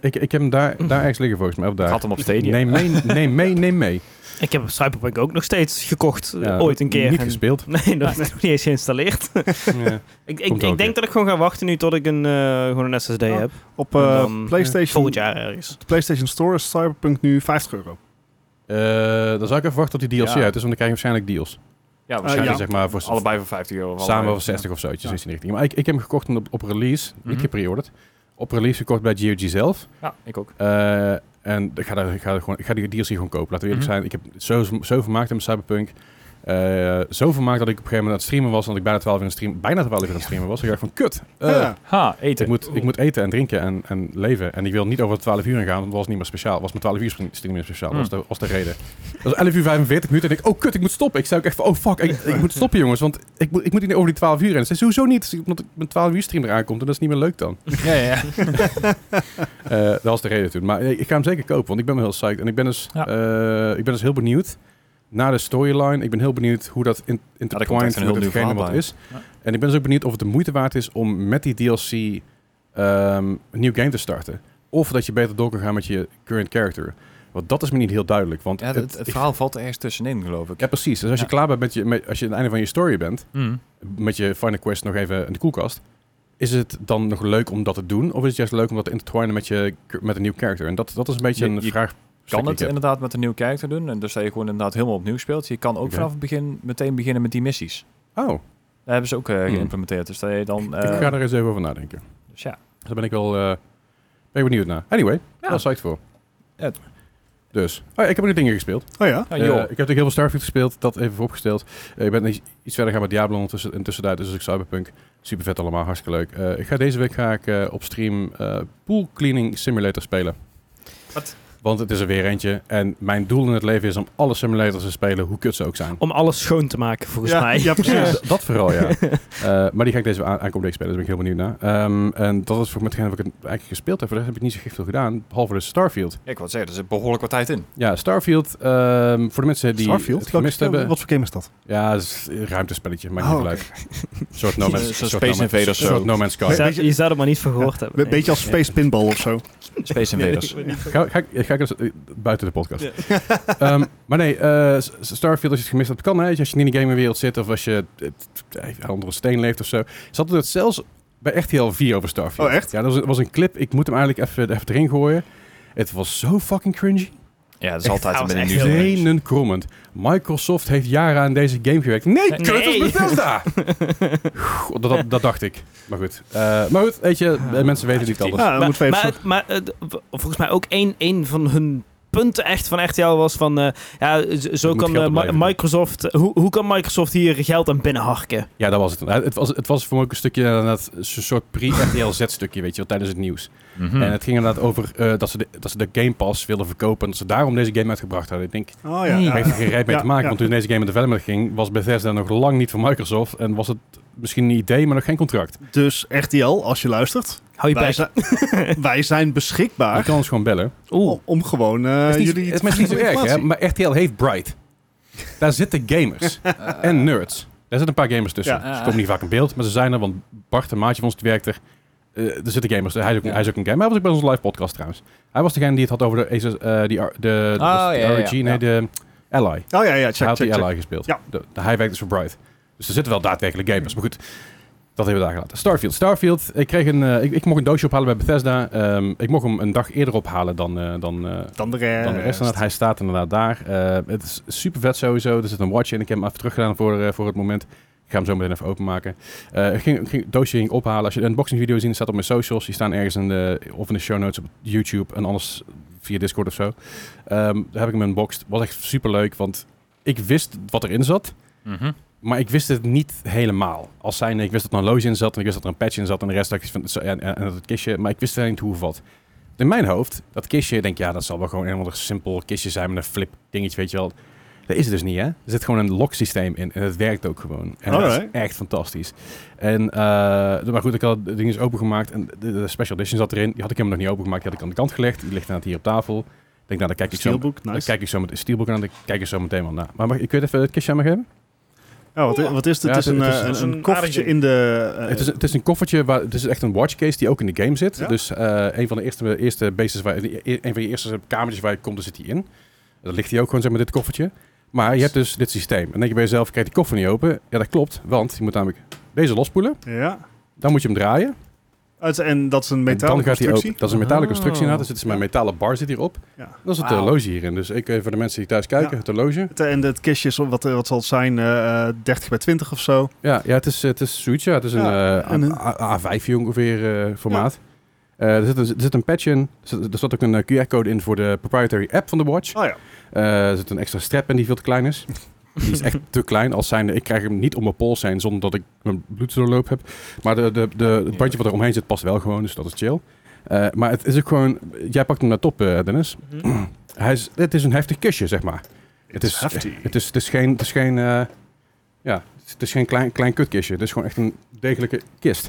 Speaker 1: Ik, ik heb hem daar, daar ergens liggen volgens mij. Of
Speaker 4: Ik
Speaker 1: daar.
Speaker 4: had hem op Stadia.
Speaker 1: Neem mee, neem mee, neem mee.
Speaker 2: Ik heb Cyberpunk ook nog steeds gekocht, eh,
Speaker 1: Ja,
Speaker 2: ooit een keer.
Speaker 1: Niet
Speaker 2: En-
Speaker 1: gespeeld.
Speaker 2: Nee, dat is nog niet eens geïnstalleerd.
Speaker 1: Ja.
Speaker 2: ik
Speaker 1: Komt
Speaker 2: ik,
Speaker 1: wel
Speaker 2: ik
Speaker 1: een keer.
Speaker 2: denk dat ik gewoon ga wachten nu tot ik een, eh, gewoon een SSD
Speaker 3: Ja.
Speaker 2: heb.
Speaker 3: Op eh,
Speaker 2: Dan, eh,
Speaker 3: PlayStation,
Speaker 2: Volgend jaar ergens.
Speaker 3: de PlayStation Store is Cyberpunk nu 50 euro.
Speaker 1: Eh, dan zou ik even wachten tot die DLC
Speaker 4: Ja.
Speaker 1: uit is, want dan krijg je waarschijnlijk deals.
Speaker 4: Ja,
Speaker 1: Waarschijnlijk
Speaker 4: waarschijnlijk.
Speaker 1: zeg maar voor
Speaker 4: Allebei voor 50 euro. eh, of
Speaker 1: Ah, samen
Speaker 4: allebei.
Speaker 1: voor 60 of zo, iets
Speaker 3: Ja.
Speaker 1: in die richting. Maar ik, ik heb hem gekocht op, op release, niet
Speaker 4: Mhm.
Speaker 1: gepreorderd. Op release gekocht bij GOG zelf.
Speaker 4: Ja, ik ook.
Speaker 1: Eh, en ik ga, daar, ik, ga daar gewoon, ik ga die DLC gewoon kopen. Laten we eerlijk
Speaker 4: Mhm.
Speaker 1: zijn. Ik heb zo, zo vermaakt met Cyberpunk. Eh, zo vermaakt dat ik op een gegeven moment aan het streamen was. Dat ik bijna 12 uur aan het streamen, bijna 12 uur aan het streamen was. Ik dacht van, kut. eh,
Speaker 3: Ja.
Speaker 4: Ha,
Speaker 1: ik,
Speaker 4: eten.
Speaker 1: moet, ik moet eten en drinken en, en leven. En ik wil niet over 12 uur in gaan, want dat was niet meer speciaal. was mijn 12 uur stream niet meer speciaal. Dat was de, was de reden. Dat was 11 uur 45 minuten. En ik, oh kut, ik moet stoppen. Ik zei ook echt van, oh fuck, ik, ik moet stoppen jongens. Want ik moet, ik moet niet over die 12 uur. En ze zei, sowieso niet. Want mijn 12 uur stream eraan komt en dat is niet meer leuk dan.
Speaker 4: Ja, ja, ja.
Speaker 1: Eh, dat was de reden toen. Maar eh, ik ga hem zeker kopen, want ik ben wel heel psyched. En ik ben dus,
Speaker 4: Ja.
Speaker 1: eh, ik ben dus heel benieuwd naar de storyline. Ik ben heel benieuwd hoe dat in,
Speaker 4: er komt
Speaker 1: intertwined
Speaker 4: echt een heel
Speaker 1: met
Speaker 4: nieuw
Speaker 1: hetgene
Speaker 4: verhaal
Speaker 1: wat
Speaker 4: bij.
Speaker 1: is.
Speaker 4: Ja.
Speaker 1: En ik ben dus ook benieuwd of het de moeite waard is om met die DLC ehm, een nieuw game te starten. Of dat je beter door kan gaan met je current character. Want dat is me niet heel duidelijk. Want
Speaker 4: Ja, het, het verhaal valt er ergens tussenin, geloof ik.
Speaker 1: ja, precies. Dus als je
Speaker 4: Ja.
Speaker 1: klaar bent met je, met, als je aan het einde van je story bent,
Speaker 4: Mm.
Speaker 1: met je Final Quest nog even in de koelkast. Is het dan nog leuk om dat te doen? Of is het juist leuk om dat te intertwinen met, je, met een nieuw character? En dat, dat is een beetje
Speaker 4: Je-
Speaker 1: een
Speaker 4: je
Speaker 1: vraag.
Speaker 4: Kan het
Speaker 1: Ja,
Speaker 4: inderdaad met een nieuw character doen. En dus dat je gewoon inderdaad helemaal opnieuw speelt. Je kan ook
Speaker 1: Oké.
Speaker 4: vanaf het begin meteen beginnen met die missies.
Speaker 1: Oh,
Speaker 4: Dat hebben ze ook eh,
Speaker 1: Hmm.
Speaker 4: geïmplementeerd. Dus dat je dan... eh,
Speaker 1: ik ga er eens even over nadenken.
Speaker 4: Dus ja.
Speaker 1: Daar ben ik wel eh, ben ik benieuwd naar. Anyway, daar was ik voor.
Speaker 4: Ja.
Speaker 1: Dus, oh, ja, ik heb ook nog dingen gespeeld.
Speaker 3: Oh ja?
Speaker 4: Ja,
Speaker 1: Eh,
Speaker 4: Ah, joh.
Speaker 1: ik heb natuurlijk heel veel Starfield gespeeld, dat even vooropgesteld. Eh, ik ben iets iets verder gaan met Diablo ondertussen, intussen daar, dus ook Cyberpunk. Super vet allemaal, hartstikke leuk. Eh, ik ga deze week ga ik, eh, op stream eh, Pool Cleaning Simulator spelen.
Speaker 4: Wat?
Speaker 1: Want het is er weer eentje. En mijn doel in het leven is om alle simulators te spelen, hoe kut ze ook zijn.
Speaker 2: Om alles schoon te maken, volgens
Speaker 3: ja,
Speaker 2: mij.
Speaker 3: ja, precies.
Speaker 1: D- dat vooral, ja. Eh, maar die ga ik deze aan- aankomende week spelen, daar ben ik heel benieuwd naar. Ehm, en dat is voor met hetgeen wat ik het eigenlijk gespeeld heb. Voor de rest heb ik niet zo gek veel gedaan, behalve de Starfield.
Speaker 4: Ja, ik wil zeggen, er zit behoorlijk wat tijd in.
Speaker 1: Ja, Starfield, ehm, voor de mensen die
Speaker 3: Starfield?
Speaker 1: het gemist
Speaker 3: Welke-
Speaker 1: hebben.
Speaker 3: Wat voor game is dat?
Speaker 1: Ja, het is een ruimtespelletje, maakt
Speaker 3: Oh,
Speaker 1: niet uit. Een soort No Man's
Speaker 4: Zo'n
Speaker 1: soort
Speaker 4: Space
Speaker 1: no Man-
Speaker 4: Invaders
Speaker 1: soort
Speaker 4: zo.
Speaker 1: No Man's Sky.
Speaker 2: Je, zou,
Speaker 3: Beetje-
Speaker 2: je zou er maar niet van gehoord
Speaker 3: Een
Speaker 2: hebben. nee.
Speaker 3: beetje als Space Pinball of zo.
Speaker 4: Space
Speaker 2: Nee,
Speaker 4: Invaders.
Speaker 2: ik weet niet.
Speaker 1: Ga, ga, ik- ga ik eens eh, buiten de podcast. Ehm, maar nee, eh, S- Starfield, als je het gemist hebt, kan. Hè? Als je niet in de gamewereld zit of als je eh, t- eh, onder een steen leeft of zo. Ze hadden het zelfs bij RTL 4 over Starfield.
Speaker 3: Oh, echt?
Speaker 1: Ja, dat was, was een clip. Ik moet hem eigenlijk even, even erin gooien. Het was zo fucking cringy.
Speaker 4: Ja, dat is
Speaker 1: Echt,
Speaker 4: altijd een
Speaker 2: dat was
Speaker 4: beetje
Speaker 2: echt
Speaker 4: nieuw.
Speaker 2: heel
Speaker 1: Zenenkrommend. Microsoft heeft jaren aan deze game gewerkt. Nee,
Speaker 4: Nee.
Speaker 1: kut, dat is Bethesda! God, dat, dat, dat dacht ik. Maar goed. Eh, maar goed, weet je, eh, mensen weten niet anders.
Speaker 3: Ja, dan
Speaker 2: maar,
Speaker 3: moeten we even
Speaker 2: maar, maar, eh, d- w- volgens mij ook één, één van hun punten echt van RTL was van... eh, ja, z- zo
Speaker 1: moet
Speaker 2: kan
Speaker 1: geld
Speaker 2: eh, Ma-
Speaker 1: opleveren.
Speaker 2: Microsoft... eh, hoe, hoe kan Microsoft hier geld aan binnenharken?
Speaker 1: Ja, dat was het. Eh, Het was, het was voor me ook een stukje, eh, inderdaad, een soort pre-RTLZ-stukje, weet je wel, tijdens het nieuws.
Speaker 4: Mhm.
Speaker 1: En het ging inderdaad over eh, dat, ze de, dat ze de Game Pass wilden verkopen. En dat ze daarom deze game uitgebracht hadden. Ik denk,
Speaker 3: Oh ja, ja.
Speaker 2: Nee.
Speaker 1: daar heeft er geen reet mee
Speaker 3: Ja,
Speaker 1: te maken.
Speaker 3: ja.
Speaker 1: Want toen deze game in development ging, was Bethesda nog lang niet van Microsoft. En was het misschien een idee, maar nog geen contract.
Speaker 3: Dus RTL, als je luistert,
Speaker 1: Nou,
Speaker 2: Hou je
Speaker 3: wij,
Speaker 2: bek.
Speaker 3: zijn, wij zijn
Speaker 1: Je
Speaker 3: beschikbaar
Speaker 1: kan ons gewoon bellen.
Speaker 2: Oeh.
Speaker 3: om gewoon eh,
Speaker 1: het is niet,
Speaker 3: jullie
Speaker 1: het is misschien zo erg, hè?
Speaker 3: informatie.
Speaker 1: Maar RTL heeft Bright. Daar zitten gamers en nerds. Daar zitten een paar gamers tussen.
Speaker 4: Ja.
Speaker 1: Ze komen niet vaak in beeld, maar ze zijn er. Want Bart, een maatje van ons, die werkt er. Eh, er zitten gamers. Hij is, ook,
Speaker 4: Ja.
Speaker 1: hij is ook een gamer. Hij was ook bij onze live podcast trouwens. Hij was degene die het had over de, Aces- eh, die, R- de, de,
Speaker 4: Ah,
Speaker 1: de
Speaker 4: ja, ja,
Speaker 1: RNG, nee,
Speaker 4: ja.
Speaker 1: de Ally.
Speaker 3: Oh ja, ja,
Speaker 1: hij
Speaker 3: check,
Speaker 1: had
Speaker 3: check,
Speaker 1: die
Speaker 3: check.
Speaker 1: Ally gespeeld.
Speaker 3: Ja.
Speaker 1: De- de- hij werkt dus voor Bright. Dus er zitten wel daadwerkelijk gamers. Maar goed, dat hebben we daar gelaten. Starfield. Starfield. Ik, kreeg een, eh, ik, ik mocht een doosje ophalen bij Bethesda. Ehm, ik mocht hem een dag eerder ophalen dan, eh, dan, eh,
Speaker 3: Dan de rest.
Speaker 1: dan de rest. Inderdaad, hij staat inderdaad daar. Eh, het is super vet sowieso. Er zit een watch in. Ik heb hem even teruggedaan voor, eh, voor het moment. Ik ga hem zo meteen even openmaken. Eh, ik ging, ik ging, het doosje ging ophalen. Als je de unboxing video ziet, staat op mijn socials. Die staan ergens in de, of in de show notes op YouTube en anders via Discord of zo. Ehm, daar heb ik hem unboxed. Was echt super leuk, want ik wist wat erin zat.
Speaker 4: Mhm.
Speaker 1: Maar ik wist het niet helemaal. Als zijnde, ik wist dat er een loge in zat en ik wist dat er een patch in zat en de rest dacht ik van, zo- en, en, en dat het kistje. Maar ik wist eigenlijk niet hoe of wat. In mijn hoofd, dat kistje, ik denk ja, dat zal wel gewoon een of ander simpel kistje zijn met een flip dingetje, weet je wel. Dat is het dus niet, hè? Er zit gewoon een lock systeem in en het werkt ook gewoon. En dat is
Speaker 3: Alright.
Speaker 1: echt fantastisch. En, eh, maar goed, ik had het ding is opengemaakt en de, de special edition zat erin. Die had ik helemaal nog niet opengemaakt, die had ik aan de kant gelegd. Die ligt inderdaad hier op tafel. Ik denk, nou, daar kijk ik zo,
Speaker 3: Steelbook, nice.
Speaker 1: daar kijk ik zo meteen, Steelbook aan, daar kijk ik zo meteen wel naar. Maar mag, ik weet even het kistje aan me geven?
Speaker 3: Oh, wat, wat is dit?
Speaker 1: Ja,
Speaker 3: het is
Speaker 1: het-
Speaker 3: een,
Speaker 1: het is-
Speaker 3: eh,
Speaker 2: het is
Speaker 3: een
Speaker 2: een
Speaker 3: koffertje
Speaker 2: aardig
Speaker 3: in de... eh,
Speaker 1: Het is, het is een koffertje, waar, het is echt een watchcase die ook in de game zit.
Speaker 3: Ja?
Speaker 1: Dus eh, een van de eerste, eerste bases, waar, e- een van de eerste kamertjes waar je komt, daar zit hij in. Dat ligt hij ook gewoon, zeg maar, dit koffertje. Maar je hebt dus dit systeem. En dan denk je bij jezelf, kijk, die koffer niet open. Ja, dat klopt, want je moet namelijk deze lospoelen.
Speaker 3: ja.
Speaker 1: Dan moet je hem draaien.
Speaker 3: Het- en dat is een
Speaker 1: En
Speaker 3: metalen
Speaker 1: dan gaat hij
Speaker 3: constructie.
Speaker 1: open. Dat is een metalen
Speaker 2: Oh.
Speaker 1: constructie inderdaad. Er zit dus mijn metalen bar zit hierop.
Speaker 3: Ja.
Speaker 1: En Dat is het
Speaker 4: Wauw.
Speaker 1: horloge hierin. Dus ik, eh, voor de mensen die thuis kijken,
Speaker 3: Ja.
Speaker 1: het horloge.
Speaker 3: Het- En het kistje is, wat, eh, wat zal het zijn, eh, eh, 30 bij 20 of zo.
Speaker 1: Ja, ja het is, het is zoiets, ja. Het is
Speaker 3: Ja, en
Speaker 1: een
Speaker 3: een-
Speaker 1: eh, A- A- A5 ongeveer eh, formaat. Eh, er, zit, een- er zit een patch in. Er zat, er zat ook een eh, QR-code in voor de proprietary app van de watch.
Speaker 3: Oh ja.
Speaker 1: Eh, er zit een extra strap in die veel te klein is. Die is echt te klein. Als zijnde, ik krijg hem niet om mijn pols heen zonder dat ik mijn bloeddoorloop heb. Maar de, de, de, het bandje wat er omheen zit past wel gewoon, dus dat is chill. Eh, maar het is ook gewoon... Jij pakt hem naar top, eh, Dennis. Hij is, het is een heftig kusje, zeg maar. Het is,
Speaker 3: hefty.
Speaker 1: het is, het is geen, het is geen, eh, ja, het is geen klein, klein kutkistje. Het is gewoon echt een degelijke kist.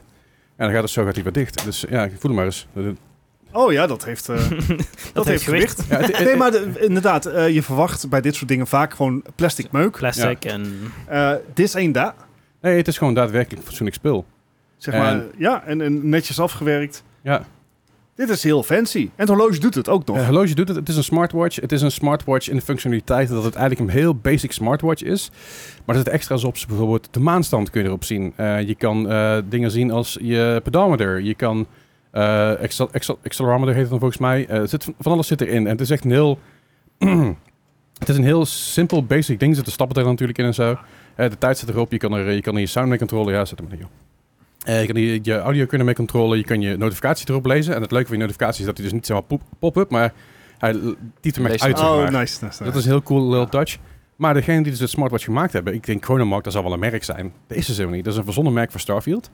Speaker 1: En dan gaat het zo gaat hij weer dicht. Dus ja, ik voel hem maar eens. Dat- dat-
Speaker 3: Oh ja, dat heeft, eh,
Speaker 2: dat,
Speaker 3: dat heeft gewicht. Eh,
Speaker 1: Ja, het-
Speaker 3: Nee, maar de- inderdaad, eh, je verwacht bij dit soort dingen vaak gewoon plastic meuk.
Speaker 2: Plastic en...
Speaker 3: Eh, Dit is één daar,
Speaker 1: nee, het is gewoon daadwerkelijk een fatsoenlijk spul.
Speaker 3: zeg maar.
Speaker 1: En-
Speaker 3: Ja, en, en netjes afgewerkt.
Speaker 1: Ja.
Speaker 3: Dit is heel fancy. En het horloge doet het ook nog.
Speaker 1: Eh, horloge doet het. Het is een smartwatch. Het is een smartwatch in de functionaliteit dat het eigenlijk een heel basic smartwatch is. Maar er zitten extra's op. Bijvoorbeeld de maanstand kun je erop zien. Eh, je kan eh, dingen zien als je pedometer. Je kan eh accel- accel- accelerometer heet het dan volgens mij. Eh, er zit van, van alles zit erin. En het is echt een heel... het is een heel simpel, basic ding. Er zitten stappen er natuurlijk in en zo. Eh, de tijd zit erop. Je kan er, je kan er je sound mee controleren. Ja, zet hem neer, joh. Eh, je kan hier je audio kunnen mee controleren. Je kan je notificatie erop lezen. En het leuke van je notificatie is dat hij dus niet zomaar pop- pop-up, maar hij l- typt hem echt
Speaker 4: Leest
Speaker 1: uit.
Speaker 4: hem.
Speaker 1: zeg
Speaker 3: oh,
Speaker 1: maar.
Speaker 3: nice, nice, nice.
Speaker 1: Dat is een heel cool little touch. Maar degene die dus het smartwatch gemaakt hebben, ik denk Chronomark, dat zal wel een merk zijn. Dat is dus helemaal niet. Dat is een verzonnen merk voor Starfield.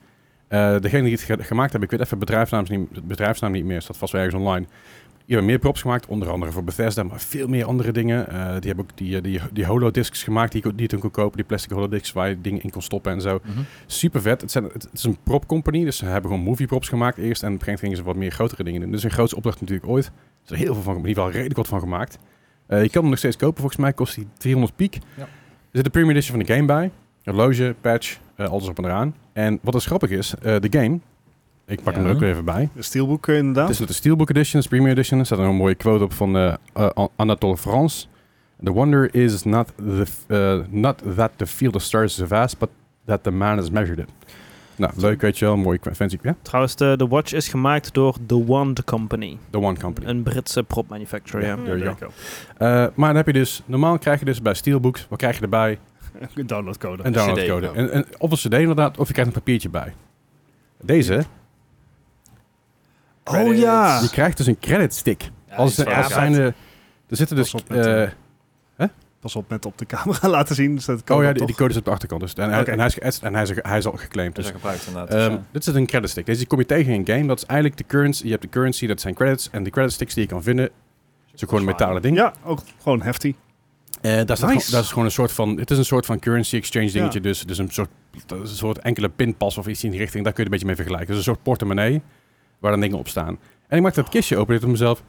Speaker 1: Eh, degene die het ge- gemaakt hebben, ik weet even bedrijfsnaam niet, het bedrijfsnaam niet meer, staat vast wel ergens online. Die hebben meer props gemaakt, onder andere voor Bethesda, maar veel meer andere dingen. Eh, die hebben ook die, eh, die, die holodiscs gemaakt die, ik ook- die je toen kon kopen, die plastic holodiscs waar je dingen in kon stoppen en zo. Super vet. Het, zijn, het, het is een prop company, dus ze hebben gewoon movie props gemaakt eerst. En op een gegeven moment gingen ze wat meer grotere dingen doen. Dus een grootste opdracht natuurlijk ooit. Er is er heel veel van, in ieder geval redelijk wat van gemaakt. Eh, je kan hem nog steeds kopen, volgens mij kost hij 300 piek.
Speaker 4: Ja.
Speaker 1: Er zit de premium edition van de game bij. Horloge, patch, eh, alles op en eraan. En wat dus grappig is, eh, de game, ik pak hem
Speaker 4: Ja.
Speaker 1: er ook weer even bij.
Speaker 3: De steelbook eh, inderdaad.
Speaker 1: Het is de Steelbook Edition, de Premium Edition. Er staat een mooie quote op van eh, eh, An- Anatole France. The wonder is not, the, eh, not that the field of stars is vast, but that the man has measured it. Nou, leuk, weet je wel. Mooi, fancy. Ja,
Speaker 2: Trouwens, de, de watch is gemaakt door The Wand Company.
Speaker 1: The One Company.
Speaker 2: Een Britse prop manufacturer, ja.
Speaker 1: there you Eh, maar dan heb je dus... Normaal krijg je dus bij Steelbooks... Wat krijg je erbij?
Speaker 3: Een downloadcode.
Speaker 1: Een downloadcode.
Speaker 4: CD,
Speaker 1: En, en, of een cd inderdaad, of je krijgt een papiertje bij. Deze,
Speaker 3: oh ja.
Speaker 1: je krijgt dus een credit stick. Als,
Speaker 4: die is
Speaker 1: als
Speaker 4: wel
Speaker 1: zijn
Speaker 4: vet.
Speaker 1: de... Er zitten dus...
Speaker 3: Pas op met, eh,
Speaker 1: eh,
Speaker 3: Pas op met op de camera laten zien. Dus dat kan
Speaker 1: oh ja,
Speaker 3: dan
Speaker 1: die, die
Speaker 3: toch.
Speaker 1: code is op de achterkant. Dus, en, hij-
Speaker 3: Oké.
Speaker 1: en hij is geëtst en hij is, hij is al geclaimd.
Speaker 4: Dat
Speaker 1: Dus
Speaker 4: is gebruikt inderdaad.
Speaker 1: Ehm,
Speaker 4: dus, ja.
Speaker 1: Dit is een credit stick. Deze kom je tegen in een game. Dat is eigenlijk de currency. Je hebt de currency, dat zijn credits. En de credit sticks die je kan vinden, is ook gewoon een metalen ding.
Speaker 3: Ja, ook gewoon hefty.
Speaker 1: Eh, daar staat gewoon-
Speaker 3: Nice.
Speaker 1: dat is gewoon een soort van, het is een soort van currency exchange dingetje. Dus, dus een, soort, dat is een soort enkele pinpas of iets in die richting. Daar kun je het een beetje mee vergelijken. Dus een soort portemonnee waar dan dingen op staan. En ik maakte dat kistje open dit op mezelf.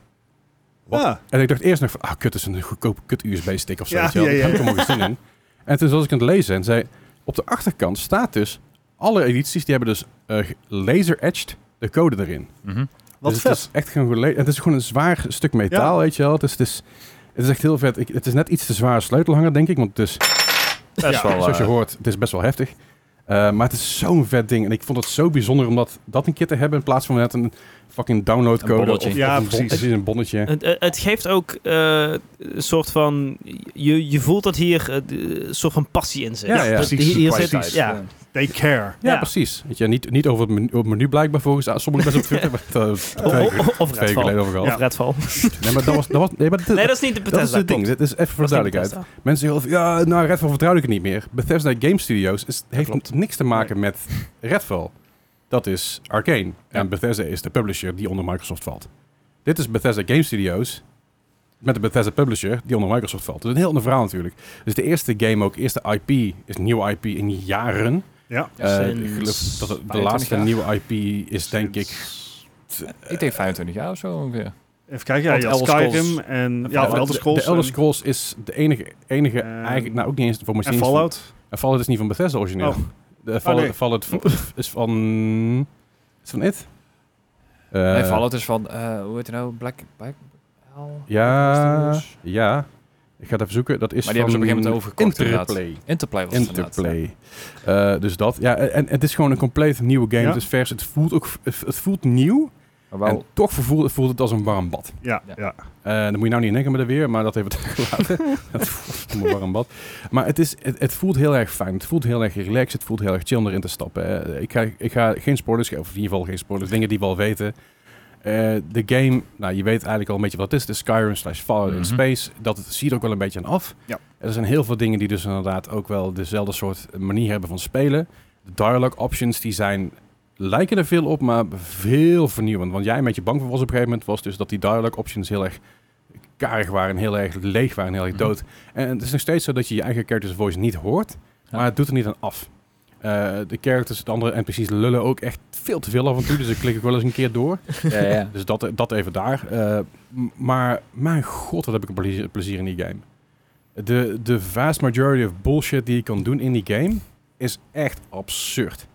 Speaker 1: Wat?
Speaker 3: Ja.
Speaker 1: En ik dacht eerst nog van, ah kut, dat is een goedkope kut USB-stick of zo.
Speaker 3: Ja,
Speaker 1: weet je wel.
Speaker 3: ja, ja.
Speaker 1: Daar heb ik helemaal geen zin in. En toen was ik aan het lezen en zei, op de achterkant staat dus, alle edities die hebben dus eh, laser-etched de code erin.
Speaker 4: Mhm.
Speaker 3: Wat
Speaker 1: dus
Speaker 3: vet.
Speaker 1: Het is echt gewoon gele- Het is gewoon een zwaar stuk metaal, weet je wel. Dus het is, het is echt heel vet. Ik, het is net iets te zwaar sleutelhanger, denk ik. Want het is,
Speaker 4: Best wel,
Speaker 1: zoals je
Speaker 4: eh,
Speaker 1: hoort, het is best wel heftig. Eh, maar het is zo'n vet ding. En ik vond het zo bijzonder om dat, dat een keer te hebben... in plaats van net een fucking
Speaker 4: Een
Speaker 1: downloadcode.
Speaker 4: bonnetje.
Speaker 1: of,
Speaker 3: Ja,
Speaker 1: of een bon-
Speaker 3: precies.
Speaker 1: een bonnetje.
Speaker 2: Het, het- het geeft ook eh, een soort van... Je, je voelt dat hier eh, een soort van passie in zit.
Speaker 1: Ja, ja.
Speaker 2: Dat-
Speaker 3: Precies,
Speaker 2: Hier, hier
Speaker 4: kwaliteit.
Speaker 2: zit, ja.
Speaker 3: They care.
Speaker 1: Ja,
Speaker 2: Ja.
Speaker 1: precies. Weet je, niet, niet over het menu, over het menu blijkbaar volgens ah, sommigen best op Twitter. maar dat, eh,
Speaker 2: O-
Speaker 1: twee-
Speaker 2: o- Of
Speaker 1: Twee weken
Speaker 2: Redfall.
Speaker 1: geleden overal.
Speaker 2: Of Redfall.
Speaker 1: Nee, maar dat was... Dat was nee, maar dit-
Speaker 2: Nee, dat is niet de
Speaker 1: dat is
Speaker 2: Bethesda.
Speaker 1: het ding.
Speaker 2: klopt.
Speaker 1: Dit is even voor de
Speaker 2: Dat is niet
Speaker 1: duidelijkheid. Mensen zeggen, heel veel, ja, nou, Redfall vertrouw ik het niet meer. Bethesda Game Studios is, heeft
Speaker 4: klopt.
Speaker 1: niks te maken met Redfall. Dat is Arkane. En Bethesda is de publisher die onder Microsoft valt. Dit is Bethesda Game Studios met de Bethesda publisher die onder Microsoft valt. Dat is een heel ander verhaal natuurlijk. Dus de eerste game ook, eerste IP, is een nieuwe IP in jaren.
Speaker 3: Ja.
Speaker 4: Ja,
Speaker 1: Eh,
Speaker 2: sinds
Speaker 1: ik geloof dat het de
Speaker 4: 25
Speaker 1: laatste
Speaker 4: jaar.
Speaker 1: nieuwe IP is denk ik...
Speaker 4: ik denk 25 jaar of zo ongeveer.
Speaker 3: Even kijken, ja,
Speaker 4: Want
Speaker 3: je had
Speaker 4: Elder Scrolls.
Speaker 3: Skyrim en ja,
Speaker 4: Fallout.
Speaker 3: Elder Scrolls.
Speaker 1: De Elder
Speaker 3: en-
Speaker 1: Scrolls is de enige, enige
Speaker 3: Ehm,
Speaker 1: eigenlijk, nou ook niet eens voor mij
Speaker 3: en Fallout.
Speaker 1: En En Fallout is niet van Bethesda origineel.
Speaker 3: Oh.
Speaker 1: De Fallout,
Speaker 3: nee.
Speaker 1: Fallout v- is van... Is van It? Eh,
Speaker 4: nee, Fallout is van, eh, hoe heet het nou? Black... Black Hell?
Speaker 1: Ja,
Speaker 4: Maar
Speaker 1: ja. Ik ga het even zoeken. Dat is
Speaker 4: die
Speaker 1: van
Speaker 4: hebben ze op een gegeven moment overgekocht inderdaad.
Speaker 1: Interplay.
Speaker 4: Interplay was het inderdaad, ja.
Speaker 1: Interplay. Eh, dus dat. Ja, en, en het is gewoon een compleet nieuwe game.
Speaker 3: Ja.
Speaker 1: Het is vers. Het voelt, ook, het voelt nieuw.
Speaker 4: Maar wel-
Speaker 1: En toch voelt, voelt het als een warm bad.
Speaker 3: Ja,
Speaker 4: Ja.
Speaker 3: ja.
Speaker 1: Eh dan moet je nou niet in denken met de weer, maar dat even gelaten. het voelt als een warm bad. Maar het, is, het, het voelt heel erg fijn. Het voelt heel erg relaxed. Het voelt heel erg chill om erin te stappen. Eh, ik, ga, ik ga geen spoilers geven, of in ieder geval geen spoilers. Dingen die we al weten. Eh, de game, nou je weet eigenlijk al een beetje wat het is. De Skyrim slash Fallout
Speaker 4: Mhm.
Speaker 1: in Space. Dat zie je er ook wel een beetje aan af.
Speaker 3: Ja.
Speaker 1: Er zijn heel veel dingen die dus inderdaad ook wel dezelfde soort manier hebben van spelen. De dialogue options die zijn lijken er veel op, maar veel vernieuwend. Want jij een beetje bang voor was op een gegeven moment, was dus dat die dialogue options heel erg karig waren, heel erg leeg waren, heel erg
Speaker 4: Mhm.
Speaker 1: dood. En het is nog steeds zo dat je je eigen character's voice niet hoort,
Speaker 4: Ja.
Speaker 1: maar het doet er niet aan af. Eh, de characters, de andere NPC's lullen ook echt veel te veel af en toe, dus ik klik ik wel eens een keer door.
Speaker 4: Ja, ja.
Speaker 1: Dus dat, dat even daar. Eh, m- maar mijn god, wat heb ik een plezier, plezier in die game. De, de vast majority of bullshit die je kan doen in die game is echt absurd.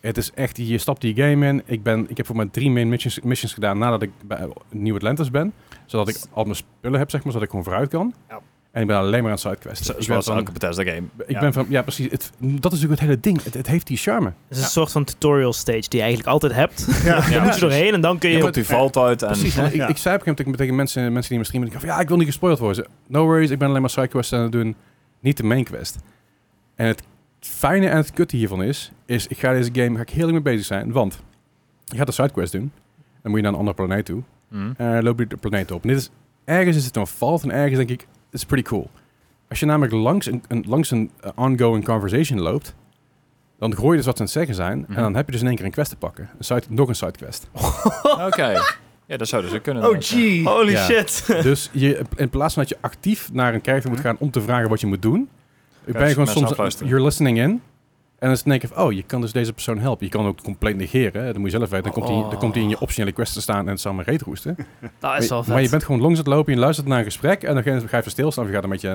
Speaker 1: Het is echt, je stapt die game in. Ik, ben, ik heb voor mijn drie main missions, missions gedaan nadat ik bij eh, New Atlantis ben. Zodat ik al mijn spullen heb, zeg maar, zodat ik gewoon vooruit kan.
Speaker 3: Ja.
Speaker 1: En ik ben alleen maar aan het sidequesten.
Speaker 4: Zo-
Speaker 1: Ik ben
Speaker 4: Zoals
Speaker 1: van-
Speaker 4: elke Bethesda-game.
Speaker 1: ik
Speaker 4: ja.
Speaker 1: ben van, ja precies, het, dat is natuurlijk het hele ding. Het, het heeft die charme.
Speaker 2: Het is een soort van tutorial stage die je eigenlijk altijd hebt.
Speaker 3: Ja.
Speaker 2: Daar moet je doorheen en dan kun je...
Speaker 4: Je komt die valt uit en...
Speaker 1: Precies, want ik,
Speaker 3: Ja.
Speaker 1: ik zei op een gegeven moment tegen mensen, mensen die me streamen, ik dacht van, ja, ik wil niet gespoild worden. Ze, No worries, ik ben alleen maar sidequests aan het doen, niet de main quest. En het fijne en het kutte hiervan is, is ik ga deze game, ga ik heel erg mee bezig zijn, want je gaat de sidequest doen, dan moet je naar een andere planeet toe,
Speaker 4: Mhm.
Speaker 1: en dan loop je de planeet op. En dit is, ergens is het een valt en ergens denk ik, it's pretty cool. Als je namelijk langs een, een- langs een eh, ongoing conversation loopt, dan hoor je dus wat ze aan het zeggen zijn,
Speaker 4: Mhm.
Speaker 1: en dan heb je dus in één keer een quest te pakken. Een side, nog een sidequest.
Speaker 4: Oké. Ja, dat zou dus ook kunnen.
Speaker 3: Oh, gee.
Speaker 2: Holy
Speaker 1: Ja.
Speaker 2: shit.
Speaker 1: Dus je, in plaats van dat je actief naar een character moet gaan om te vragen wat je moet doen, ik ben
Speaker 4: dus
Speaker 1: je gewoon
Speaker 4: mensen
Speaker 1: soms,
Speaker 4: afluisteren.
Speaker 1: you're listening in. En dan is het in één keer van, oh, je kan dus deze persoon helpen. Je kan ook compleet negeren, hè, dat moet je zelf weten. Dan komt hij dan komt hij in je optionele quest te staan en het zal maar reet roesten.
Speaker 2: Dat
Speaker 1: Maar
Speaker 2: is
Speaker 1: je-
Speaker 2: wel
Speaker 1: maar,
Speaker 2: vet.
Speaker 1: je bent gewoon langs het lopen, je luistert naar een gesprek en dan ga je ga je even stilstaan of je gaat een beetje...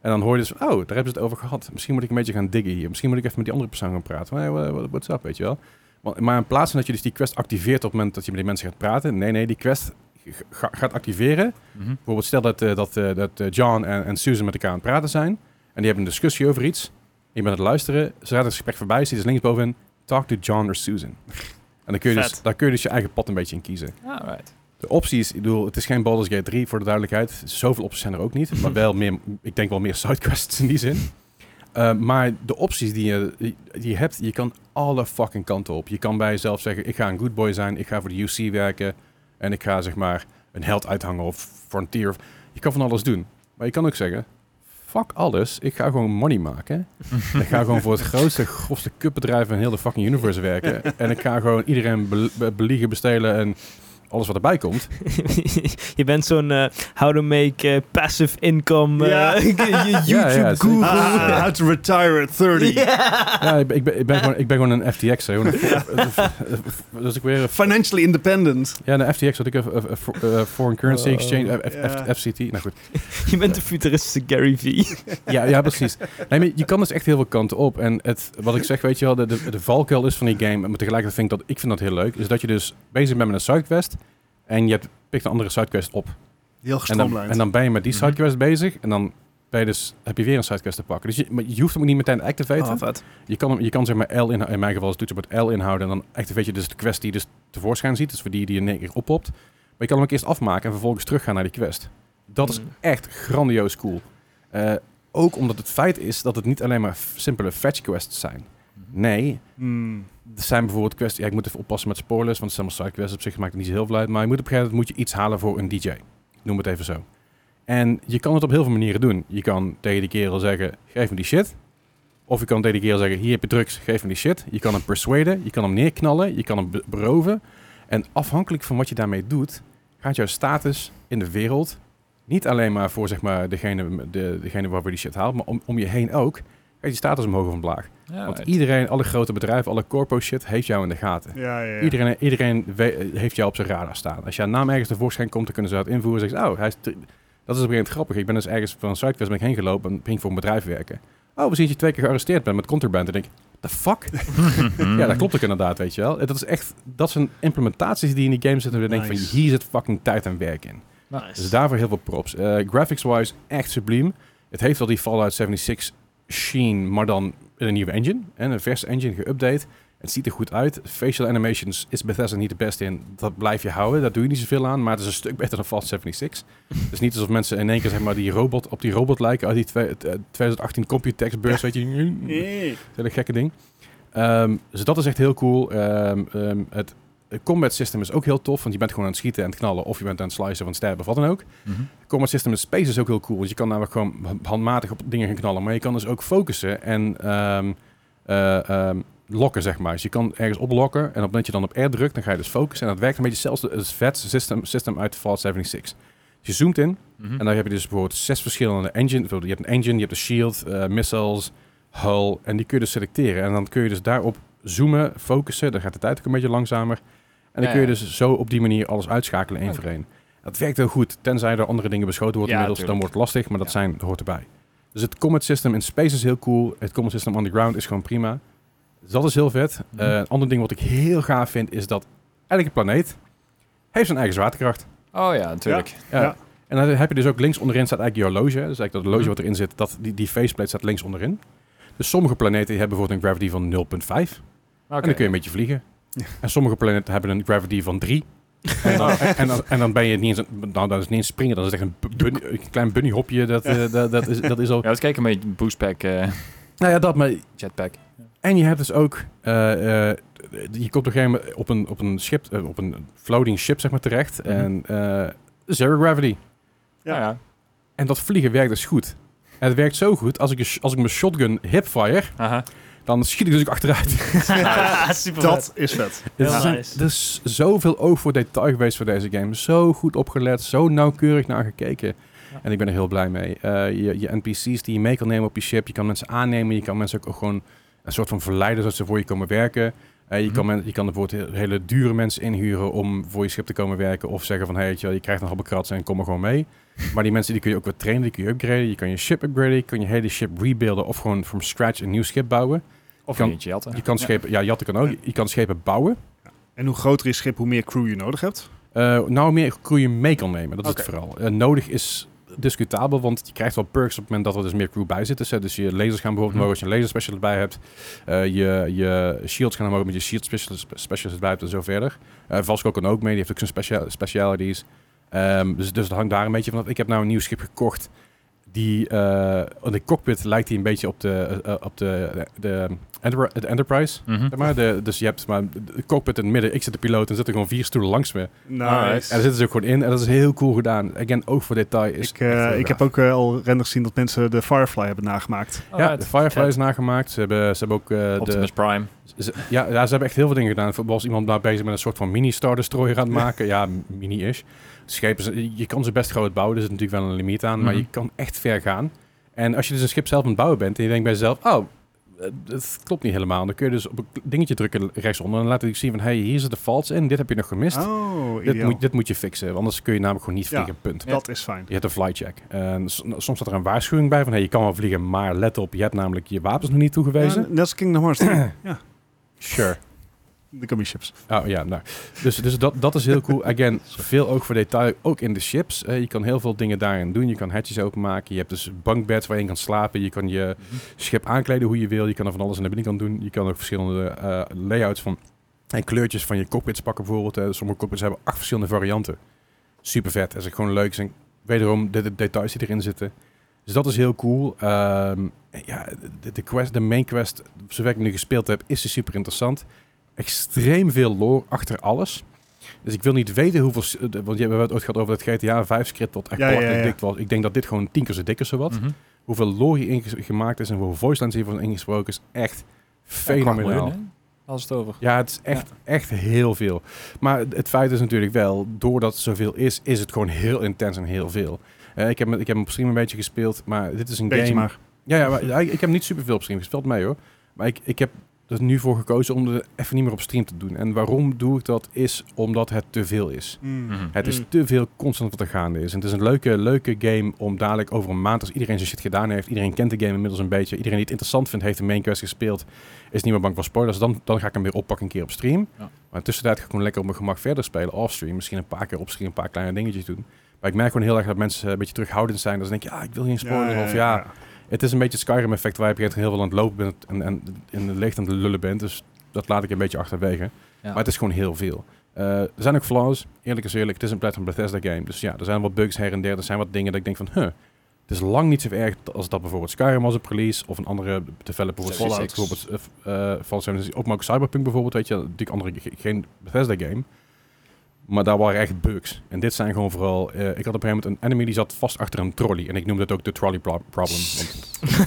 Speaker 1: En dan hoor je dus, oh, daar hebben ze het over gehad. Misschien moet ik een beetje gaan diggen hier. Misschien moet ik even met die andere persoon gaan praten. Hey, wha- wha- what's up, weet je wel. Want- Maar in plaats van dat je dus die quest activeert op het moment dat je met die mensen gaat praten. Nee, nee, die quest g- ga- gaat activeren
Speaker 4: Mhm.
Speaker 1: Bijvoorbeeld stel dat, eh, dat, eh, dat eh, John en, en Susan met elkaar aan het praten zijn. En die hebben een discussie over iets. Je bent aan het luisteren. Zodra het gesprek voorbij is, zit dus linksbovenin... Talk to John or Susan. En dan kun, je dus,
Speaker 2: Vet.
Speaker 1: daar kun je dus je eigen pad een beetje in kiezen.
Speaker 4: Alright.
Speaker 1: De opties, ik bedoel, het is geen Baldur's Gate 3 voor de duidelijkheid. Zoveel opties zijn er ook niet. Maar wel meer, ik denk wel meer sidequests in die zin. Eh, maar de opties die je, die je hebt, je kan alle fucking kanten op. Je kan bij jezelf zeggen, ik ga een good boy zijn, ik ga voor de UC werken. En ik ga zeg maar een held uithangen of frontier. of- Je kan van alles doen. Maar je kan ook zeggen, fuck alles, ik ga gewoon money maken. ik ga gewoon voor het grootste, grofste kutbedrijf in heel de fucking universe werken. En ik ga gewoon iedereen bel- be- beliegen, bestelen en alles wat erbij komt.
Speaker 2: je bent zo'n eh, how to make eh, passive income eh,
Speaker 3: Ja.
Speaker 2: je
Speaker 1: Ja, ja,
Speaker 2: YouTube guru.
Speaker 1: zeker.
Speaker 3: Ah, how to retire at 30.
Speaker 1: Ja, ik ben, ik ben, ik ben, gewoon, ik ben gewoon een eh, FTX. Hè. Dus ik weer een,
Speaker 3: Financially independent.
Speaker 1: ja, een FTX had ik een, een- een fo- eh, foreign currency
Speaker 2: Oh,
Speaker 1: exchange, eh, F-
Speaker 3: ja.
Speaker 1: F- FCT. Nou goed.
Speaker 2: Je bent de futuristische Gary V.
Speaker 1: Ja, ja precies. Nee, maar je kan dus echt heel veel kanten op. En het, wat ik zeg, weet je wel, de, de, de valkuil is van die game, maar tegelijkertijd vind ik dat, ik vind dat heel leuk, is dat je dus bezig bent met een sidequest en je hebt, pikt een andere sidequest op.
Speaker 3: Heel
Speaker 1: En dan,
Speaker 3: gestroomlijnd.
Speaker 1: en dan ben je met die
Speaker 4: Mhm.
Speaker 1: sidequest bezig en dan ben je dus, heb je weer een sidequest te pakken. Dus je, maar je hoeft hem ook niet meteen te
Speaker 3: Ah,
Speaker 1: activaten.
Speaker 2: vet.
Speaker 1: Je kan, hem- je kan zeg maar L in, in mijn geval is het toetsenbord L inhouden. En dan echt weet je dus de quest die je dus tevoorschijn ziet. Dus voor die die je in één keer oppopt. Maar je kan hem ook eerst afmaken en vervolgens teruggaan naar die quest. Dat is
Speaker 2: Mm.
Speaker 1: echt grandioos cool. Eh, ook omdat het feit is dat het niet alleen maar f- simpele fetch quests zijn. Nee,
Speaker 3: Hmm.
Speaker 1: er zijn bijvoorbeeld quests... Ja, ik moet even oppassen met spoilers, want het zijn maar side quests op zich. Maakt het niet zo heel veel uit. Maar je moet op een gegeven moment moet je iets halen voor een DJ. Noem het even zo. En je kan het op heel veel manieren doen. Je kan tegen die kerel zeggen, geef me die shit. Of je kan tegen die kerel zeggen, hier heb je drugs, geef me die shit. Je kan hem persuaden, je kan hem neerknallen, je kan hem be- beroven. En afhankelijk van wat je daarmee doet, gaat jouw status in de wereld... niet alleen maar voor zeg maar, degene, de, degene waarvoor je die shit haalt, maar om, om je heen ook... gaat je status omhoog of omlaag. Want
Speaker 4: Alright.
Speaker 1: iedereen, alle grote bedrijven, alle corpo shit, heeft jou in de gaten.
Speaker 3: Ja, ja, ja.
Speaker 1: Iedereen, iedereen we- heeft jou op zijn radar staan. Als jouw naam ergens tevoorschijn komt, dan kunnen ze dat invoeren. Zeggen ze, oh, hij is te- dat is op een gegeven moment grappig. Ik ben dus ergens van Zuidwest ben ik heen gelopen en ging voor een bedrijf werken. Oh, we zien dat je twee keer gearresteerd bent met contraband. En ik, the fuck?
Speaker 4: Mhm.
Speaker 1: ja, dat klopt ook inderdaad, weet je wel. Dat is echt, dat zijn implementaties die in die game zitten. En dan denk je
Speaker 2: Nice.
Speaker 1: van, hier zit fucking tijd en werk in. Dus daarvoor heel veel props. Eh, Graphics-wise echt subliem. Het heeft wel die Fallout 76 sheen, maar dan in een nieuwe engine. En een verse engine geüpdate. Het ziet er goed uit. Facial animations is Bethesda niet de beste in. Dat blijf je houden. Daar doe je niet zoveel aan. Maar het is een stuk beter dan Fallout 76. Het is niet alsof mensen in één keer zeg maar, die robot, op die robot lijken. Uit die twee- eh, 2018 Computex-beurs, weet je. Dat hele gekke ding. Ehm, dus dat is echt heel cool. Ehm, ehm, het combat system is ook heel tof. Want je bent gewoon aan het schieten en het knallen. Of je bent aan het slicen van sterren of wat dan ook.
Speaker 4: Mhm.
Speaker 1: Het combat system in space is ook heel cool. Want je kan namelijk gewoon handmatig op dingen gaan knallen. Maar je kan dus ook focussen en ehm, eh, ehm, lokken, zeg maar. Dus je kan ergens oplokken. En op het moment dat je dan op R drukt, dan ga je dus focussen. En dat werkt een beetje zelfs het VETS system, system uit Fallout 76. Dus je zoomt in.
Speaker 4: Mhm.
Speaker 1: En dan heb je dus bijvoorbeeld zes verschillende engine. Je hebt een engine, je hebt een shield, eh, missiles, hull. En die kun je dus selecteren. En dan kun je dus daarop zoomen, focussen. Dan gaat de tijd ook een beetje langzamer. En dan
Speaker 4: Ja,
Speaker 1: kun je
Speaker 4: ja.
Speaker 1: dus zo op die manier alles uitschakelen, één
Speaker 4: Oké.
Speaker 1: voor één. Dat werkt heel goed. Tenzij er andere dingen beschoten worden
Speaker 4: Ja,
Speaker 1: inmiddels. Dan wordt
Speaker 4: tuurlijk.
Speaker 1: het lastig, maar dat
Speaker 4: Ja.
Speaker 1: zijn, hoort erbij. Dus het combat system in space is heel cool. Het combat system on the ground is gewoon prima. Dus dat is heel vet.
Speaker 4: Mhm.
Speaker 1: Eh, een ander ding wat ik heel gaaf vind, is dat elke planeet heeft zijn eigen zwaartekracht.
Speaker 4: Oh ja, natuurlijk.
Speaker 1: Ja.
Speaker 3: Ja.
Speaker 1: En dan heb je dus ook links onderin staat eigenlijk je horloge. hè. Dus eigenlijk dat
Speaker 4: Mhm.
Speaker 1: horloge wat erin zit, dat, die, die faceplate staat links onderin. Dus sommige planeten die hebben bijvoorbeeld een gravity van 0,5. En dan kun je een beetje vliegen.
Speaker 3: Ja.
Speaker 1: En sommige planeten hebben een gravity van 3. En dan, en, dan, en dan ben je niet eens, een- nou, dat is niet eens springen, dat is echt een, bu- bunny- een klein bunnyhopje. Dat, eh, dat, dat, is, dat is al.
Speaker 4: Ja, let's kijken met een boostpack, eh,
Speaker 1: Nou ja, dat, maar
Speaker 4: jetpack.
Speaker 1: en je hebt dus ook, eh, eh, je komt op een gegeven moment op een, op een schip, eh, op een floating ship zeg maar terecht.
Speaker 4: Mhm.
Speaker 1: En eh, zero gravity.
Speaker 3: Ja.
Speaker 4: Nou Ja, ja.
Speaker 1: En dat vliegen werkt dus goed. En het werkt zo goed, als ik, een sh- als ik mijn shotgun hipfire,
Speaker 4: Aha.
Speaker 1: dan schiet ik dus ook achteruit.
Speaker 2: Super
Speaker 3: Dat is vet.
Speaker 1: Er
Speaker 2: Heel
Speaker 1: zijn-
Speaker 2: nice.
Speaker 1: Er is zoveel oog voor detail geweest voor deze game. Zo goed opgelet, zo nauwkeurig naar gekeken.
Speaker 4: Ja.
Speaker 1: En ik ben er heel blij mee. Eh, je, je NPC's die je mee kan nemen op je ship, je kan mensen aannemen, je kan mensen ook, ook gewoon een soort van verleiden zodat ze voor je komen werken. Eh, je,
Speaker 4: Mhm.
Speaker 1: kan men, je kan bijvoorbeeld he- hele dure mensen inhuren om voor je schip te komen werken. Of zeggen van, hey, weet je, wel, je krijgt een halve krat en kom er gewoon mee. maar die mensen die kun je ook weer trainen, die kun je upgraden. Je kan je ship upgraden, je kan je hele ship rebuilden of gewoon from scratch een nieuw schip bouwen.
Speaker 4: Of
Speaker 1: Kan-
Speaker 4: een eentje jatten.
Speaker 1: Je kan schepen, ja, jatten kan ook. Je kan schepen bouwen.
Speaker 3: En hoe groter je schip, hoe meer crew je nodig hebt.
Speaker 1: Eh, nou, meer crew je mee kan nemen. Dat is het
Speaker 3: Oké.
Speaker 1: vooral. Eh, nodig is discutabel, want je krijgt wel perks op het moment dat er dus meer crew bij zit. Dus, hè, dus je lasers gaan bijvoorbeeld
Speaker 4: Mhm.
Speaker 1: omhoog als je een laser specialist bij hebt. Eh, je, je shields gaan omhoog met je shield specialist, specialist bij hebt en zo verder. Eh Vasco kan ook mee, die heeft ook zijn specia- specialities. Ehm, dus, dus dat hangt daar een beetje vanaf. Ik heb nou een nieuw schip gekocht. Die, eh in de cockpit lijkt hij een beetje op de, eh, eh, op de, de, de, de Enterprise.
Speaker 4: Mhm.
Speaker 1: Zeg maar, de, dus je hebt maar de cockpit in het midden. Ik zit de piloot en zitten gewoon vier stoelen langs me.
Speaker 3: Nice.
Speaker 1: En daar zitten ze ook gewoon in. En dat is heel cool gedaan. Again, ook voor detail is
Speaker 3: Ik, eh, ik heb ook eh, al renders gezien dat mensen de Firefly hebben nagemaakt.
Speaker 1: Ja, de
Speaker 4: Alright.
Speaker 1: Firefly is nagemaakt. Ze hebben, ze hebben ook... eh, de,
Speaker 4: Optimus Prime.
Speaker 1: ze- ja, ja, ze hebben echt heel veel dingen gedaan. Bijvoorbeeld Was iemand daar bezig met een soort van mini-Star Destroyer aan het maken? ja, mini-ish. Schepen, zijn- je kan ze best groot bouwen. Er zit natuurlijk wel een limiet aan. Maar
Speaker 4: Mhm.
Speaker 1: je kan echt ver gaan. En als je dus een schip zelf aan het bouwen bent... en je denkt bij jezelf... oh, eh, dat klopt niet helemaal. Dan kun je dus op een dingetje drukken rechtsonder... en laat het zien van... hey, hier zitten faults in. Dit heb je nog gemist.
Speaker 3: Oh,
Speaker 1: dit,
Speaker 3: ideaal.
Speaker 1: moet, dit moet je fixen. want Anders kun je namelijk gewoon niet
Speaker 3: Ja.
Speaker 1: vliegen, punt.
Speaker 3: Dat is fijn.
Speaker 1: Je hebt een flycheck. En s- nou, soms staat er een waarschuwing bij van hey, je kan wel vliegen, maar let op, je hebt namelijk je wapens nog niet toegewezen.
Speaker 3: Ja, net als Kingdom Hearts. ja,
Speaker 1: Sure.
Speaker 3: de gummy chips.
Speaker 1: Oh ja, nou. Dus, dus dat, dat is heel cool. Again, veel ook voor detail, ook in de ships. Eh, je kan heel veel dingen daarin doen. Je kan hatches openmaken. Je hebt dus bankbeds waar je in kan slapen. Je kan je schip aankleden hoe je wil. Je kan er van alles aan de binnenkant doen. Je kan ook verschillende eh, layouts van en kleurtjes van je cockpits pakken bijvoorbeeld. Eh, sommige cockpits hebben acht verschillende varianten. Super vet. Dat is gewoon leuk. En wederom de, de details die erin zitten. Dus dat is heel cool. Ehm, en ja, de, de, quest, de main quest, zover ik hem nu gespeeld heb, is die super interessant. Extreem veel lore achter alles. Dus ik wil niet weten hoeveel... s- eh, de- Want je hebt het ooit gehad over dat GTA 5 script wat echt
Speaker 3: Ja, ja,
Speaker 1: plakkerig
Speaker 3: ja.
Speaker 1: dik was. Ik denk dat dit gewoon tien keer zo dik is zowat
Speaker 4: Mhm.
Speaker 1: hoeveel lore hier inges- gemaakt is en hoeveel voice lines hiervan ingesproken is echt
Speaker 4: Ja, kwart
Speaker 1: fenomenaal.
Speaker 4: miljoen, hè? Als het over.
Speaker 1: Ja, het is echt, echt heel veel. Maar het- het feit is natuurlijk wel, doordat het zoveel is, is het gewoon heel intens en heel veel. Eh, ik, heb, hem- ik heb hem op stream een beetje gespeeld, maar dit is een
Speaker 3: Beetje
Speaker 1: game...
Speaker 3: maar.
Speaker 1: Ja, ja, maar, ja, ik ik heb niet superveel op stream gespeeld, mee hoor. Maar ik, ik heb er nu voor gekozen om er even niet meer op stream te doen. En waarom doe ik dat is omdat het te veel is.
Speaker 4: Mhm.
Speaker 1: Het is
Speaker 2: Mm.
Speaker 1: te veel constant wat er gaande is. En het is een leuke, leuke game om dadelijk over een maand, als iedereen zijn shit gedaan heeft, iedereen kent de game inmiddels een beetje, iedereen die het interessant vindt, heeft de main quest gespeeld, is niet meer bang voor spoilers, dan, dan ga ik hem weer oppakken een keer op stream.
Speaker 4: Ja.
Speaker 1: Maar tussentijd ga ik gewoon lekker op mijn gemak verder spelen, offstream, misschien een paar keer opstream, een paar kleine dingetjes doen. Maar ik merk gewoon heel erg dat mensen een beetje terughoudend zijn. Dat ze denken, ja, ah, ik wil geen spoilers. of ja, het is een beetje het Skyrim-effect waar je op een gegeven moment heel veel aan het lopen bent en, en in het licht aan het lullen bent. Dus dat laat ik een beetje achterwege. Maar het is gewoon heel veel. Eh, er zijn ook flaws. Eerlijk is eerlijk, het is een platform Bethesda game. Dus ja, er zijn wat bugs her en der. Er zijn wat dingen dat ik denk van, huh, het is lang niet zo erg als dat bijvoorbeeld Skyrim was op release. Of een andere developer, bijvoorbeeld
Speaker 4: Fallout.
Speaker 1: bijvoorbeeld, eh, eh, Fallout 76. Ook maar ook Cyberpunk bijvoorbeeld, weet je. Natuurlijk andere, ge- geen Bethesda game. Maar daar waren echt bugs. En dit zijn gewoon vooral... eh, ik had op een gegeven moment een enemy die zat vast achter een trolley. En ik noemde het ook de trolley pro- problem. want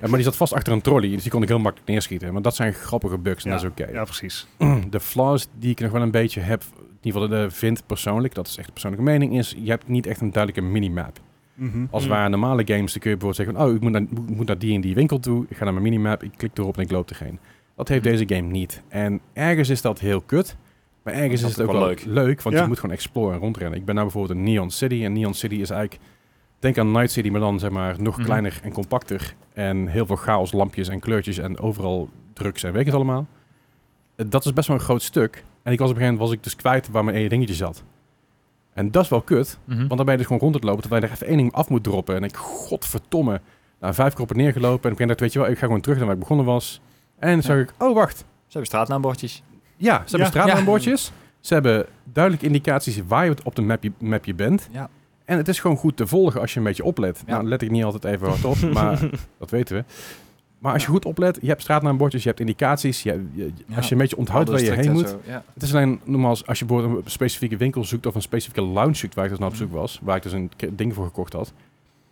Speaker 1: ja, maar die zat vast achter een trolley, dus die kon ik heel makkelijk neerschieten. Maar dat zijn grappige bugs en
Speaker 3: Ja,
Speaker 1: dat is oké.
Speaker 3: ja, precies.
Speaker 1: De flaws die ik nog wel een beetje heb, in ieder geval eh, vind persoonlijk, dat is echt een persoonlijke mening, is je hebt niet echt een duidelijke minimap.
Speaker 3: Mhm.
Speaker 1: Als
Speaker 2: Mm.
Speaker 1: het ware normale games, dan kun je bijvoorbeeld zeggen, van, oh, ik moet naar, moet- moet naar die en die winkel toe, ik ga naar mijn minimap, ik klik erop en ik loop erheen. Dat heeft
Speaker 4: Mm.
Speaker 1: deze game niet. En ergens is dat heel kut, maar ergens
Speaker 4: Dat
Speaker 1: is het
Speaker 4: is
Speaker 1: ook
Speaker 4: ook wel
Speaker 1: wel leuk,
Speaker 4: leuk.
Speaker 1: want
Speaker 3: Ja.
Speaker 1: je moet gewoon exploren en rondrennen. Ik ben nou bijvoorbeeld in Neon City en Neon City is eigenlijk, denk aan Night City, maar dan zeg maar nog
Speaker 4: Mhm.
Speaker 1: kleiner en compacter. En heel veel chaos, lampjes en kleurtjes en overal drugs en weet ik het allemaal. Eh, Dat is best wel een groot stuk. En ik was op een gegeven moment was ik dus kwijt waar mijn ene dingetje zat. En dat is wel kut,
Speaker 4: Mhm.
Speaker 1: want dan ben je dus gewoon rond het lopen, terwijl je er even één ding af moet droppen. En ik, godverdomme, nou, vijf keer op en neer gelopen. En ik dacht, weet je wel, ik ga gewoon terug naar waar ik begonnen was. En dan zag ik, oh wacht,
Speaker 4: Ze hebben straatnaambordjes.
Speaker 1: ja, ze hebben
Speaker 3: Ja.
Speaker 1: straatnaambordjes. Ze hebben duidelijke indicaties waar je op de mapje, mapje bent.
Speaker 4: Ja.
Speaker 1: En het is gewoon goed te volgen als je een beetje oplet.
Speaker 4: Ja.
Speaker 1: Nou, let ik niet altijd even hard op, maar dat weten we. Maar als je goed oplet, je hebt straatnaambordjes, je hebt indicaties. Je, je- je-
Speaker 4: Ja.
Speaker 1: Als je een beetje onthoudt waar je heen moet.
Speaker 4: Ja.
Speaker 1: Het is alleen normaal als, als je bijvoorbeeld een specifieke winkel zoekt of een specifieke lounge zoekt waar ik dus naar op
Speaker 4: Mhm.
Speaker 1: zoek was, waar ik dus een k- ding voor gekocht had,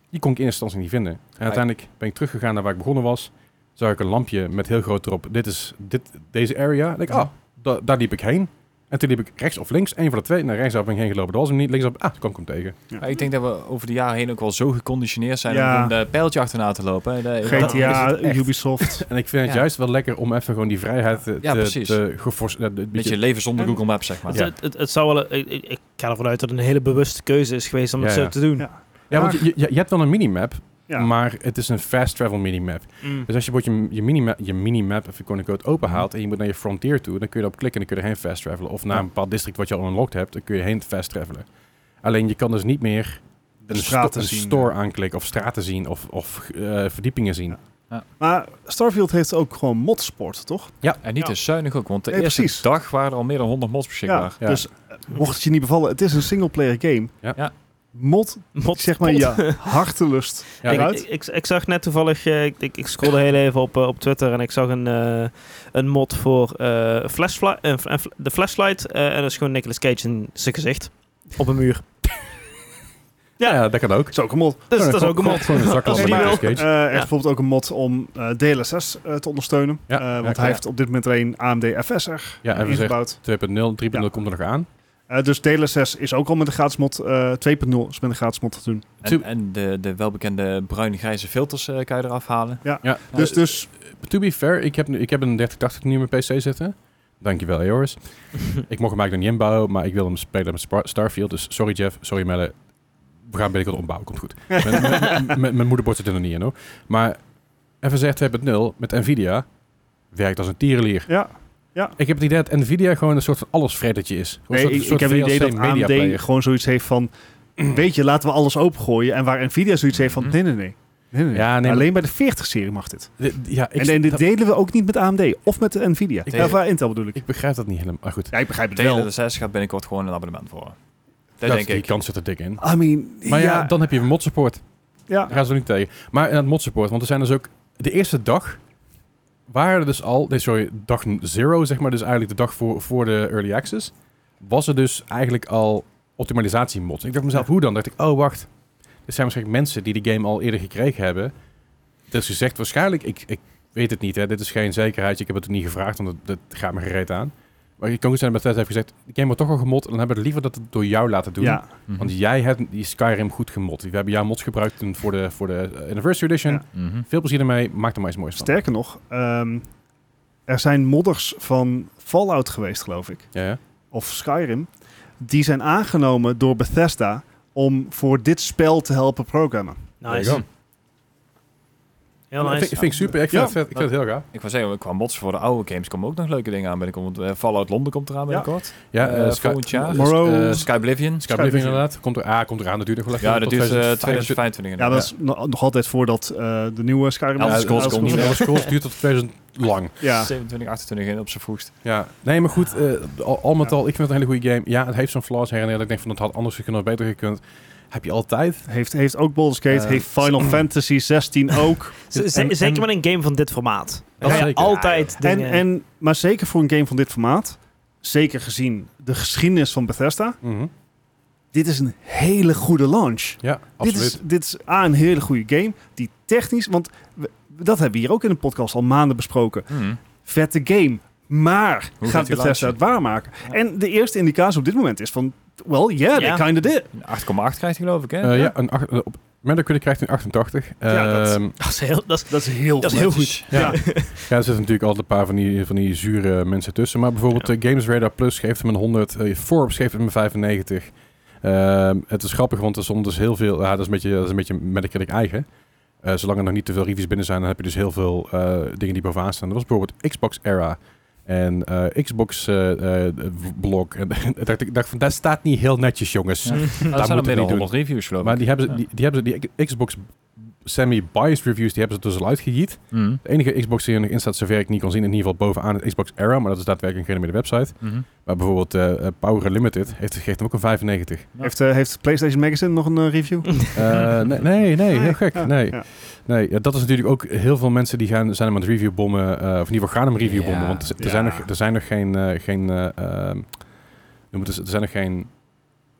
Speaker 1: die kon ik in eerste instantie niet vinden. En uiteindelijk ben ik teruggegaan naar waar ik begonnen was, zag ik een lampje met heel groot erop, dit is dit, deze area.
Speaker 4: Mm.
Speaker 1: En ik, ah, da- daar liep ik heen. En toen liep ik rechts of links, één van de twee, naar rechtsaf ben ik heen gelopen, dat was hem niet, linksaf, ah, toen kwam ik hem tegen.
Speaker 4: Maar ik denk dat we over de jaren heen ook wel zo geconditioneerd zijn
Speaker 3: Ja.
Speaker 4: om een eh, pijltje achterna te lopen. hè. Dat- dat-
Speaker 3: GTA,
Speaker 1: het echt.
Speaker 3: Ubisoft.
Speaker 1: En ik vind het
Speaker 4: Ja.
Speaker 1: juist wel lekker om even gewoon die vrijheid te,
Speaker 4: Ja,
Speaker 1: te,
Speaker 4: precies.
Speaker 1: te geforce- eh, een beetje-
Speaker 4: beetje leven zonder Google Maps, zeg maar.
Speaker 2: Het, het, het, het zou wel, een- ik, ik- ik ga ervan uit dat het een hele bewuste keuze is geweest om het
Speaker 1: Ja,
Speaker 2: zo
Speaker 1: ja.
Speaker 2: te doen.
Speaker 3: Ja.
Speaker 1: Ja, want je, je, je hebt wel een minimap,
Speaker 3: Ja.
Speaker 1: maar het is een fast travel minimap.
Speaker 2: Mm.
Speaker 1: Dus als je bijvoorbeeld je, je, minimap, je minimap even quote unquote open haalt en je moet naar je frontier toe, dan kun je erop klikken en dan kun je erheen fast travelen. Of naar een bepaald district wat je al unlocked hebt, dan kun je heen fast travelen. Alleen je kan dus niet meer een,
Speaker 3: straten
Speaker 1: sto- een
Speaker 3: zien.
Speaker 1: store aanklikken of straten zien of, of eh, verdiepingen zien.
Speaker 3: Ja. Maar Starfield heeft ook gewoon modsport, toch?
Speaker 4: En niet
Speaker 3: Ja.
Speaker 4: te zuinig ook, want de
Speaker 3: Nee,
Speaker 4: eerste
Speaker 3: precies.
Speaker 4: dag waren er al meer dan 100 mods beschikbaar.
Speaker 1: Ja.
Speaker 3: Dus mocht het je niet bevallen, het is een singleplayer game.
Speaker 1: Ja.
Speaker 4: Ja.
Speaker 3: Mod,
Speaker 2: Mot-
Speaker 3: zeg maar,
Speaker 2: pot.
Speaker 3: ja, hartelust.
Speaker 1: Ja,
Speaker 2: ik,
Speaker 3: eruit.
Speaker 2: ik, ik, ik zag net toevallig, eh, ik, ik, ik scrollde heel even op, eh, op Twitter en ik zag een, eh, een mod voor eh, flashfli- eh, fl- eh, fl- de flashlight. eh, en dat is gewoon Nicolas Cage in zijn gezicht. Op een muur.
Speaker 1: ja, ja, dat kan ook.
Speaker 3: is ook een mod.
Speaker 2: Dus dat is ook een mod.
Speaker 1: Gewoon een zaklamp
Speaker 2: Als
Speaker 1: met
Speaker 2: je die
Speaker 1: Nicolas
Speaker 3: Eh,
Speaker 1: Cage.
Speaker 3: er is bijvoorbeeld ook een mod om eh, DLSS eh, te ondersteunen.
Speaker 1: Ja,
Speaker 3: Eh,
Speaker 1: ja,
Speaker 3: want
Speaker 1: ja.
Speaker 3: hij heeft op dit moment alleen AMD FS er
Speaker 1: Ja, en we zeggen
Speaker 3: ingebouwd.
Speaker 1: 2.0, 3.0 komt er nog aan.
Speaker 3: Eh, dus DLSS is ook al met een gratis mod. eh, 2.0 is met een gratis mod te doen.
Speaker 1: Toe-
Speaker 4: En, en de, de welbekende bruin-grijze filters eh, kan je eraf halen. Ja,
Speaker 3: Dus,
Speaker 4: eh,
Speaker 3: dus
Speaker 1: To be fair, ik heb, nu- ik heb een 3080 nu in mijn PC zitten. Dankjewel, Joris. ik mocht hem eigenlijk nog niet inbouwen, maar ik wil hem spelen met Spar- Starfield. Dus sorry Jeff, sorry Melle. We gaan binnenkort ombouwen, komt goed. Mijn- mijn- mijn- Mijn moederbord zit er nog niet in hoor. Maar FSR 2.0 met Nvidia werkt als een tierenlier.
Speaker 3: ja.
Speaker 1: Ik heb het idee dat Nvidia gewoon een soort van allesvretertje is. Gewoon
Speaker 3: Nee,
Speaker 1: een soort,
Speaker 3: ik, ik heb het idee dat AMD
Speaker 1: media
Speaker 3: gewoon zoiets heeft van... Weet je, laten we alles opengooien. En waar Nvidia zoiets heeft van...
Speaker 4: Mhm.
Speaker 3: Nee, nee, nee. nee, nee, nee.
Speaker 1: Mm-hmm. Ja, nee,
Speaker 3: Alleen bij de 40-serie mag dit.
Speaker 1: Ja, ik,
Speaker 3: en en dit
Speaker 1: dat-
Speaker 3: delen we ook niet met AMD. Of met Nvidia.
Speaker 1: Ik-
Speaker 3: Ik, of eh, Intel bedoel ik.
Speaker 1: ik begrijp dat niet helemaal. Maar goed,
Speaker 3: Ja, ik begrijp het wel.
Speaker 4: De 6 gaat binnenkort gewoon een abonnement voor. Dat,
Speaker 1: dat
Speaker 4: denk
Speaker 1: die
Speaker 4: ik.
Speaker 1: kans zit er dik in.
Speaker 3: I mean,
Speaker 1: Maar ja,
Speaker 3: ja,
Speaker 1: dan heb je mod support.
Speaker 3: ja.
Speaker 1: Daar gaan ze niet tegen. Maar in het mod support, want er zijn dus ook de eerste dag waren er dus al, nee, sorry, dag zero zeg maar, dus eigenlijk de dag voor, voor de early access, was er dus eigenlijk al optimalisatie mods. Ik dacht mezelf, hoe dan? Dacht ik, oh wacht, er zijn waarschijnlijk mensen die die game al eerder gekregen hebben. Dus gezegd waarschijnlijk, ik, ik weet het niet, hè, dit is geen zekerheid, ik heb het ook niet gevraagd, want het, dat gaat me gereed aan. Maar je kan ook zijn dat Bethesda heeft gezegd, de game wordt toch al gemod, en dan hebben we het liever dat het door jou laten doen.
Speaker 3: ja.
Speaker 4: Mhm.
Speaker 1: Want jij hebt die Skyrim goed gemod. We hebben jouw mods gebruikt toen voor de, voor de eh, Anniversary Edition.
Speaker 3: Ja.
Speaker 4: Mhm.
Speaker 1: Veel plezier ermee. Maak er maar iets moois van.
Speaker 3: Sterker nog, ehm, er zijn modders van Fallout geweest, geloof ik.
Speaker 1: Ja, ja.
Speaker 3: Of Skyrim. Die zijn aangenomen door Bethesda om voor dit spel te helpen programmen.
Speaker 1: There you
Speaker 2: Nice.
Speaker 1: go.
Speaker 2: Heel
Speaker 1: Dat
Speaker 2: nice.
Speaker 1: vind, vind ik super. Ik vind,
Speaker 3: Ja.
Speaker 1: het, vet. ik vind het heel gaaf.
Speaker 4: Ik wou zeggen, qua mods voor de oude games komen ook nog leuke dingen aan binnenkort. Eh, Fallout Londen komt eraan binnenkort.
Speaker 1: Ja,
Speaker 4: Eh,
Speaker 1: eh, Sky-
Speaker 4: volgend jaar.
Speaker 1: eh,
Speaker 3: Morrow.
Speaker 1: eh, Sky
Speaker 4: Sky Oblivion.
Speaker 1: Skyblade inderdaad. Komt er, ah, komt eraan natuurlijk nog wel even
Speaker 4: Ja, dat
Speaker 1: tot
Speaker 4: duurt eh,
Speaker 1: 2025.
Speaker 4: 2025
Speaker 3: Ja,
Speaker 4: inderdaad.
Speaker 3: dat is no- nog altijd voordat eh, de nieuwe Skyrim...
Speaker 4: Elder
Speaker 3: Ja,
Speaker 4: Scrolls
Speaker 3: Elder
Speaker 4: komt niet
Speaker 3: Scrolls.
Speaker 1: Elder Scrolls duurt tot 2000 lang.
Speaker 3: Ja,
Speaker 4: 27, 28 in op zijn vroegst.
Speaker 1: Ja, nee, maar goed, eh, al, al met al, ik vind het een hele goede game. Ja, het heeft zo'n flaws her en der. dat Ik denk van, het had anders gekund, had beter gekund. Heb je altijd.
Speaker 3: heeft, heeft ook Baldur's Gate,
Speaker 1: Eh,
Speaker 3: heeft Final Fantasy 16 ook.
Speaker 2: Z- z-
Speaker 1: En-
Speaker 2: zeker
Speaker 1: en-
Speaker 2: met een game van dit formaat.
Speaker 1: Dat
Speaker 2: Dat zijn
Speaker 1: zeker.
Speaker 2: altijd
Speaker 3: En,
Speaker 2: dingen-
Speaker 3: en, maar zeker voor een game van dit formaat, zeker gezien de geschiedenis van Bethesda,
Speaker 1: Mhm.
Speaker 3: dit is een hele goede launch.
Speaker 1: Ja,
Speaker 3: Dit
Speaker 1: absoluut.
Speaker 3: is, dit is A, een hele goede game, die technisch, want we- dat hebben we hier ook in de podcast al maanden besproken.
Speaker 4: Hmm.
Speaker 3: Vette game, maar
Speaker 4: Hoe
Speaker 3: gaat
Speaker 4: gaat
Speaker 3: Bethesda
Speaker 4: die launchen?
Speaker 3: het waarmaken?
Speaker 4: Ja.
Speaker 3: En de eerste indicatie op dit moment is van, well, yeah,
Speaker 2: Ja.
Speaker 3: they kinda did.
Speaker 4: 8,8 krijgt hij geloof ik, hè?
Speaker 1: Eh, ja, een acht, eh, op Metacritic krijgt een 88.
Speaker 3: Ja, dat-
Speaker 1: Ehm,
Speaker 2: dat is heel, dat is,
Speaker 3: Dat is heel
Speaker 2: dat is heel goed.
Speaker 3: Ja.
Speaker 1: Ja, er zitten natuurlijk altijd een paar van die, van die zure mensen tussen. Maar bijvoorbeeld eh, Games Radar Plus geeft hem een 100. eh, Forbes geeft hem een 95. Ehm, het is grappig, want er stond dus heel veel... Ja, dat is een beetje, dat is een beetje Metacritic eigen. Eh, zolang er nog niet te veel reviews binnen zijn, dan heb je dus heel veel eh, dingen die bovenaan staan. Dat was bijvoorbeeld Xbox Era en eh, Xbox eh, eh, Blog. En ik dacht, ik dacht van, dat staat niet heel netjes, jongens.
Speaker 4: Ja. dat
Speaker 1: moeten
Speaker 4: zijn
Speaker 1: we
Speaker 4: er meer dan
Speaker 1: niet doen.
Speaker 4: 100 reviews geloof ik.
Speaker 1: Maar die hebben, ze,
Speaker 4: Ja.
Speaker 1: die, die hebben ze, die Xbox semi-biased reviews, die hebben ze dus al uitgegiet.
Speaker 4: Mhm.
Speaker 1: De enige Xbox die er nog in staat, zover ik niet kan zien, in ieder geval bovenaan het Xbox Era, maar dat is daadwerkelijk geen meer de website.
Speaker 4: Mhm.
Speaker 1: Maar bijvoorbeeld eh, eh, Power Unlimited heeft, geeft hem ook een 95.
Speaker 3: Heeft, eh, heeft PlayStation Magazine nog een eh, review?
Speaker 1: Eh, nee, nee, nee, heel gek.
Speaker 3: Ja,
Speaker 1: Nee,
Speaker 3: ja.
Speaker 1: nee ja, dat is natuurlijk ook heel veel mensen die gaan, zijn hem aan het reviewbommen, eh, of in ieder geval gaan hem reviewbommen,
Speaker 4: Ja.
Speaker 1: want er,
Speaker 3: Ja.
Speaker 1: zijn nog, er zijn nog geen, eh, geen eh, ehm, noem het eens- er zijn nog geen,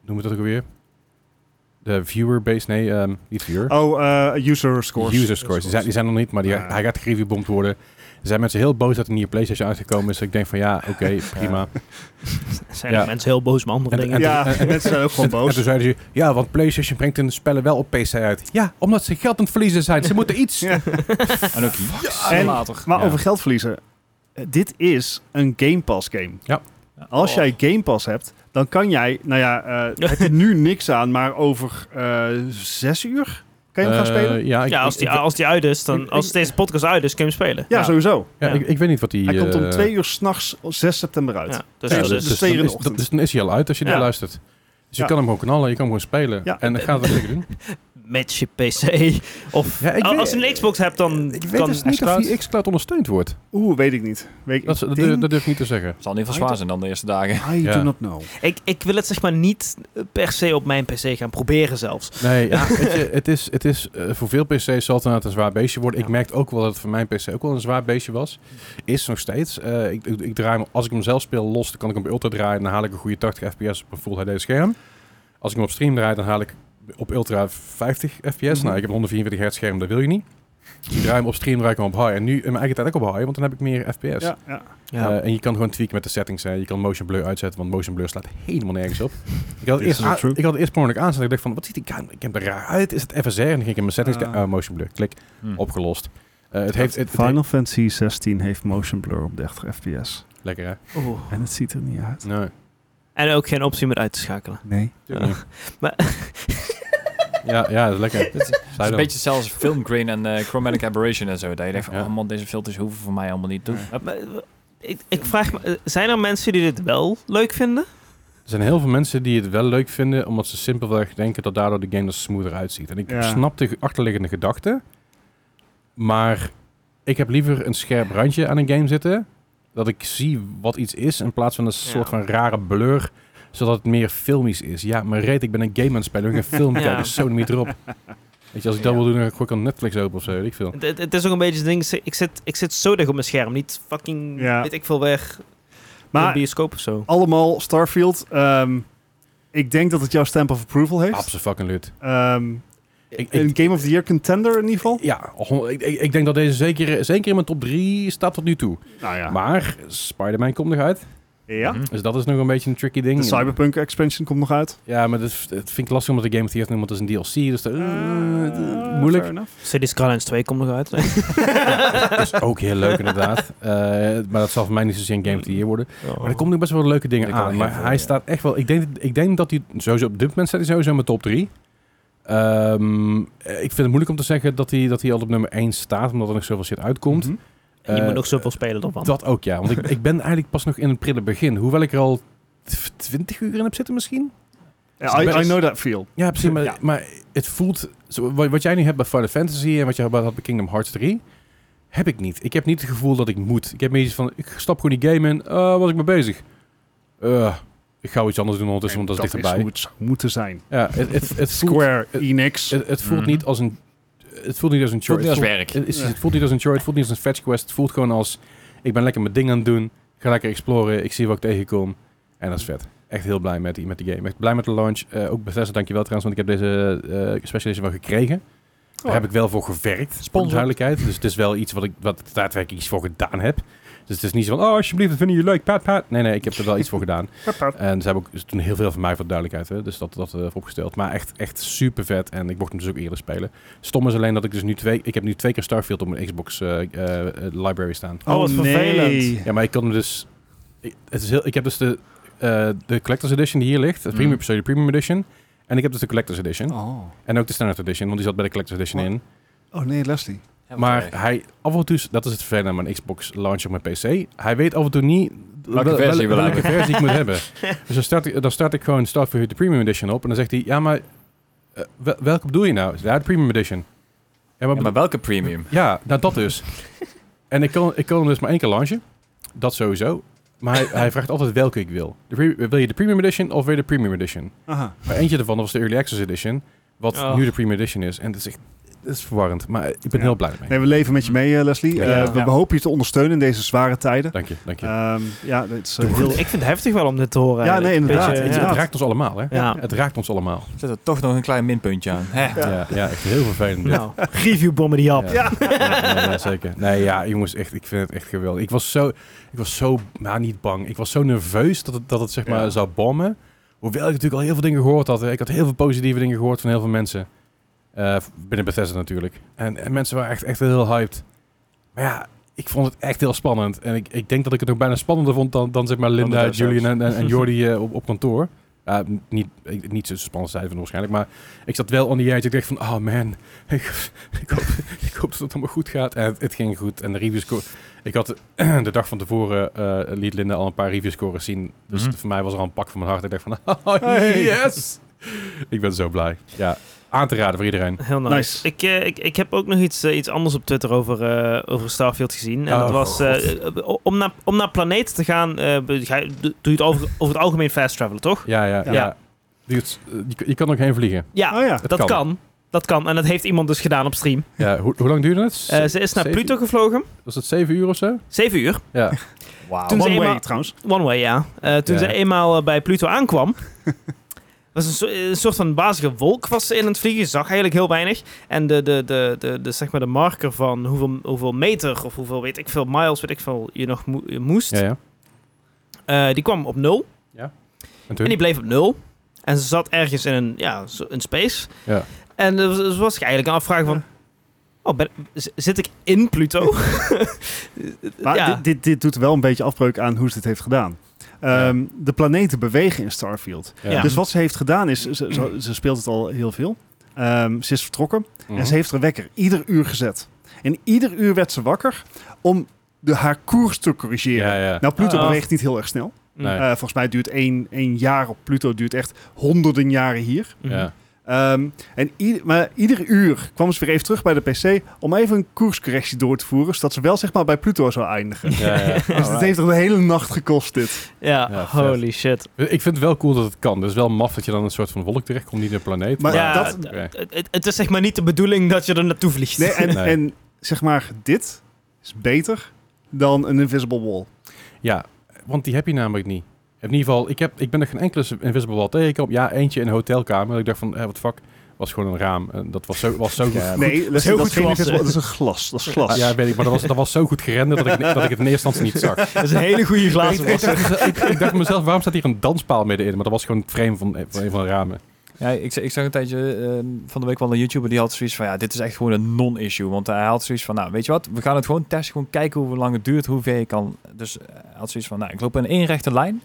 Speaker 1: noem het dat ook alweer? De viewer base, nee, ehm, niet viewer.
Speaker 3: Oh, eh, user scores.
Speaker 1: User scores. Die zijn, die zijn er nog niet, maar die,
Speaker 3: Ja.
Speaker 1: hij gaat gereviewbomd worden. Er zijn mensen heel boos dat er niet een PlayStation uitgekomen is. Ik denk van ja, oké, prima.
Speaker 2: zijn
Speaker 1: Ja.
Speaker 2: er mensen heel boos met andere
Speaker 1: En-
Speaker 2: dingen.
Speaker 1: en-
Speaker 3: Ja, mensen zijn ook gewoon
Speaker 1: En toen
Speaker 3: boos.
Speaker 1: zeiden ze, ja, want PlayStation brengt hun spellen wel op PC uit. Ja, omdat ze geld aan het verliezen zijn. Ze moeten iets.
Speaker 3: Ja.
Speaker 4: En ook ja,
Speaker 3: En-
Speaker 4: later.
Speaker 3: Maar
Speaker 1: Ja.
Speaker 3: over geld verliezen. Eh, Dit is een Game Pass game. Als jij Game Pass hebt, dan kan jij, nou ja, eh heb je nu niks aan, maar over eh, zes uur kan je hem gaan
Speaker 1: Eh,
Speaker 3: spelen?
Speaker 1: Ja, ik,
Speaker 2: Ja, als
Speaker 1: ik-
Speaker 2: die,
Speaker 1: ik,
Speaker 2: als die uit is,
Speaker 3: Ik-
Speaker 2: dan, als deze podcast uit is, kun je hem spelen.
Speaker 3: Ja, sowieso.
Speaker 1: ja,
Speaker 2: ja.
Speaker 1: Ik, ik weet niet wat die...
Speaker 3: Hij komt om
Speaker 1: eh,
Speaker 3: twee uur s'nachts 6 september uit.
Speaker 2: Ja,
Speaker 3: Ja,
Speaker 2: dus,
Speaker 1: ja,
Speaker 2: dus-
Speaker 1: dus,
Speaker 3: dus
Speaker 1: dus,
Speaker 3: twee uur in
Speaker 1: dan
Speaker 3: de
Speaker 1: is,
Speaker 3: ochtend.
Speaker 1: dus dan is hij al uit als je
Speaker 3: Ja.
Speaker 1: dit luistert. Dus je
Speaker 3: Ja.
Speaker 1: kan hem gewoon knallen, je kan hem gewoon spelen.
Speaker 3: Ja.
Speaker 1: En dan gaat het lekker doen.
Speaker 2: Match je PC. Of
Speaker 1: Ja, ik
Speaker 2: Al-
Speaker 1: weet-
Speaker 2: als je een Xbox hebt, dan
Speaker 1: Ik weet
Speaker 2: kan
Speaker 1: dus niet of
Speaker 2: Xcloud-
Speaker 1: die Xcloud ondersteund wordt.
Speaker 3: Oeh, weet ik niet. Weet ik,
Speaker 1: Dat, is-
Speaker 3: ik
Speaker 1: dat,
Speaker 3: denk-
Speaker 1: dat durf ik niet te zeggen.
Speaker 4: zal niet van zwaar zijn dan de eerste dagen.
Speaker 3: I
Speaker 1: Ja.
Speaker 3: do not know.
Speaker 2: ik, ik wil het zeg maar niet per se op mijn PC gaan proberen zelfs.
Speaker 1: Nee, ja, weet je, het is, het is eh, voor veel PC's zal het inderdaad een zwaar beestje worden. Ik
Speaker 4: Ja.
Speaker 1: merkte ook wel dat het voor mijn PC ook wel een zwaar beestje was. Is nog steeds. Eh, ik, ik, ik draai hem, als ik hem zelf speel los, dan kan ik hem bij Ultra draaien. Dan haal ik een goede 80 fps op een Full HD scherm. Als ik hem op stream draai, dan haal ik op Ultra 50 fps. Nou, ik heb een 144 hertz scherm, dat wil je niet. Ik draai hem op stream, draai ik hem op high. En nu in mijn eigen tijd ook op high, want dan heb ik meer fps.
Speaker 3: Ja, ja.
Speaker 1: Eh, en je kan gewoon tweaken met de settings. Hè. Je kan motion blur uitzetten, want motion blur slaat helemaal nergens op. Ik had het
Speaker 3: This
Speaker 1: eerst,
Speaker 3: is not
Speaker 1: aan-
Speaker 3: true.
Speaker 1: ik had het eerst per ongeluk aanstaan. Ik dacht van, wat ziet die game, game er raar uit? Is het FSR? En dan ging ik in mijn settings,
Speaker 3: Ah.
Speaker 1: ah, motion blur, klik,
Speaker 4: Hm.
Speaker 1: opgelost. Eh, het heeft... Het, het
Speaker 3: Final Fantasy 16 heeft motion blur op 30 fps.
Speaker 1: heeft- lekker, hè?
Speaker 2: Oeh.
Speaker 3: En het ziet er niet uit.
Speaker 1: Nee.
Speaker 2: En ook geen optie om het uit te schakelen.
Speaker 3: Nee.
Speaker 1: tuurlijk niet.
Speaker 2: Maar,
Speaker 1: Ja, ja, dat is lekker.
Speaker 4: Het is- het is
Speaker 1: dan.
Speaker 4: een beetje zelfs film grain en eh, chromatic aberration en zo. Dat je denkt van,
Speaker 1: Ja.
Speaker 4: oh man, deze filters hoeven voor mij allemaal niet te doen.
Speaker 3: Nee.
Speaker 4: Hup.
Speaker 2: maar, eh, ik, ik vraag me, eh, zijn er mensen die dit wel leuk vinden?
Speaker 1: Er zijn heel veel mensen die het wel leuk vinden, omdat ze simpelweg denken dat daardoor de game er smoother uitziet. En ik
Speaker 3: Ja.
Speaker 1: snap de achterliggende gedachte, maar ik heb liever een scherp randje aan een game zitten, dat ik zie wat iets is, in plaats van een soort van rare blur, zodat het meer filmisch is. Ja, maar reet, ik ben een game aan het spelen, ik ben een film
Speaker 2: Ja.
Speaker 1: kijken, zo niet erop. Weet je, als ik dat
Speaker 4: Ja.
Speaker 1: wil doen, dan gooi ik al Netflix open of zo, weet ik veel.
Speaker 2: Het- Het, het is ook een beetje het ding, ik zit, ik zit zo dicht op mijn scherm. Niet fucking,
Speaker 3: Ja.
Speaker 2: weet ik veel weg, een
Speaker 3: Maar
Speaker 2: bioscoop of zo.
Speaker 3: allemaal Starfield. ehm, ik denk dat het jouw stamp of approval heeft.
Speaker 1: Absoluut fucking lut.
Speaker 3: Ehm,
Speaker 1: Ik-
Speaker 3: een Game of the Year contender in ieder geval.
Speaker 1: Ja, hon- ik, ik, ik denk dat deze zeker, zeker in mijn top 3 staat tot nu toe.
Speaker 3: Nou ja.
Speaker 1: Maar Spider-Man komt nog uit.
Speaker 3: Ja.
Speaker 4: Mhm.
Speaker 1: Dus dat is nog een beetje een tricky ding.
Speaker 3: De Cyberpunk expansion komt nog uit.
Speaker 1: Ja, maar dat is, dat vind ik lastig omdat ik Game of the Year noem, want dat is een DLC. Dus dat,
Speaker 3: Eh,
Speaker 1: moeilijk.
Speaker 3: fair enough.
Speaker 2: Cities Skylines 2 komt nog uit.
Speaker 1: dat is ook heel leuk inderdaad. Eh, maar dat zal voor mij niet zozeer een Game of the Year worden. Maar er
Speaker 2: komt
Speaker 1: komen nog best wel leuke dingen
Speaker 4: Ik kan
Speaker 1: aan.
Speaker 4: heel
Speaker 1: Maar
Speaker 4: veel,
Speaker 1: hij
Speaker 4: ja.
Speaker 1: staat echt wel... Ik denk, ik denk dat hij sowieso op dit moment staat hij sowieso in mijn top 3. Ehm, ik vind het moeilijk om te zeggen dat hij, dat hij al op nummer 1 staat, omdat er nog zoveel shit uitkomt.
Speaker 3: Mhm.
Speaker 2: en je
Speaker 1: eh,
Speaker 2: moet nog zoveel spelen ervan.
Speaker 1: Dat ook, ja. Want ik, ik ben eigenlijk pas nog in het prille begin. Hoewel ik er al 20 uur in heb zitten misschien.
Speaker 3: Ja, I,
Speaker 1: Best-
Speaker 3: I know that feel.
Speaker 1: Ja, precies. Maar,
Speaker 3: Ja.
Speaker 1: maar het voelt... zo- Wat wat jij nu hebt bij Final Fantasy en wat jij had bij Kingdom Hearts 3... Heb ik niet. Ik heb niet het gevoel dat ik moet. Ik heb meer iets van, ik stap gewoon die game in. Eh, waar was ik mee bezig? Eh, ik ga wel iets anders doen ondertussen, Dus want dat is
Speaker 3: dat
Speaker 1: dichterbij.
Speaker 3: is hoe het zou moeten zijn.
Speaker 1: Ja, het, het, het voelt,
Speaker 3: Square Enix.
Speaker 1: het, het voelt
Speaker 4: Mhm.
Speaker 1: niet als een... Het voelt niet als een chore.
Speaker 4: Voelt niet als
Speaker 1: Het
Speaker 4: werk.
Speaker 1: voelt- het is- Het voelt niet als een chore. Het voelt niet als een fetch quest. Het voelt gewoon als... Ik ben lekker mijn ding aan het doen. Ik ga lekker exploren. Ik zie wat ik tegenkom. En dat is vet. Echt heel blij met die, met die game. Echt blij met de launch. Eh, ook Bethesda, dankjewel trouwens. Want ik heb deze eh special edition wel gekregen. Daar heb ik wel voor gewerkt. Voor de
Speaker 4: Sponsor.
Speaker 1: duidelijkheid. Dus het is wel iets wat ik wat ik daadwerkelijk iets voor gedaan heb. Dus het is niet zo van... Oh, alsjeblieft, dat vinden jullie leuk. Paat, paat. Nee, nee. Ik heb er wel iets voor gedaan. En ze hebben ook ze doen heel veel van mij voor de duidelijkheid. Hè? Dus dat, dat eh, vooropgesteld. Maar echt, echt super vet. En ik mocht hem dus ook eerder spelen. Stom is alleen dat ik dus nu twee... Ik heb nu twee keer Starfield op mijn Xbox eh, eh, eh, library staan.
Speaker 2: Oh, wat vervelend.
Speaker 1: Ja, maar ik kan hem dus... Ik, het is heel, ik heb dus de, eh, de Collector's Edition die hier ligt. De premium,
Speaker 4: Mm.
Speaker 1: sorry, de Premium Edition. En ik heb dus de Collector's Edition.
Speaker 3: Oh.
Speaker 1: En ook de Standard Edition, want die zat bij de Collector's Edition
Speaker 3: Oh.
Speaker 1: in.
Speaker 3: oh nee, Leslie.
Speaker 1: Maar hij, af en toe, is- dat is het vervelende aan mijn Xbox launch op mijn PC. Hij weet af en toe niet wel- wel-
Speaker 4: versie je wil
Speaker 1: welke
Speaker 4: hebben.
Speaker 1: versie ik moet hebben. Dus dan start, ik- dan start ik gewoon Starfield de Premium Edition op. En dan zegt hij, ja, maar eh, wel- welke bedoel je nou? Ja, de Premium Edition. Ja, maar,
Speaker 4: Ja, maar welke premium?
Speaker 1: ja, nou dat dus. en ik kan, ik kan hem dus maar één keer launchen. Dat sowieso. Maar hij, hij vraagt altijd welke ik wil. De pre- wil je de Premium Edition of wil je de Premium Edition?
Speaker 3: Aha.
Speaker 1: Maar eentje daarvan was de Early Access Edition. Wat
Speaker 2: Oh.
Speaker 1: nu de Premium Edition is. En dat is echt dat is verwarrend. Maar ik ben
Speaker 3: Ja.
Speaker 1: heel blij mee.
Speaker 3: Nee, we leven met je mee, eh, Leslie.
Speaker 1: Ja.
Speaker 3: Eh, we
Speaker 2: Ja.
Speaker 3: hopen je te ondersteunen in deze zware tijden.
Speaker 1: Dank je, dank je.
Speaker 3: Ehm, ja, dat is eh,
Speaker 2: Ik
Speaker 3: heel...
Speaker 2: vind- ik vind het heftig wel om dit te horen.
Speaker 3: Ja,
Speaker 2: eigenlijk.
Speaker 3: nee, inderdaad,
Speaker 2: Beetje, eh,
Speaker 1: het,
Speaker 3: inderdaad.
Speaker 1: het raakt ons allemaal, hè?
Speaker 2: Ja.
Speaker 1: Het raakt ons allemaal.
Speaker 4: Zet er toch nog een klein minpuntje aan. Hè?
Speaker 1: Ja, ja, echt heel vervelend. dit.
Speaker 2: Ja. Nou, review bommen die app.
Speaker 1: Ja. Ja, ja, zeker. Nee, ja, jongens, echt, ik vind het echt geweldig. Ik was zo, ik was zo, nou niet bang. Ik was zo nerveus dat het, dat het zeg maar
Speaker 3: Ja.
Speaker 1: zou bommen. Hoewel ik natuurlijk al heel veel dingen gehoord had. hè. Ik had heel veel positieve dingen gehoord van heel veel mensen. Eh, binnen Bethesda natuurlijk. En, en mensen waren echt, echt heel hyped. Maar ja, ik vond het echt heel spannend. En ik, ik denk dat ik het ook bijna spannender vond dan, dan zeg maar Linda,
Speaker 4: Dead Cells.
Speaker 1: Julian en, en, en Jordi eh, op, op kantoor. Ja, m- niet, ik- niet zo spannend zijn van waarschijnlijk, maar ik zat wel on the edge. Ik dacht van, oh man, ik, ik, hoop, ik hoop dat het allemaal goed gaat. En het, het ging goed. En de review score... Ik had de dag van tevoren eh, liet Linda al een paar review scores zien. Dus
Speaker 4: Mhm.
Speaker 1: voor mij was er al een pak van mijn hart. Ik dacht van, oh
Speaker 3: Hey.
Speaker 1: yes! ik ben zo blij. Ja, aan te raden voor iedereen.
Speaker 2: Heel nice.
Speaker 3: Nice.
Speaker 2: Ik, eh, ik, ik heb ook nog iets, eh, iets anders op Twitter over, eh, over Starfield gezien. En
Speaker 1: Oh,
Speaker 2: dat was, eh, eh, om, naar, om naar planeten te gaan, eh, be- ga je- doe je het over, over het algemeen fast travelen, toch?
Speaker 1: Ja, ja, ja.
Speaker 2: Ja.
Speaker 1: Dudes, eh, je, je kan ook heen vliegen.
Speaker 2: Ja,
Speaker 3: Oh ja.
Speaker 2: dat
Speaker 1: kan.
Speaker 2: kan. Dat kan. En dat heeft iemand dus gedaan op stream.
Speaker 1: Ja, hoe, hoe lang duurde het?
Speaker 2: Eh, ze is naar
Speaker 1: zeven-
Speaker 2: Pluto gevlogen.
Speaker 1: Was het zeven uur of zo?
Speaker 2: 7 uur.
Speaker 1: Ja.
Speaker 3: Wow.
Speaker 2: Toen
Speaker 3: One
Speaker 2: ze
Speaker 3: way
Speaker 2: eenmaal-
Speaker 3: trouwens.
Speaker 2: One way, ja. Eh, toen
Speaker 1: Ja.
Speaker 2: ze eenmaal eh, bij Pluto aankwam, was een, so- een soort van bazige wolk was ze in het vliegen. Je zag eigenlijk heel weinig. En de, de, de, de, de, zeg maar de marker van hoeveel, hoeveel meter of hoeveel weet ik veel miles, weet ik veel, je nog mo- je moest,
Speaker 1: Ja, ja.
Speaker 2: eh, die kwam op nul.
Speaker 1: En
Speaker 2: En
Speaker 1: toen?
Speaker 2: die bleef op nul. En ze zat ergens in een, ja, zo- een space.
Speaker 1: Ja.
Speaker 2: En er was, er was ik eigenlijk aan afvragen van... Oh, ben- z- zit ik in Pluto?
Speaker 3: Maar
Speaker 2: Ja.
Speaker 3: dit, dit, dit doet wel een beetje afbreuk aan hoe ze dit heeft gedaan. Ehm, De planeten bewegen in Starfield.
Speaker 2: Ja.
Speaker 3: Dus wat ze heeft gedaan is, ze, ze, ze speelt het al heel veel. Ehm, ze is vertrokken
Speaker 1: Mhm.
Speaker 3: en ze heeft haar wekker ieder uur gezet. En ieder uur werd ze wakker om de, haar koers te corrigeren.
Speaker 1: Ja, ja.
Speaker 3: Nou, Pluto
Speaker 2: Ah.
Speaker 3: beweegt niet heel erg snel.
Speaker 1: Nee.
Speaker 3: Eh, volgens mij duurt één, één jaar op Pluto, duurt echt honderden jaren hier.
Speaker 1: ja.
Speaker 3: Ehm, en ieder, maar ieder uur kwam ze weer even terug bij de PC om even een koerscorrectie door te voeren, zodat ze wel zeg maar bij Pluto zou eindigen.
Speaker 2: Mhm.
Speaker 1: Ja, ja.
Speaker 3: Dus het heeft er een hele nacht gekost, dit.
Speaker 2: Ja,
Speaker 1: Ja, vet.
Speaker 2: holy shit.
Speaker 1: Ik vind het wel cool dat het kan. Dus wel maf dat je dan een soort van wolk terechtkomt, niet in een planeet.
Speaker 3: Maar
Speaker 2: ja,
Speaker 3: dat-
Speaker 2: d- het, het- het is zeg maar niet de bedoeling dat je er naartoe vliegt.
Speaker 3: Nee, en,
Speaker 1: Nee.
Speaker 3: en zeg maar, dit is beter dan een Invisible Wall.
Speaker 1: Ja, want die heb je namelijk niet. In ieder geval, ik, heb, ik ben nog geen enkele Invisible Wall tegengekomen. Ja, eentje in een hotelkamer. Ik dacht van, eh, wat fuck, was gewoon een raam. En dat was zo, was zo
Speaker 4: Ja,
Speaker 1: goed.
Speaker 3: nee, dat, is-
Speaker 2: heel
Speaker 3: dat,
Speaker 2: goed
Speaker 3: geen-
Speaker 2: glas,
Speaker 3: dat is-
Speaker 2: hè?
Speaker 3: dat is een glas. Dat is glas.
Speaker 1: Ja, weet ik, maar dat was, dat was zo goed gerenderd dat ik, dat ik het in eerste instantie niet zag.
Speaker 2: Dat is een hele goede glazen
Speaker 1: ik,
Speaker 2: wasser.
Speaker 1: dacht, ik, ik dacht mezelf, waarom staat hier een danspaal middenin? Maar dat was gewoon het frame van, van een van de ramen.
Speaker 4: Ja, ik, ik zag een tijdje eh, van de week wel een YouTuber die had zoiets van, ja, dit is echt gewoon een non-issue. Want hij had zoiets van, nou, weet je wat, we gaan het gewoon testen, gewoon kijken hoe lang het duurt, hoe ver je kan. Dus eh, hij had zoiets van, nou, ik loop in één rechte lijn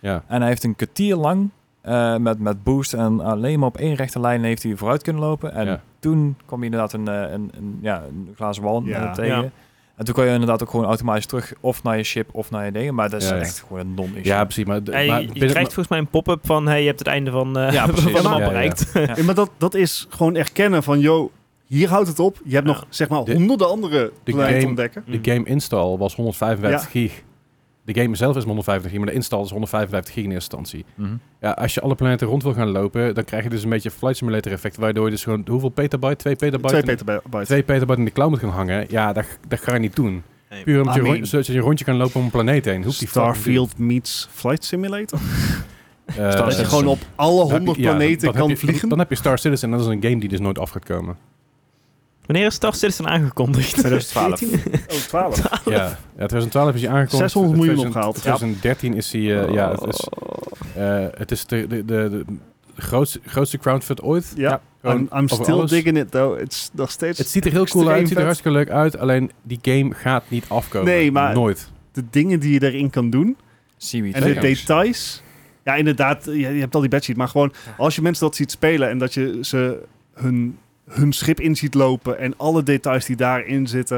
Speaker 1: Ja.
Speaker 4: en hij heeft een kwartier lang eh, met, met boost en alleen maar op één rechte lijn heeft hij vooruit kunnen lopen. En
Speaker 1: Ja.
Speaker 4: toen kwam je inderdaad een, eh, een, een, ja, een glazen wal eh,
Speaker 3: Ja.
Speaker 4: tegen.
Speaker 2: Ja.
Speaker 4: En toen kon je inderdaad ook gewoon automatisch terug of naar je ship of naar je dingen, maar dat is
Speaker 1: Ja, ja.
Speaker 4: echt gewoon een non-issue.
Speaker 1: ja, precies. Maar, de-
Speaker 2: En je-
Speaker 1: maar
Speaker 2: je
Speaker 1: binnen-
Speaker 2: krijgt volgens mij een pop-up van hey, je hebt het einde van, eh
Speaker 4: Ja, precies.
Speaker 2: van de map
Speaker 1: Ja, ja.
Speaker 2: bereikt.
Speaker 3: Ja, maar dat, dat is gewoon erkennen van, yo, hier houdt het op. Je hebt
Speaker 2: Ja.
Speaker 3: nog, zeg maar,
Speaker 1: De-
Speaker 3: honderden andere
Speaker 1: de
Speaker 3: planeten te
Speaker 1: game-
Speaker 3: ontdekken.
Speaker 2: Hmm.
Speaker 1: De game install was 155 gig. De game zelf is 150 gig, maar de install is 155 gig in eerste instantie.
Speaker 4: Mhm.
Speaker 1: Ja, als je alle planeten rond wil gaan lopen, dan krijg je dus een beetje flight simulator effect, waardoor je dus gewoon hoeveel petabyte, 2 petabyte,
Speaker 3: Twee
Speaker 1: in-
Speaker 3: petabyte.
Speaker 1: twee petabyte in de cloud moet gaan hangen. Ja, dat, dat ga je niet doen.
Speaker 2: Nee.
Speaker 1: Puur omdat
Speaker 3: I
Speaker 1: je,
Speaker 3: mean-
Speaker 1: rond- zodat je een rondje kan lopen om een planeet heen. Hoeft die
Speaker 3: Starfield meets Flight Simulator.
Speaker 1: fucking- eh,
Speaker 4: Star
Speaker 3: dat je
Speaker 4: Citizen.
Speaker 3: gewoon op alle
Speaker 1: dan heb je-
Speaker 3: honderd
Speaker 1: ja,
Speaker 3: planeten
Speaker 1: dan heb
Speaker 3: kan
Speaker 1: je-
Speaker 3: vliegen.
Speaker 1: Dan heb je Star Citizen en dat is een game die dus nooit af gaat komen.
Speaker 2: Wanneer is Star Citizen aangekondigd?
Speaker 4: 2012.
Speaker 3: Oh, 12.
Speaker 1: Ja, ja 2012 is hij aangekomen.
Speaker 3: 600 miljoen opgehaald. Oh.
Speaker 1: 2013 is hij, eh, ja, het is, eh, het is de, de, de, de grootste, grootste crowdfund ooit.
Speaker 3: Ja,
Speaker 1: Gewoon
Speaker 3: I'm, I'm
Speaker 1: over
Speaker 3: still
Speaker 1: alles.
Speaker 3: digging it though. Het is nog steeds...
Speaker 1: Het ziet er heel
Speaker 3: Extreem
Speaker 1: cool uit, het ziet er
Speaker 3: vet.
Speaker 1: hartstikke leuk uit. Alleen die game gaat niet afkomen.
Speaker 3: Nee, maar-
Speaker 1: Nooit.
Speaker 3: de dingen die je erin kan doen.
Speaker 4: Seaweed.
Speaker 3: En de
Speaker 1: zeker.
Speaker 3: details. Ja, inderdaad. Je, je hebt al die bedsheet. Maar gewoon, als je mensen dat ziet spelen en dat je ze hun, hun schip in ziet lopen en alle details die daarin zitten.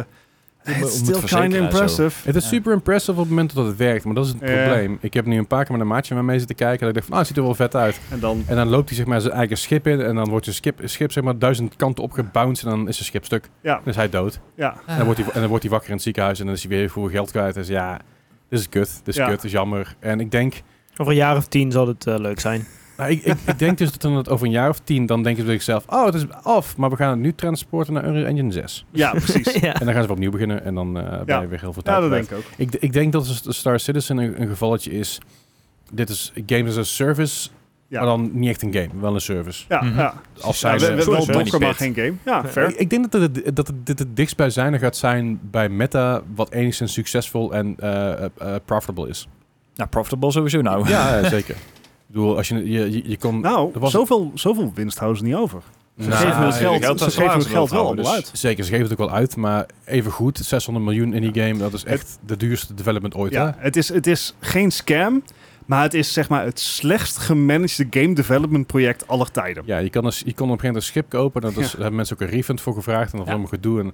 Speaker 4: om het
Speaker 3: It's still
Speaker 4: verzekeren
Speaker 3: kind
Speaker 4: en zo.
Speaker 3: impressive.
Speaker 1: Het is
Speaker 4: Ja.
Speaker 1: super impressive op het moment dat het werkt, maar dat is het
Speaker 3: Ja.
Speaker 1: probleem. Ik heb nu een paar keer met een maatje mee zitten kijken en ik dacht van, ah, het ziet er wel vet uit.
Speaker 3: En dan...
Speaker 1: En dan loopt hij zeg maar zijn eigen schip in en dan wordt zijn schip, schip zeg maar duizend kanten opgebounced en dan is zijn schip stuk.
Speaker 3: Ja.
Speaker 1: Dan is hij dood.
Speaker 3: Ja,
Speaker 1: En, dan wordt hij, en dan wordt hij wakker in het ziekenhuis en dan is hij weer voor geld kwijt. Dus ja, dit is kut, dit is
Speaker 3: Ja.
Speaker 1: kut, dit is jammer. En ik denk,
Speaker 2: Over een jaar of tien zal het eh, leuk zijn.
Speaker 1: nou, ik, ik, ik denk dus dat dan het over een jaar of tien, dan denken ze bij zichzelf, oh, het is af, maar we gaan het nu transporten naar Unreal Engine 6.
Speaker 3: ja precies.
Speaker 2: ja.
Speaker 1: En dan gaan ze weer opnieuw beginnen en dan eh ben je weer heel veel tijd
Speaker 3: Ja, dat
Speaker 1: kwijt.
Speaker 3: denk ik ook.
Speaker 1: Ik, ik denk dat S- Star Citizen een, een gevalletje is. Dit is Games as a Service,
Speaker 3: Ja.
Speaker 1: maar dan niet echt een game, wel een service.
Speaker 3: Ja,
Speaker 4: Mhm.
Speaker 3: ja.
Speaker 1: Als
Speaker 3: ja
Speaker 1: zij
Speaker 3: we, we
Speaker 1: ze-
Speaker 3: hebben
Speaker 4: Sorry,
Speaker 3: wel
Speaker 4: sorry.
Speaker 3: docker, maar
Speaker 4: Money
Speaker 3: geen game. Ja,
Speaker 1: ik,
Speaker 3: fair.
Speaker 1: ik denk dat, het, dat het- dit het dichtstbijzijnde gaat zijn bij Meta, wat enigszins succesvol en eh, eh, eh, profitable is.
Speaker 4: Nou, profitable sowieso nou.
Speaker 1: Ja, eh, zeker. Ik bedoel, als je, je, je, je kon...
Speaker 3: Nou,
Speaker 1: Er was-
Speaker 3: zoveel, zoveel winst houden ze niet over. Ze
Speaker 1: Nou,
Speaker 3: geven het
Speaker 1: eh,
Speaker 3: geld,
Speaker 4: geld
Speaker 3: ze
Speaker 4: was
Speaker 3: geven
Speaker 4: waar,
Speaker 3: het
Speaker 4: ze
Speaker 3: geld wel
Speaker 4: wilden
Speaker 1: dus
Speaker 3: allemaal
Speaker 4: houden,
Speaker 3: uit.
Speaker 1: Zeker, ze geven het ook wel uit, maar even goed, 600 miljoen in die game, dat is echt de duurste development ooit. hè?
Speaker 3: Ja, het is, het is geen scam, maar het is zeg maar het slechtst gemanaged game development project aller tijden.
Speaker 1: Ja, je, kan dus, je kon op een gegeven moment een schip kopen. En dat is, daar hebben mensen ook een refund voor gevraagd. En dat
Speaker 4: Ja.
Speaker 1: was allemaal gedoe. En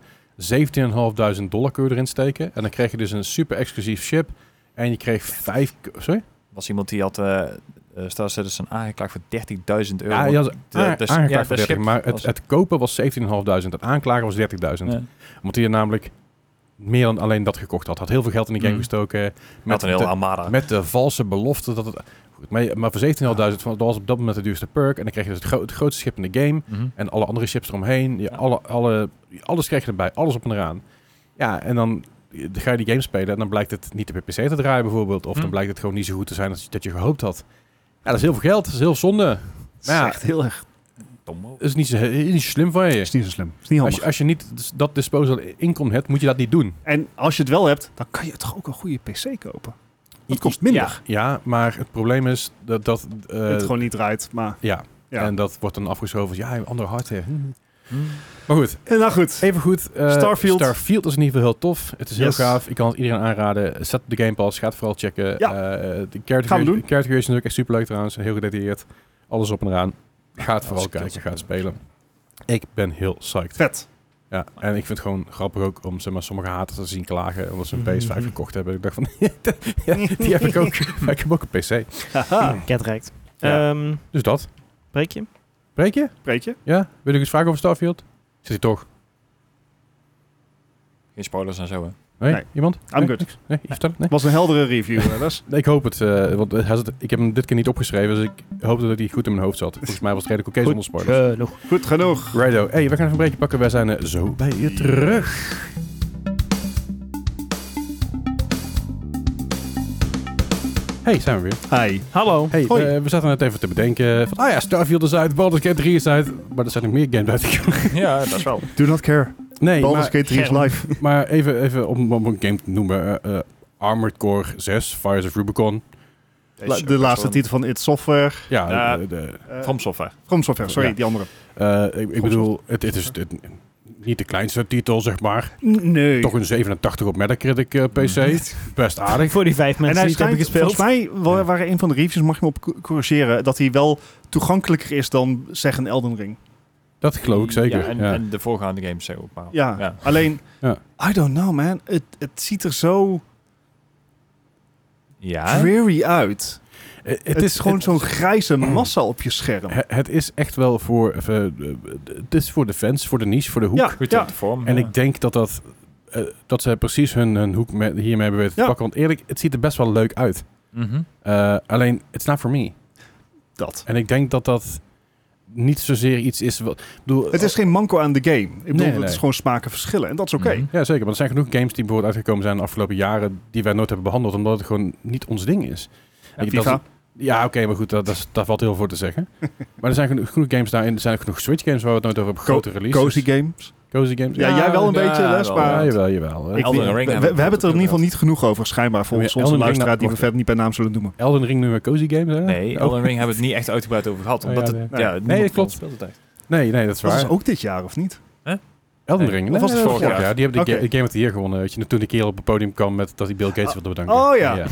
Speaker 1: 17.500 dollar kun je erin steken. En dan kreeg je dus een super exclusief ship. En je kreeg vijf... Sorry?
Speaker 4: was iemand die had eh eh, Star Citizen aangeklaagd voor 30.000 euro.
Speaker 1: Ja, je had
Speaker 4: de-
Speaker 1: aan-
Speaker 4: de-
Speaker 1: aangeklaagd
Speaker 4: ja, de
Speaker 1: voor 30,
Speaker 4: schip
Speaker 1: Maar het,
Speaker 4: was-
Speaker 1: het kopen was 17.500. Het aanklagen was 30.000.
Speaker 4: Ja.
Speaker 1: Omdat hij namelijk meer dan alleen dat gekocht had. Had heel veel geld in die game
Speaker 4: Mm.
Speaker 1: gestoken.
Speaker 4: Met een
Speaker 1: de-
Speaker 4: heel armada.
Speaker 1: Met de valse belofte dat het... Goed, maar, maar voor 17.500, van- dat was op dat moment de duurste perk. En dan kreeg je dus het, gro- het grootste schip in de game.
Speaker 4: Mhm.
Speaker 1: En alle andere chips eromheen. Je,
Speaker 4: Ja.
Speaker 1: alle, alle, alles krijg je erbij. Alles op en eraan. Ja, en dan eh, ga je die game spelen en dan blijkt het niet op je PC te draaien bijvoorbeeld. Of
Speaker 4: Hm.
Speaker 1: dan blijkt het gewoon niet zo goed te zijn als je- dat je gehoopt had. Ja, dat is heel veel geld. Dat is heel zonde.
Speaker 3: Het
Speaker 1: Maar ja,
Speaker 3: heel erg.
Speaker 4: Dommo.
Speaker 1: Dat is niet zo, heel- niet zo slim van je.
Speaker 3: is niet zo slim. is niet
Speaker 1: Als je, als je niet dus dat disposal income hebt, moet je dat niet doen.
Speaker 3: En als je het wel hebt, dan kan je toch ook een goede PC kopen. Dat kost minder.
Speaker 1: Ja, maar het probleem is dat dat... eh,
Speaker 3: het gewoon niet draait, maar...
Speaker 1: ja.
Speaker 3: Ja. Hm.
Speaker 1: en dat wordt dan afgeschoven als ja, een ander hardware.
Speaker 4: Mhm.
Speaker 1: Maar goed,
Speaker 3: Eh, Nou goed,
Speaker 1: Even goed. eh,
Speaker 3: Starfield.
Speaker 1: Starfield is in ieder geval heel tof. Het is heel
Speaker 3: Yes.
Speaker 1: gaaf. Ik kan het iedereen aanraden. Zet de Game Pass. Ga het vooral checken.
Speaker 3: Ja.
Speaker 1: Eh, de character,
Speaker 3: Gaan
Speaker 1: creation-
Speaker 3: we doen.
Speaker 1: character creation is ook echt super leuk trouwens. Heel gedetailleerd. Alles op en eraan. Ga het vooral
Speaker 4: Als ik
Speaker 1: kijken.
Speaker 4: dat-
Speaker 1: Ga het spelen. Ik ben heel psyched.
Speaker 3: vet.
Speaker 1: Ja, en ik vind het gewoon grappig ook om zeg maar, sommige haters te zien klagen omdat ze een
Speaker 3: Mm-hmm.
Speaker 2: Mhm.
Speaker 1: PS5 gekocht hebben. Ik dacht van, ja, die heb ik ook. Maar ik heb ook een PC.
Speaker 3: Haha.
Speaker 2: Get right.
Speaker 1: Ja.
Speaker 2: Ehm,
Speaker 1: Dus dat.
Speaker 2: breek je?
Speaker 1: Breek je?
Speaker 3: Preetje?
Speaker 1: Ja? Wil ik eens vragen over Starfield? Zit hij toch?
Speaker 4: Geen spoilers en zo, hè.
Speaker 1: Nee?
Speaker 3: Nee.
Speaker 1: Iemand?
Speaker 3: I'm
Speaker 1: nee?
Speaker 3: good.
Speaker 1: Niks? Nee? Je vertelt? Nee?
Speaker 3: was een heldere review, hè, Les?
Speaker 1: Ik hoop het, eh, want hij zat- ik heb hem dit keer niet opgeschreven, dus ik hoopte dat hij goed in mijn hoofd zat. Volgens mij was het redelijk oké zonder spoilers.
Speaker 2: Eh, nog.
Speaker 3: Goed genoeg.
Speaker 1: Righto, hey, we gaan even een breakje pakken, wij zijn eh, zo bij je terug. Hey, zijn we weer.
Speaker 3: Hi.
Speaker 2: Hallo.
Speaker 1: Hey,
Speaker 3: Hoi.
Speaker 1: eh, we zaten net even te bedenken van, ah ja, Starfield is uit, Baldur's Gate 3 is uit. Maar er zijn nog meer games uit.
Speaker 4: ja, dat is wel.
Speaker 3: Do not care.
Speaker 1: nee,
Speaker 3: Baldur's
Speaker 1: maar,
Speaker 3: Gate 3 is
Speaker 2: Germ.
Speaker 3: live.
Speaker 1: maar even, even om, om een game te noemen. eh, eh, Armored Core 6, Fires of Rubicon.
Speaker 3: La- de laatste titel van It Software.
Speaker 1: Ja,
Speaker 4: Ja.
Speaker 1: de- de-
Speaker 3: Eh,
Speaker 4: From Software.
Speaker 3: From Software, sorry,
Speaker 1: Ja.
Speaker 3: die andere.
Speaker 1: eh, ik, ik bedoel, het, het is het- niet de kleinste titel, zeg maar.
Speaker 3: Nee.
Speaker 1: Toch een 87 op Metacritic eh, PC.
Speaker 3: Mhm.
Speaker 1: Best aardig.
Speaker 2: Voor die vijf mensen
Speaker 3: en hij
Speaker 2: die het hebben
Speaker 3: schijnt, volgens
Speaker 2: gespeeld.
Speaker 3: mij wa-
Speaker 1: Ja.
Speaker 3: waren een van de reviews, mag je me op co- corrigeren, dat hij wel toegankelijker is dan zeg een Elden Ring.
Speaker 1: Oh. Dat geloof ik Mm, zeker.
Speaker 4: Ja, en,
Speaker 1: ja.
Speaker 4: en de voorgaande games zeg ook maar.
Speaker 3: Ja,
Speaker 4: Ja.
Speaker 3: alleen,
Speaker 1: Ja.
Speaker 3: I don't know man, het, het ziet er zo
Speaker 4: Ja.
Speaker 3: dreary uit.
Speaker 1: Eh,
Speaker 3: Het, is gewoon
Speaker 1: het-
Speaker 3: zo'n grijze massa op je scherm.
Speaker 1: He- Het is echt wel voor, eh, eh, het is voor de fans, voor de niche, voor de hoek.
Speaker 3: Ja,
Speaker 4: Goed
Speaker 3: ja.
Speaker 4: op de vorm.
Speaker 1: En
Speaker 4: ja.
Speaker 1: ik denk dat, dat, eh, dat ze precies hun, hun hoek met, hiermee hebben weten te
Speaker 3: Ja.
Speaker 1: pakken. Want eerlijk, het ziet er best wel leuk uit.
Speaker 4: Mhm.
Speaker 1: Eh, alleen, it's not for me.
Speaker 3: dat.
Speaker 1: En ik denk dat dat niet zozeer iets is... Wat, ik bedoel,
Speaker 3: Het is geen manco aan de game. Ik bedoel,
Speaker 1: Nee,
Speaker 3: het
Speaker 1: nee.
Speaker 3: is gewoon smaken verschillen en dat is oké.
Speaker 4: Mhm.
Speaker 1: Ja, zeker. Maar er zijn genoeg games die bijvoorbeeld uitgekomen zijn de afgelopen jaren... die wij nooit hebben behandeld, omdat het gewoon niet ons ding is.
Speaker 3: En
Speaker 1: Ik-
Speaker 3: FIFA,
Speaker 1: dat Ja, oké, maar goed, dat, dat, is- daar valt heel veel voor te zeggen. maar er zijn genoeg, genoeg games daarin. Er zijn ook genoeg Switch games waar we het nooit over hebben.
Speaker 3: Co-
Speaker 1: Grote releases.
Speaker 3: cozy games.
Speaker 1: Cozy games.
Speaker 3: Ja, jij wel een
Speaker 4: ja,
Speaker 3: beetje, Les,
Speaker 4: wel,
Speaker 1: Ja,
Speaker 3: maar...
Speaker 1: jawel, jawel.
Speaker 4: Ik- Elden Ring
Speaker 3: we, we,
Speaker 4: hebben we
Speaker 3: hebben het er in ieder geval
Speaker 4: inderdaad.
Speaker 3: niet genoeg over, schijnbaar, volgens
Speaker 1: Ja,
Speaker 3: onze
Speaker 1: Elden Ring, nou,
Speaker 3: luisteraar, die we
Speaker 1: wacht
Speaker 3: verder niet bij naam zullen noemen.
Speaker 1: Elden Ring noemen we cozy games, hè?
Speaker 4: Nee,
Speaker 1: Oh.
Speaker 4: Elden Ring hebben we het niet echt uitgebreid over gehad.
Speaker 1: Oh,
Speaker 4: Omdat
Speaker 1: ja,
Speaker 4: het,
Speaker 3: nee.
Speaker 4: ja,
Speaker 3: Nee,
Speaker 4: niemand
Speaker 1: klopt.
Speaker 4: speelt het echt.
Speaker 1: Nee, nee, dat is
Speaker 3: Dat
Speaker 1: waar.
Speaker 3: is ook dit jaar, of niet?
Speaker 1: Elden
Speaker 4: Nee.
Speaker 1: Ring.
Speaker 3: Of was het
Speaker 1: dat
Speaker 4: vorig jaar?
Speaker 1: Die hebben de,
Speaker 3: Oké.
Speaker 1: ga- de Game of the Year gewonnen. Weet je, toen de kerel op het podium kwam met dat hij Bill Gates wilde bedanken.
Speaker 3: oh ja.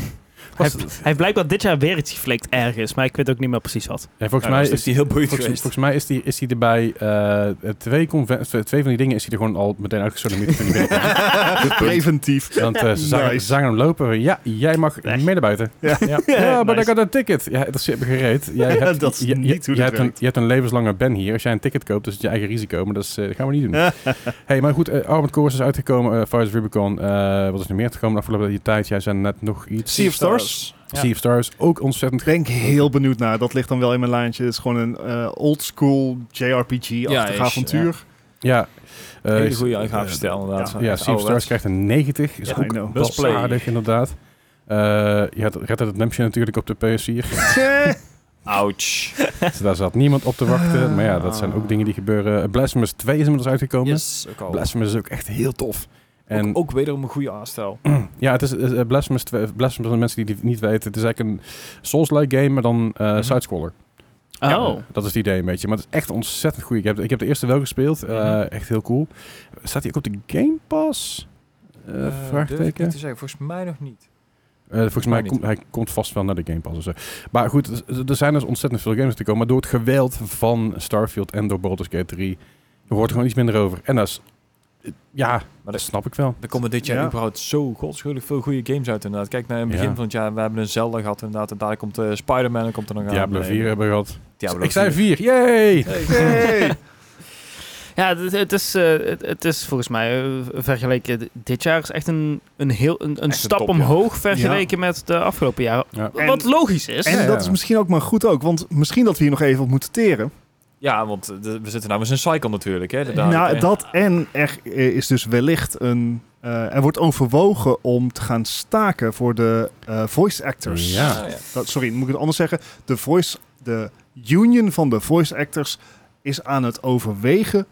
Speaker 2: Hij,
Speaker 1: Was-
Speaker 2: hij heeft blijkbaar dit jaar weer iets geflikt ergens, maar ik weet ook niet meer precies wat.
Speaker 1: Nee, volgens,
Speaker 4: Ja,
Speaker 1: mij
Speaker 4: dat is
Speaker 1: is,
Speaker 4: die heel boeiend
Speaker 1: volgens,
Speaker 4: geweest.
Speaker 1: volgens mij is hij is die erbij eh, twee, conven- twee van die dingen is hij er gewoon al meteen uitgesodemieterd toen hij binnenkwam.
Speaker 3: Preventief.
Speaker 1: Want eh, ze, zagen,
Speaker 3: Nice.
Speaker 1: ze zagen hem lopen. Ja, jij mag
Speaker 2: Weg.
Speaker 1: mee naar buiten.
Speaker 3: Ja.
Speaker 1: Ja, maar
Speaker 2: nice.
Speaker 1: ik had een ticket. Ja, dat zit me gereed. Jij
Speaker 3: Ja,
Speaker 1: hebt,
Speaker 3: dat is
Speaker 1: je- je-
Speaker 3: niet hoe
Speaker 1: je
Speaker 3: dit
Speaker 1: hebt een,
Speaker 3: werkt.
Speaker 1: je hebt een levenslange ban hier. Als jij een ticket koopt, is het je eigen risico. Maar dat, is, eh, dat gaan we niet doen. hey, maar goed, eh Armored Core is uitgekomen. eh Fires of Rubicon. eh, wat is er meer gekomen de afgelopen tijd? Jij zei net nog iets.
Speaker 3: Sea of Stars.
Speaker 4: Ja.
Speaker 1: Sea of Stars. Ook ontzettend
Speaker 3: Ik ben ik heel benieuwd naar. Dat ligt dan wel in mijn lijntje. Het is gewoon een eh old school
Speaker 4: Ja,
Speaker 3: JRPG-achtig
Speaker 4: is,
Speaker 3: avontuur.
Speaker 1: Ja. eh,
Speaker 4: Hele
Speaker 1: is-
Speaker 4: goede
Speaker 1: eh,
Speaker 4: uitgavestijl inderdaad.
Speaker 1: Ja, Sea of Stars krijgt een 90. Is
Speaker 3: Ja, I
Speaker 1: ook
Speaker 3: know.
Speaker 1: best
Speaker 4: Let's play.
Speaker 1: aardig, inderdaad. Eh je had Red Dead Redemption natuurlijk op de PS4.
Speaker 4: Ouch.
Speaker 1: Dus daar zat niemand op te wachten. Maar ja, dat zijn ook dingen die gebeuren. Eh, Blasphemous 2 is inmiddels uitgekomen.
Speaker 4: Yes, ook al.
Speaker 1: Blasphemous is ook echt heel tof. En
Speaker 4: En ook, ook wederom een goede aanstel.
Speaker 1: ja, het is eh, eh, Blasphemous 2. Blasphemous voor de mensen die het niet weten. Het is eigenlijk een Souls-like game, maar dan eh
Speaker 4: Mhm. Ah.
Speaker 1: side-scroller.
Speaker 2: Oh.
Speaker 1: Eh, dat is het idee een beetje. Maar het is echt ontzettend goed. Ik heb, ik heb de eerste wel gespeeld. Eh,
Speaker 4: Mhm.
Speaker 1: Echt heel cool. Staat hij ook op de Game Pass? Eh,
Speaker 4: Eh, durf ik
Speaker 1: vraagteken.
Speaker 4: niet te zeggen. Volgens mij nog niet.
Speaker 1: Eh, volgens mij
Speaker 4: niet.
Speaker 1: komt hij komt vast wel naar de Game Pass. of zo. Maar goed, er- er zijn dus ontzettend veel games te komen. Maar door het geweld van Starfield en door Baldur's Gate 3 er wordt er gewoon iets minder over. En dat is... eh, Ja,
Speaker 4: Maar
Speaker 1: dat
Speaker 4: dat-
Speaker 1: snap ik wel.
Speaker 4: Er komen dit jaar
Speaker 3: Ja.
Speaker 4: überhaupt zo godschuwelijk veel goede games uit inderdaad. Kijk naar het begin
Speaker 1: Ja.
Speaker 4: van het jaar. We hebben een Zelda gehad inderdaad. En daar komt eh, Spider-Man en komt er nog aan.
Speaker 1: Diablo
Speaker 4: Nee,
Speaker 1: 4 hebben we gehad.
Speaker 4: Diablo
Speaker 1: ik zei
Speaker 4: 4.
Speaker 1: 4, yay! Eh,
Speaker 3: Hey.
Speaker 2: Ja, het, het is, eh, het, het is volgens mij eh, vergeleken dit jaar is echt een, een, heel, een, een
Speaker 4: Echt een
Speaker 2: stap
Speaker 4: topjaar.
Speaker 2: omhoog vergeleken met de afgelopen jaren.
Speaker 1: Ja.
Speaker 2: Wat
Speaker 3: En-
Speaker 2: logisch is.
Speaker 3: En
Speaker 1: Ja,
Speaker 3: dat
Speaker 1: ja.
Speaker 3: is misschien ook maar goed ook. Want misschien dat we hier nog even op moeten teren.
Speaker 4: Ja, want eh, de- we zitten nou eens in een cycle natuurlijk. Hè, inderdaad.
Speaker 3: nou,
Speaker 4: Eh,
Speaker 3: dat en er eh, is dus wellicht een... eh, er wordt overwogen om te gaan staken voor de eh, voice actors.
Speaker 1: Ja.
Speaker 4: Ah, ja.
Speaker 3: Dat- sorry, moet ik het anders zeggen? De, voice, de union van de voice actors is aan het overwegen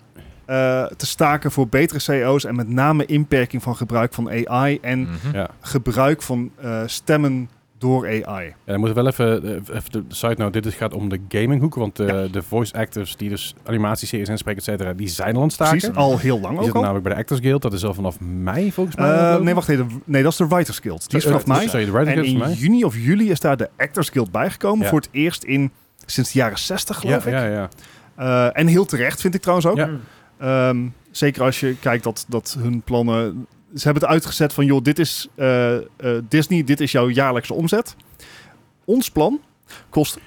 Speaker 3: eh, te staken voor betere CEO's en met name inperking van gebruik van AI en
Speaker 4: Mhm.
Speaker 1: Ja.
Speaker 3: gebruik van eh, stemmen door AI.
Speaker 1: Ja, dan moeten we wel even, eh, even de side note. Dit is- gaat om de gaminghoek. Want eh, de voice actors die dus animatieseries inspreken, et cetera, die zijn al aan het staken.
Speaker 3: Precies, al heel lang
Speaker 1: Die
Speaker 3: ook
Speaker 1: zitten
Speaker 3: al.
Speaker 1: namelijk bij de Actors Guild. Dat is al vanaf mei volgens mij.
Speaker 3: Eh,
Speaker 1: geloof ik.
Speaker 3: nee, wacht even. Nee, dat is de Writers Guild. Die is
Speaker 1: Eh,
Speaker 3: vanaf
Speaker 1: eh,
Speaker 3: mij.
Speaker 1: Sorry, nou- de Writers
Speaker 3: En
Speaker 1: Guild is van
Speaker 3: in
Speaker 1: mij.
Speaker 3: juni of juli is daar de Actors Guild bijgekomen.
Speaker 1: Ja.
Speaker 3: Voor het eerst in sinds de jaren 60, geloof
Speaker 1: ja,
Speaker 3: ik.
Speaker 1: ja, ja.
Speaker 3: Eh, en heel terecht, vind ik trouwens ook.
Speaker 1: Ja.
Speaker 3: Ehm, zeker als je kijkt dat, dat hun plannen. Ze hebben het uitgezet van: joh, dit is eh, eh, Disney, dit is jouw jaarlijkse omzet. Ons plan kost 0,01%.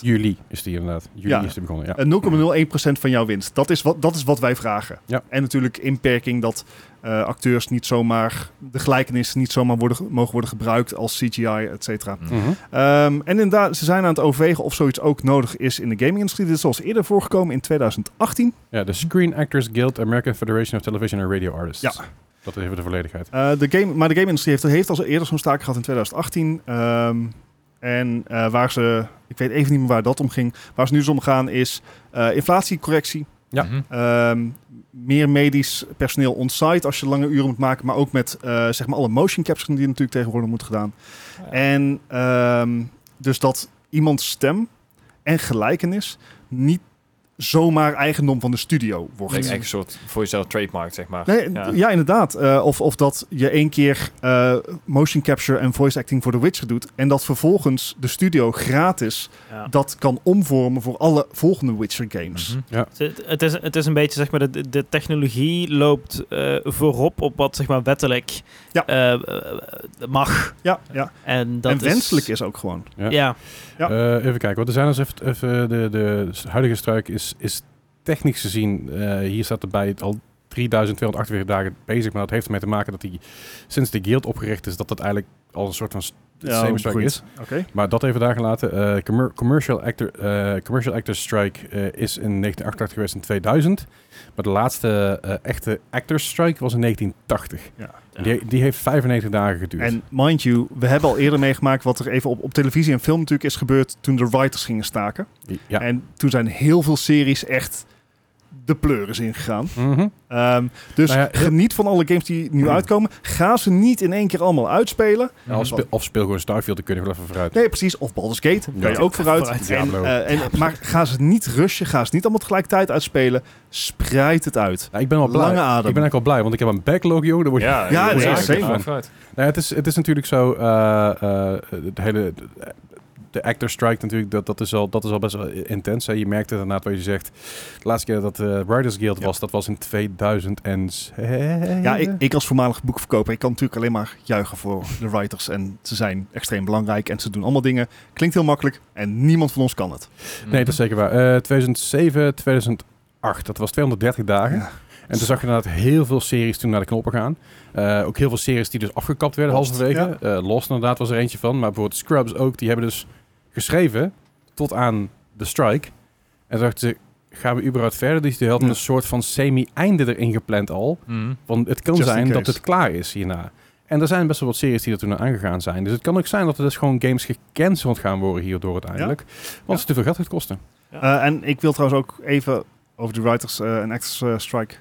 Speaker 1: Juli is die inderdaad. Juli
Speaker 3: Ja.
Speaker 1: is die begonnen, ja.
Speaker 3: Eh, 0,01% van jouw winst. Dat is wat, dat is wat wij vragen.
Speaker 1: Ja.
Speaker 3: En natuurlijk inperking dat eh, acteurs niet zomaar. de gelijkenissen niet zomaar worden, ge- mogen worden gebruikt als CGI, et cetera.
Speaker 1: Mhm.
Speaker 3: Ehm, en inderdaad, ze zijn aan het overwegen of zoiets ook nodig is in de gaming-industrie. Dit is zoals eerder voorgekomen in 2018.
Speaker 1: Ja, de Screen Actors Guild, American Federation of Television and Radio Artists.
Speaker 3: Ja.
Speaker 1: Dat is even de volledigheid.
Speaker 3: Eh, de game, maar de game-industrie heeft, heeft al zo- eerder zo'n staak gehad in 2018. ehm, en eh, waar ze, ik weet even niet meer waar dat om ging. Waar ze nu dus om gaan is eh, inflatiecorrectie.
Speaker 1: Ja.
Speaker 4: Mhm.
Speaker 3: ehm, meer medisch personeel on-site als je lange uren moet maken. Maar ook met eh, zeg maar alle motion capturing die natuurlijk tegenwoordig moet gedaan.
Speaker 4: Ja.
Speaker 3: En ehm, dus dat iemands stem en gelijkenis niet zomaar eigendom van de studio wordt.
Speaker 4: Een
Speaker 1: Mm-hmm.
Speaker 4: eigen soort voor jezelf trademark, zeg maar.
Speaker 3: Nee,
Speaker 4: Ja.
Speaker 3: ja, inderdaad. Eh, of, of dat je één keer eh, motion capture en voice acting voor The Witcher doet. En dat vervolgens de studio gratis
Speaker 2: Ja.
Speaker 3: dat kan omvormen voor alle volgende Witcher games.
Speaker 4: Mhm.
Speaker 2: Het, het is, het is een beetje, zeg maar, de, de technologie loopt eh, voorop op wat, zeg maar, wettelijk
Speaker 3: Ja.
Speaker 2: eh, eh, mag.
Speaker 3: Ja, ja.
Speaker 2: En, dat
Speaker 3: en wenselijk
Speaker 2: is.
Speaker 3: is ook gewoon.
Speaker 1: Ja.
Speaker 2: Ja,
Speaker 3: Ja.
Speaker 1: Eh, even kijken, want er zijn als even, even de, de huidige struik is, is technisch gezien, eh, hier staat erbij al 3248 dagen bezig, maar dat heeft ermee te maken dat die sinds de guild opgericht is, dat dat eigenlijk al een soort van st- systeemstruik
Speaker 3: goed.
Speaker 1: is.
Speaker 3: Oké.
Speaker 1: Maar dat even daar gelaten. Eh, commer- commercial, actor, eh, commercial Actors Strike eh, is in 1988 geweest in 2000. Maar de laatste eh, echte Actors Strike was in 1980.
Speaker 3: Ja.
Speaker 1: Die, die heeft 95 dagen geduurd.
Speaker 3: En mind you, we hebben al eerder meegemaakt wat er even op, op televisie en film natuurlijk is gebeurd toen de writers gingen staken.
Speaker 1: ja.
Speaker 3: En toen zijn heel veel series echt de pleuris ingegaan.
Speaker 1: Mhm.
Speaker 3: Ehm, dus
Speaker 1: Nou ja, heel-
Speaker 3: geniet van alle games die nu
Speaker 1: Mm.
Speaker 3: uitkomen. Ga ze niet in één keer allemaal uitspelen.
Speaker 1: Ja, of, speel, of speel gewoon Starfield, dan kun je wel even vooruit.
Speaker 3: Nee, precies. Of Baldur's Gate.
Speaker 1: Ja.
Speaker 3: Kan je ook vooruit.
Speaker 2: Vooruit.
Speaker 3: En,
Speaker 1: Diablo.
Speaker 3: eh, en, maar ga ze niet rushen. Ga ze niet allemaal tegelijkertijd uitspelen. Spreid het uit.
Speaker 1: Nou, ik ben al blij.
Speaker 3: Lange adem.
Speaker 1: Ik ben eigenlijk al blij, want ik heb een backlog, joh. Daar word je-
Speaker 4: Ja,
Speaker 3: Ja,
Speaker 4: je
Speaker 1: nee,
Speaker 4: moet
Speaker 1: zeker.
Speaker 4: eigenlijk vooruit.
Speaker 1: Nou, het, is, het is natuurlijk zo, eh, eh, het hele, de actor strike natuurlijk, dat, dat, is al, dat is al best wel intens. Hè. Je merkt het inderdaad wat je zegt. De laatste keer dat de Riders Guild
Speaker 3: Ja.
Speaker 1: was, dat was in 2007.
Speaker 3: Ja, ik, ik als voormalig boekverkoper, ik kan natuurlijk alleen maar juichen voor de writers. En ze zijn extreem belangrijk en ze doen allemaal dingen. Klinkt heel makkelijk en niemand van ons kan het.
Speaker 4: Mhm.
Speaker 1: Nee, dat is zeker waar. Eh, 2007, 2008, dat was 230 dagen.
Speaker 3: Ja.
Speaker 1: En toen zag je inderdaad heel veel series toen naar de knoppen gaan. Eh, ook heel veel series die dus afgekapt werden
Speaker 3: Lost,
Speaker 1: halverwege. Eh Lost inderdaad was er eentje van. Maar bijvoorbeeld Scrubs ook, die hebben dus geschreven tot aan de strike. En toen dachten ze, gaan we überhaupt verder? Dus die hadden
Speaker 3: Ja.
Speaker 1: een soort van semi-einde erin gepland al.
Speaker 4: Mhm.
Speaker 1: Want het kan
Speaker 3: Just in
Speaker 1: zijn dat
Speaker 3: case.
Speaker 1: het klaar is hierna. En er zijn best wel wat series die er toen aan aangegaan zijn. Dus het kan ook zijn dat er dus gewoon games gecanceld gaan worden hierdoor uiteindelijk. Want het te veel geld gaat kosten.
Speaker 3: Eh, en ik wil trouwens ook even over de writers eh, en actors eh, strike.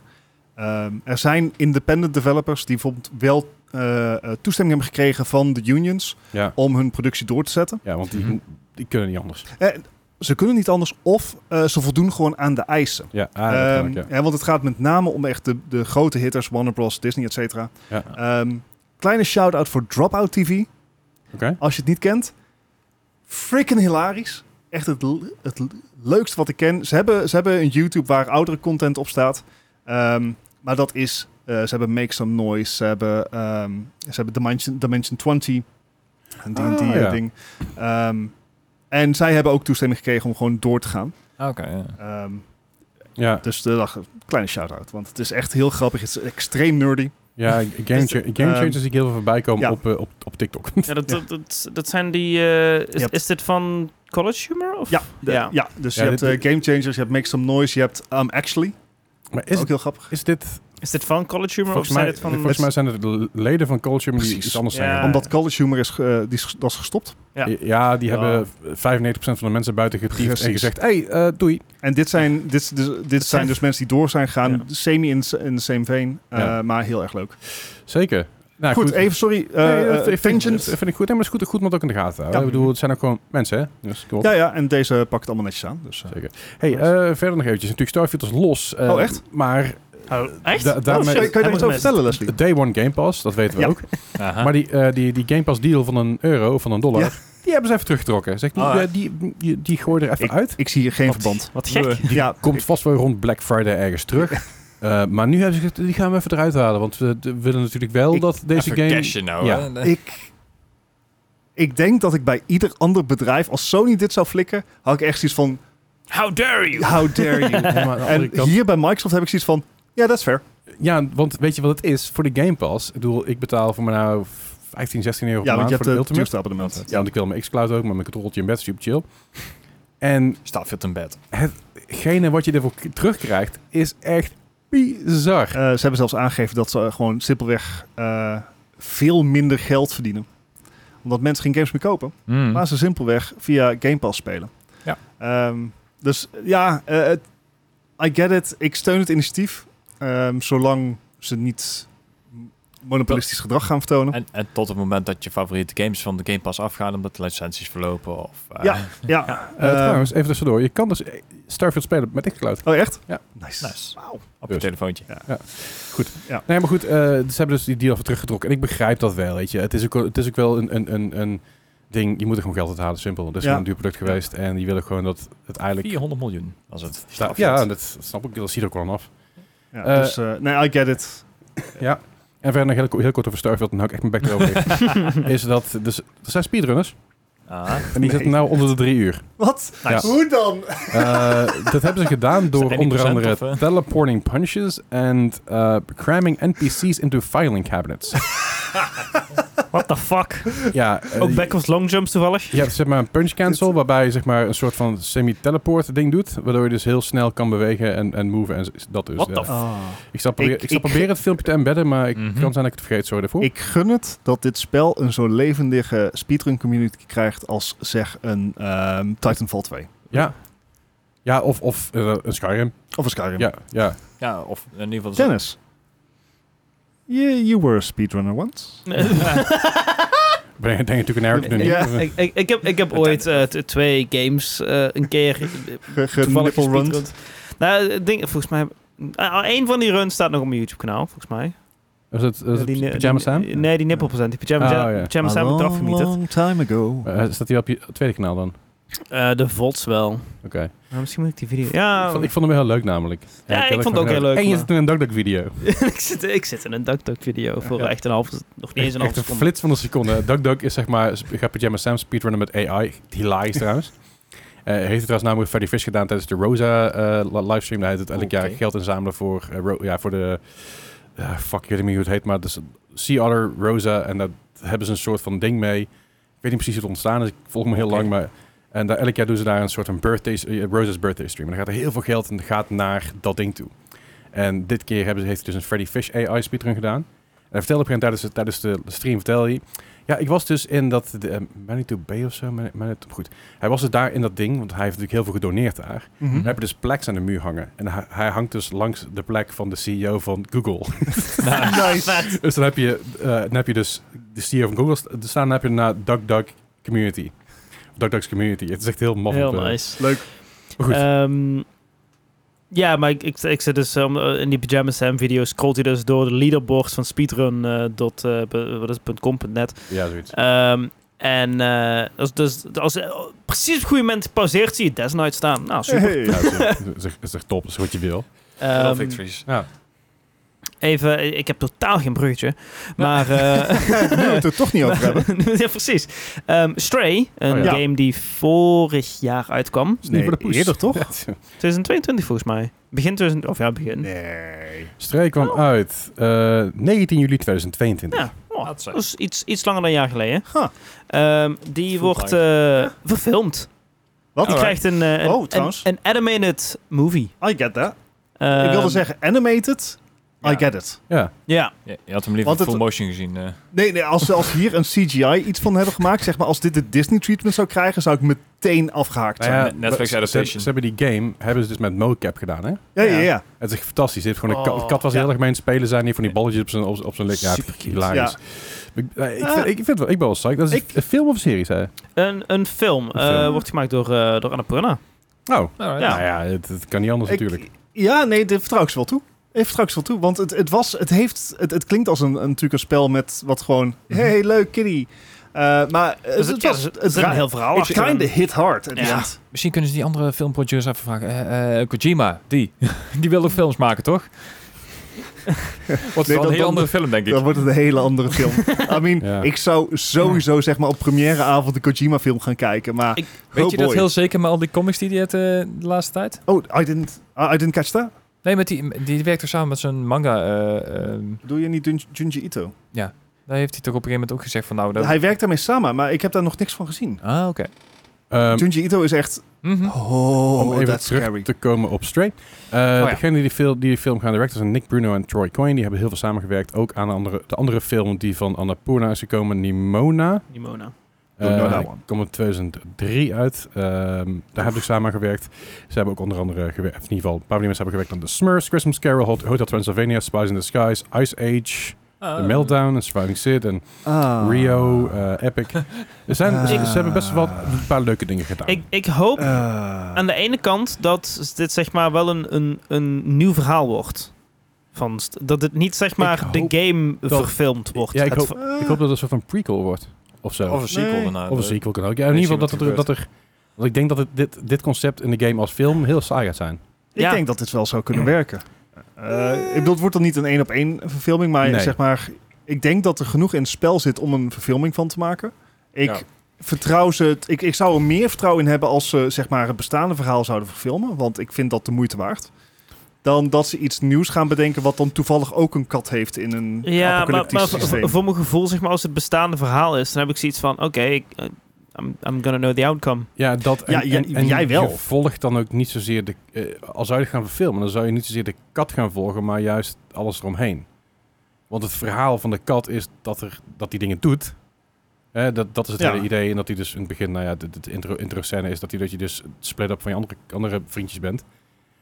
Speaker 3: Ehm, er zijn independent developers die bijvoorbeeld wel eh, eh, toestemming hebben gekregen van de unions
Speaker 1: Ja.
Speaker 3: om hun productie door te zetten.
Speaker 1: Ja, want
Speaker 4: Mhm.
Speaker 1: die, die kunnen niet anders.
Speaker 3: Ze kunnen niet anders of eh, ze voldoen gewoon aan de eisen.
Speaker 1: Ja, ah, dat kan
Speaker 3: Ehm,
Speaker 1: ook, ja.
Speaker 3: hè, want het gaat met name om echt de, de grote hitters, Warner Bros, Disney, et cetera.
Speaker 1: Ja.
Speaker 3: Ehm, kleine shout-out voor Dropout TV,
Speaker 1: Oké.
Speaker 3: als je het niet kent. Freaking hilarisch. Echt het, l- het l- leukste wat ik ken. Ze hebben, ze hebben een YouTube waar oudere content op staat. Ehm, maar dat is, eh, ze hebben Make Some Noise, ze hebben, ehm, ze hebben Dimension, Dimension 20, een D&D
Speaker 1: Ah, ja.
Speaker 3: ding. Ehm, en zij hebben ook toestemming gekregen om gewoon door te gaan.
Speaker 4: Ah, Oké, ja.
Speaker 3: Ehm,
Speaker 1: Ja,
Speaker 3: dus de dag, kleine shout-out. Want het is echt heel grappig. Het is extreem nerdy.
Speaker 1: ja game, cha- game changers die ik heel veel voorbij komen
Speaker 3: ehm, ja.
Speaker 1: op, eh, op, op TikTok.
Speaker 2: Ja, dat, dat, dat, dat zijn die... eh, is,
Speaker 3: Yep.
Speaker 2: is dit van College Humor? Of?
Speaker 3: Ja, de- ja.
Speaker 2: Ja.
Speaker 3: dus
Speaker 1: Ja,
Speaker 3: je hebt
Speaker 1: dit-
Speaker 3: eh, Game Changers, je hebt Make Some Noise, je hebt um, Actually.
Speaker 1: Maar
Speaker 3: Is
Speaker 1: is,
Speaker 3: ook heel grappig.
Speaker 1: is dit...
Speaker 2: Is dit van College Humor?
Speaker 1: Volgens
Speaker 2: of zijn
Speaker 1: mij,
Speaker 2: dit van...
Speaker 1: volgens mij zijn het de leden van Culture die
Speaker 3: Precies.
Speaker 1: iets anders
Speaker 2: Ja.
Speaker 1: zijn.
Speaker 3: Omdat College Humor is, eh, die is, dat is gestopt.
Speaker 1: Ja,
Speaker 2: Ja.
Speaker 1: die
Speaker 2: Ja.
Speaker 1: hebben 95% van de mensen buiten getiefd
Speaker 3: Precies.
Speaker 1: en gezegd... hey, eh, doei.
Speaker 3: En dit zijn, dit, dus- dit, zijn
Speaker 2: zijn-
Speaker 3: dus mensen die door zijn gegaan.
Speaker 2: Ja.
Speaker 3: Semi in, in de same vein, eh,
Speaker 1: Ja.
Speaker 3: maar heel erg leuk.
Speaker 1: Zeker. Nou,
Speaker 3: goed, even sorry. eh
Speaker 1: Nee, dat
Speaker 3: eh,
Speaker 1: vind ik-
Speaker 3: Tangent.
Speaker 1: dat vind ik goed. Nee, maar het is goed, goed om het ook in de gaten te houden.
Speaker 3: Ja.
Speaker 1: Ik bedoel, het zijn ook gewoon mensen, hè? Dus kom op.
Speaker 3: Ja, ja, en deze pakt het allemaal netjes aan. Dus, eh.
Speaker 1: Zeker. Hey, eh, verder nog eventjes. Natuurlijk, Starfield is los. eh,
Speaker 3: Oh, echt?
Speaker 1: Maar
Speaker 2: Oh, echt?
Speaker 1: da-
Speaker 3: Oh,
Speaker 1: daarmee...
Speaker 3: sorry, kan je daar iets
Speaker 2: Helemaal
Speaker 3: over vertellen, Leslie?
Speaker 1: Day One Game Pass, dat weten we
Speaker 3: Ja.
Speaker 1: ook.
Speaker 4: Aha.
Speaker 1: Maar die, eh, die, die Game Pass deal van een euro of van een dollar,
Speaker 3: Ja.
Speaker 1: die hebben ze even teruggetrokken. Zeg, die,
Speaker 4: Ah, ja.
Speaker 1: eh, die, die, die gooi er even uit.
Speaker 3: Ik zie hier geen
Speaker 2: Wat-
Speaker 3: verband.
Speaker 2: Wat gek.
Speaker 3: Ja,
Speaker 1: Komt vast wel rond Black Friday ergens terug. Eh, maar nu hebben ze gezegd, die gaan we even eruit halen. Want we d- willen natuurlijk wel
Speaker 3: Ik-
Speaker 1: dat deze
Speaker 4: Even
Speaker 1: game...
Speaker 4: cashen nou.
Speaker 1: Ja.
Speaker 4: hè. Nee.
Speaker 3: ik, ik denk dat ik bij ieder ander bedrijf, als Sony dit zou flikken, had ik echt zoiets van,
Speaker 2: How dare you?
Speaker 3: how dare
Speaker 1: Ja,
Speaker 3: you?
Speaker 1: maar aan de andere
Speaker 3: en
Speaker 1: kant-
Speaker 3: hier bij Microsoft heb ik zoiets van, ja, dat is fair.
Speaker 1: ja, want weet je wat het is? Voor de Game Pass, ik bedoel, ik betaal voor mijn nou 15, 16 euro
Speaker 3: Ja,
Speaker 1: per
Speaker 3: want je
Speaker 1: maand
Speaker 3: hebt eh,
Speaker 1: voor de
Speaker 3: het
Speaker 1: Ultimate.
Speaker 3: duurste abonnement.
Speaker 1: Ja, want ik wil mijn xCloud ook, maar mijn controltje in bed, super chill. En
Speaker 4: Staat veel in bed.
Speaker 1: hetgene wat je ervoor k- terugkrijgt is echt Bizar.
Speaker 3: Eh, ze hebben zelfs aangegeven dat ze eh, gewoon simpelweg eh, veel minder geld verdienen. Omdat mensen geen games meer kopen.
Speaker 4: Mm.
Speaker 3: Maar ze simpelweg via Game Pass spelen.
Speaker 4: Ja.
Speaker 3: Ehm, dus ja, eh, het- I get it. Ik steun het initiatief. Ehm, zolang ze niet monopolistisch gedrag gaan vertonen.
Speaker 4: En, en tot het moment dat je favoriete games van de Game Pass afgaan omdat de licenties verlopen of... eh,
Speaker 3: Ja. Ja.
Speaker 1: Eh,
Speaker 3: eh,
Speaker 1: trouwens, even tussendoor. Je kan dus eh, Starfield spelen met xCloud.
Speaker 3: oh, echt?
Speaker 1: Ja.
Speaker 3: Nice.
Speaker 4: Nice.
Speaker 3: Wauw.
Speaker 4: Op je
Speaker 1: Dus.
Speaker 4: telefoontje.
Speaker 1: Nee, maar goed, eh, ze hebben dus die deal even teruggetrokken. En ik begrijp dat wel, weet je. Het is ook, het is ook wel een, een, een, een ding, je moet er gewoon geld uit halen, simpel. Dat is
Speaker 3: Ja.
Speaker 1: gewoon een duur product geweest. En die willen gewoon dat het eigenlijk...
Speaker 4: 400 miljoen was het.
Speaker 1: Sta- ja, dat snap ik. Dat ziet er ook wel aan af.
Speaker 3: Ja,
Speaker 1: Eh,
Speaker 3: dus eh, nee, I get it.
Speaker 1: En verder nog heel, ko- heel kort over Starfield, en dan hou ik echt mijn bek erover. in, is dat, dus, er zijn speedrunners.
Speaker 4: Ah,
Speaker 1: En die zitten nou onder de drie uur.
Speaker 3: Wat?
Speaker 1: Ja.
Speaker 3: Hoe dan?
Speaker 1: Eh, dat hebben ze gedaan door
Speaker 4: Zijn
Speaker 1: onder
Speaker 4: 1%
Speaker 1: andere
Speaker 4: of, eh?
Speaker 1: teleporting punches en eh, cramming NPC's into filing cabinets.
Speaker 2: What the fuck?
Speaker 1: ja, eh,
Speaker 2: Ook backwards long jumps toevallig.
Speaker 1: Je hebt zeg maar een punch cancel, waarbij je zeg maar een soort van semi-teleport ding doet. Waardoor je dus heel snel kan bewegen en, en moven en z- dat dus.
Speaker 4: What the
Speaker 1: ja. Ik zal, proberen,
Speaker 3: Ik-
Speaker 1: ik, zal
Speaker 3: ik-
Speaker 1: proberen het filmpje te embedden, maar ik
Speaker 4: Mhm.
Speaker 1: kan zijn dat ik het vergeet. Sorry daarvoor.
Speaker 3: Ik gun het dat dit spel een zo levendige speedrun community krijgt als zeg een ehm, Titanfall 2.
Speaker 1: Ja. Ja, of, of eh, een Skyrim.
Speaker 3: Of een Skyrim.
Speaker 1: Ja, ja.
Speaker 4: ja, of in ieder geval...
Speaker 3: Dennis. You, you were a speedrunner once.
Speaker 1: Ik ben- denk natuurlijk een nerd nu.
Speaker 3: Ja.
Speaker 2: ik, ik, ik, heb, ik heb ooit eh, t- twee games eh, een keer eh,
Speaker 3: Ge- ge-
Speaker 2: toevallig
Speaker 3: nipple runs.
Speaker 2: gespeedrund. Nou, het ding, volgens mij... Eén van die runs staat nog op mijn YouTube-kanaal, volgens mij.
Speaker 1: Is het, is het
Speaker 2: Die ni-
Speaker 1: Pyjama
Speaker 2: die-
Speaker 1: Sam?
Speaker 2: Nee, die nippelpresent. Die Pyjama,
Speaker 1: Oh,
Speaker 2: Sam-
Speaker 1: ja.
Speaker 2: Pyjama Sam
Speaker 3: A
Speaker 2: heb ik eraf
Speaker 3: long,
Speaker 2: gemieterd.
Speaker 3: long time ago.
Speaker 1: Eh, staat die op je tweede kanaal dan?
Speaker 2: Eh, de VODs wel.
Speaker 1: Oké.
Speaker 2: Maar misschien moet ik die video... Ja,
Speaker 1: Ik, vond, ik vond hem heel leuk namelijk.
Speaker 2: Oh. Ja, ik
Speaker 1: heb
Speaker 2: vond het
Speaker 1: van
Speaker 2: ook heel
Speaker 1: genoten.
Speaker 2: leuk,
Speaker 1: En je
Speaker 2: maar-
Speaker 1: zit in een duck video.
Speaker 2: ik, zit, ik zit in een DuckDuck-video voor
Speaker 1: Ja.
Speaker 2: echt een half... Nog niet
Speaker 1: Echt
Speaker 2: eens een half
Speaker 1: een
Speaker 2: seconde.
Speaker 1: flits van een seconde. DuckDuck is zeg maar, sp- gaat Pyjama Sam speedrunnen met AI. Hilarisch trouwens. Eh, heeft het trouwens namelijk Freddy Fish gedaan tijdens de Rosa eh, li- livestream. Daar heeft het elk jaar
Speaker 4: Oké.
Speaker 1: geld inzamelen voor, eh, Ro- ja, voor de... ja, fuck, ik weet niet meer hoe het heet, maar het is een Sea Otter Rosa. En daar hebben ze een soort van ding mee. Ik weet niet precies hoe het ontstaan is. Ik volg me heel
Speaker 4: Oké.
Speaker 1: lang, maar... En daar, elk jaar doen ze daar een soort van birthday, eh, Rosa's birthday stream. En dan gaat er heel veel geld en gaat naar dat ding toe. En dit keer hebben ze, heeft hij dus een Freddy Fish AI speedrun gedaan. En hij vertelde op een gegeven moment tijdens, tijdens de stream, vertelde hij... Ja, ik was dus in dat... De, eh, Manitou Bay of zo? Man- Manitou, goed. Hij was dus daar in dat ding, want hij heeft natuurlijk heel veel gedoneerd daar.
Speaker 3: Mhm.
Speaker 1: We hebben dus plaques aan de muur hangen. En hij, hij hangt dus langs de plek van de CEO van Google.
Speaker 2: Nice.
Speaker 1: dus dan heb, je, eh, dan heb je dus de CEO van Google st- staan. Dan heb je daarna DuckDuck Community. DuckDuck's Community. Het is echt heel maf.
Speaker 2: Heel
Speaker 1: op, eh,
Speaker 2: nice.
Speaker 3: Leuk.
Speaker 1: Maar goed.
Speaker 2: Ehm, ja, maar ik, ik, ik zit dus um, eh, in die Pyjama Sam video scrolt hij dus door de leaderboards van eh, speedrun.com.net.
Speaker 1: ja, zoiets.
Speaker 2: Ehm en eh, als, dus, als eh, precies op het goede moment pauzeert, zie je Death Knight staan. Nou, super.
Speaker 3: Hey.
Speaker 1: Ja, dat is- dat is echt- dat is echt top. Dat is wat je wil.
Speaker 4: Veel
Speaker 2: Ehm,
Speaker 4: victories.
Speaker 1: Ja.
Speaker 2: even, eh, ik heb totaal geen bruggetje. Maar... eh,
Speaker 3: Nu we het er toch niet over hebben.
Speaker 2: ja, precies. Ehm, Stray, een
Speaker 1: Oh
Speaker 3: ja.
Speaker 2: game die vorig jaar uitkwam.
Speaker 1: Is niet voor de poes.
Speaker 3: eerder toch?
Speaker 2: 2022 volgens mij. Begin 2000, of ja, begin.
Speaker 3: Nee.
Speaker 1: Streek kwam uit eh, 19 juli 2022.
Speaker 2: Ja, oh,
Speaker 4: Laat zijn.
Speaker 2: dat is iets, iets langer dan een jaar geleden.
Speaker 3: Huh.
Speaker 2: Ehm, die
Speaker 4: Voelt
Speaker 2: wordt eh, verfilmd.
Speaker 3: Wat?
Speaker 2: Die krijgt een, eh, een,
Speaker 3: Oh,
Speaker 2: een-
Speaker 3: trouwens.
Speaker 2: een animated movie.
Speaker 3: I get that.
Speaker 2: Ehm,
Speaker 3: ik wilde zeggen animated. I
Speaker 4: Ja.
Speaker 3: get it.
Speaker 1: Ja.
Speaker 2: Ja,
Speaker 4: Je, je had hem liever
Speaker 3: Want het-
Speaker 4: full motion gezien. eh.
Speaker 3: Nee, nee als, als hier een CGI iets van hebben gemaakt, zeg maar als dit de Disney treatment zou krijgen, zou ik meteen afgehaakt zijn.
Speaker 4: ja,
Speaker 1: Nou
Speaker 4: Netflix
Speaker 1: ze-
Speaker 4: adaptation.
Speaker 1: Ze, ze hebben die game, hebben ze dus met mocap gedaan, hè?
Speaker 3: Ja, ja, ja.
Speaker 1: Het is echt fantastisch. Dit gewoon een ka-
Speaker 2: Oh,
Speaker 1: kat was
Speaker 2: ja.
Speaker 1: heel erg mee aan het spelen zijn. Hier van die balletjes op zijn, op, op zijn lichaam. Ja,
Speaker 2: Super cute.
Speaker 1: hilarisch.
Speaker 3: Ja.
Speaker 1: Ik, eh, ik,
Speaker 3: Ah.
Speaker 1: vind, ik, vind wel, ik ben wel psyched. Dat is
Speaker 3: Ik-
Speaker 1: een film of een serie, zei je?
Speaker 2: een, een film.
Speaker 1: Een
Speaker 2: eh,
Speaker 1: film.
Speaker 2: wordt gemaakt door, eh door Annapurna.
Speaker 1: Oh,
Speaker 4: Alright.
Speaker 2: Ja.
Speaker 1: nou ja, het, het kan niet anders
Speaker 3: Ik-
Speaker 1: natuurlijk.
Speaker 3: Ja, nee, dit vertrouw ik ze wel toe. Ik vertrouw ik ze wel toe, want het, het, was, het, heeft, het, het klinkt als een, een, natuurlijk een spel met wat gewoon... hey, leuk, kiddie. Eh, maar eh,
Speaker 2: Dus
Speaker 3: het,
Speaker 2: ja,
Speaker 3: was...
Speaker 2: er zit- er
Speaker 3: Het
Speaker 2: zit een
Speaker 3: raar-
Speaker 2: heel verhaal
Speaker 3: It
Speaker 2: achter.
Speaker 3: kinda hit hard. at the
Speaker 2: Ja.
Speaker 3: end.
Speaker 4: Misschien kunnen ze die andere filmproducer even vragen. Eh, eh, Kojima, die. die wil ook films maken, toch? Wat
Speaker 3: Nee,
Speaker 4: wel
Speaker 3: dan-
Speaker 4: een heel
Speaker 3: dan-
Speaker 4: andere film, denk ik.
Speaker 3: Dan wordt het een hele andere film. I mean,
Speaker 1: Ja.
Speaker 3: ik zou sowieso zeg maar op premièreavond de Kojima-film gaan kijken, maar...
Speaker 2: Ik-
Speaker 4: Weet
Speaker 3: oh
Speaker 4: je dat
Speaker 3: boy.
Speaker 4: heel zeker met al die comics die hij had eh, de laatste tijd?
Speaker 3: Oh, I didn't, I didn't catch that.
Speaker 4: Nee, met die, die werkt toch samen met zijn manga. eh, ehm,
Speaker 3: Doe je niet Jun- Junji Ito?
Speaker 4: daar heeft hij toch op een gegeven moment ook gezegd van nou... Dat...
Speaker 3: Hij werkt daarmee samen, maar ik heb daar nog niks van gezien.
Speaker 4: Ah, oké.
Speaker 1: Ehm,
Speaker 3: Junji Ito is echt
Speaker 2: Hmm?
Speaker 4: Mhm.
Speaker 3: Oh,
Speaker 1: Om even
Speaker 3: that's
Speaker 1: terug
Speaker 3: scary.
Speaker 1: te komen op Stray. Eh
Speaker 4: Oh ja.
Speaker 1: Degene die die, fil- die die film gaan directen zijn Nick Bruno en Troy Coyne. Die hebben heel veel samengewerkt. Ook aan de andere, de andere film die van Annapurna is gekomen, Nimona.
Speaker 2: Nimona.
Speaker 3: Don't know
Speaker 1: Eh,
Speaker 3: that
Speaker 1: die
Speaker 3: one.
Speaker 1: Komt in 2003 uit. Ehm, daar hebben ze samen gewerkt. Ze hebben ook onder andere gewerkt, in ieder geval een paar van die mensen hebben gewerkt aan The Smurfs, Christmas Carol, Hot- Hotel Transylvania, Spies in the Skies, Ice Age,
Speaker 4: Ah, Oh.
Speaker 1: The Meltdown, en Surviving Sid en
Speaker 3: Ah.
Speaker 1: Rio, eh, Epic. Er zijn,
Speaker 3: Ah.
Speaker 1: ze, ze hebben best wel wat- een paar leuke dingen gedaan.
Speaker 2: Ik, ik hoop
Speaker 3: Eh,
Speaker 2: aan de ene kant dat dit zeg maar wel een, een, een nieuw verhaal wordt. Van, st- dat het niet zeg maar de
Speaker 1: hoop
Speaker 2: game
Speaker 1: dat-
Speaker 2: verfilmd wordt.
Speaker 1: ja, ik
Speaker 2: Het
Speaker 1: hoop-
Speaker 2: ver-
Speaker 1: Ik hoop dat het een soort van prequel wordt. Of zo.
Speaker 4: eh, Of een sequel
Speaker 3: Ah, Nee.
Speaker 4: daarna.
Speaker 1: Of een sequel kan ook. Ja, in ieder geval
Speaker 4: Weet je
Speaker 1: dat,
Speaker 4: wat
Speaker 1: er,
Speaker 4: er
Speaker 1: dat er... Want ik denk dat het, dit, dit concept in de game als film heel saai gaat zijn.
Speaker 3: Ik
Speaker 2: Ja.
Speaker 3: denk dat dit wel zou kunnen werken. Eh, ik bedoel, het wordt dan niet een één op één verfilming, maar
Speaker 1: Nee.
Speaker 3: zeg maar, ik denk dat er genoeg in het spel zit om een verfilming van te maken. Ik
Speaker 4: Ja.
Speaker 3: vertrouw ze, het- ik, ik zou er meer vertrouwen in hebben als ze zeg maar het bestaande verhaal zouden verfilmen, want ik vind dat de moeite waard. Dan dat ze iets nieuws gaan bedenken wat dan toevallig ook een kat heeft in een
Speaker 2: Ja, maar,
Speaker 3: apocalyptisch
Speaker 2: maar voor,
Speaker 3: systeem.
Speaker 2: voor mijn gevoel, zeg maar, als het bestaande verhaal is, dan heb ik zoiets van: oké, ik, eh, I'm, I'm gonna know the outcome.
Speaker 1: Ja, dat en,
Speaker 3: Ja, ja,
Speaker 1: en- en
Speaker 3: jij wel.
Speaker 1: Je volgt dan ook niet zozeer de... eh, als zou je het gaan verfilmen, dan zou je niet zozeer de kat gaan volgen, maar juist alles eromheen. Want het verhaal van de kat is dat, er, dat die dingen doet. Hè, dat, dat is het
Speaker 3: Ja.
Speaker 1: hele idee. En dat hij dus in het begin, nou ja, de, de intro, intro scène is dat, hij dat je dus split-up van je andere, andere vriendjes bent.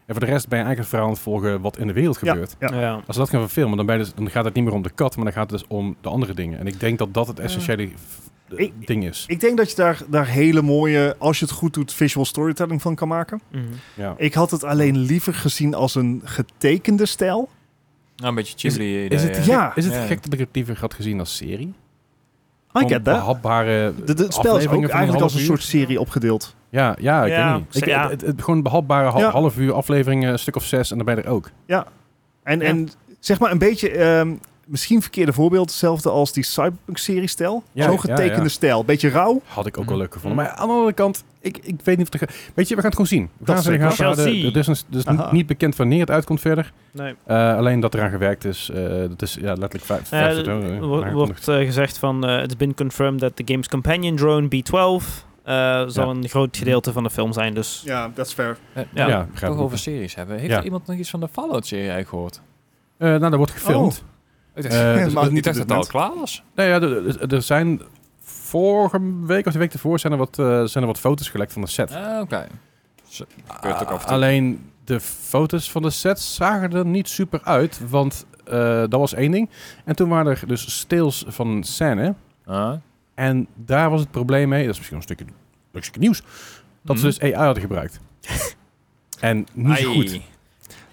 Speaker 1: En voor de rest ben je eigenlijk het verhaal aan het volgen wat in de wereld
Speaker 3: Ja.
Speaker 1: gebeurt.
Speaker 3: Ja.
Speaker 2: Ja.
Speaker 1: Als we dat gaan verfilmen, dan, ben je dus- dan gaat het niet meer om de kat, maar dan gaat het dus om de andere dingen. En ik denk dat dat het essentiële v- eh,
Speaker 3: Ik-
Speaker 1: ding is.
Speaker 3: Ik denk dat je daar, daar hele mooie, als je het goed doet, visual storytelling van kan maken.
Speaker 2: Mhm.
Speaker 1: ja.
Speaker 3: Ik had het alleen liever gezien als een getekende stijl.
Speaker 4: Nou, een beetje Ghibli
Speaker 1: Is het,
Speaker 4: idee,
Speaker 3: ja.
Speaker 1: gek- is het
Speaker 4: Ja.
Speaker 1: gek dat ik het liever had gezien als serie?
Speaker 3: I
Speaker 1: Om
Speaker 3: get that.
Speaker 1: Behapbare
Speaker 3: De, de, het spel is ook
Speaker 1: afleveringen van een
Speaker 3: eigenlijk als een
Speaker 1: half
Speaker 3: soort
Speaker 1: uur.
Speaker 3: serie opgedeeld.
Speaker 1: Ja, ja, ik
Speaker 2: Ja,
Speaker 1: weet niet. Ik-
Speaker 2: ja.
Speaker 1: het, het- gewoon behapbare ha-
Speaker 3: Ja.
Speaker 1: half uur afleveringen, een stuk of zes en dan ben je er ook.
Speaker 3: En,
Speaker 2: Ja.
Speaker 3: en zeg maar een beetje, ehm, misschien verkeerde voorbeeld, hetzelfde als die Cyberpunk-serie-stijl.
Speaker 1: Ja,
Speaker 3: Zo'n
Speaker 1: ja,
Speaker 3: getekende
Speaker 1: ja.
Speaker 3: stijl, beetje rauw.
Speaker 1: Had ik ook
Speaker 4: Mhm.
Speaker 1: wel leuk gevonden. Maar aan de andere kant, ik, ik weet niet of het... er ge- Weet je, we gaan het gewoon zien. We
Speaker 3: Dat
Speaker 1: gaan eh,
Speaker 3: zeker.
Speaker 1: gaan
Speaker 2: We shall
Speaker 1: houden.
Speaker 2: see.
Speaker 1: Het is, dus een- het is niet-
Speaker 3: Aha.
Speaker 1: niet bekend wanneer het uitkomt verder.
Speaker 2: Nee.
Speaker 1: Eh, alleen dat eraan gewerkt is. eh, dat is ja, letterlijk vijf,
Speaker 2: Eh,
Speaker 1: vijf
Speaker 2: er
Speaker 1: euro,
Speaker 2: wordt-
Speaker 1: eh,
Speaker 2: wordt eh, gezegd van: eh, It's been confirmed that the game's companion drone B12 eh, zal
Speaker 1: Ja.
Speaker 2: een groot gedealte van de film zijn. Dus
Speaker 3: Ja, dat is fair.
Speaker 4: Ja,
Speaker 1: Ja,
Speaker 4: ja,
Speaker 1: begrijp
Speaker 4: toch
Speaker 1: ik.
Speaker 4: over series hebben. Heeft
Speaker 1: Ja.
Speaker 4: er iemand nog iets van de Fallout-serie eigenlijk gehoord?
Speaker 1: Eh, nou, dat wordt gefilmd.
Speaker 4: Ik
Speaker 1: Eh,
Speaker 4: ik
Speaker 1: dus
Speaker 4: dacht
Speaker 3: maar niet
Speaker 4: dat
Speaker 3: op dit
Speaker 4: het al
Speaker 3: moment.
Speaker 4: klaar was.
Speaker 1: Nou ja, er- er- er zijn vorige week of de week ervoor zijn er wat, eh, zijn er wat foto's gelekt van de set.
Speaker 4: Ah, oké. Zo, kun je het ook af en toe-
Speaker 1: alleen de foto's van de set zagen er niet super uit, want eh, dat was één ding. En toen waren er dus stills van een scène.
Speaker 4: Ah.
Speaker 1: En daar was het probleem mee, dat is misschien nog een stukje, een stukje nieuws, dat ze
Speaker 4: Mhm.
Speaker 1: dus AI hadden gebruikt. en niet
Speaker 4: Ai.
Speaker 1: goed.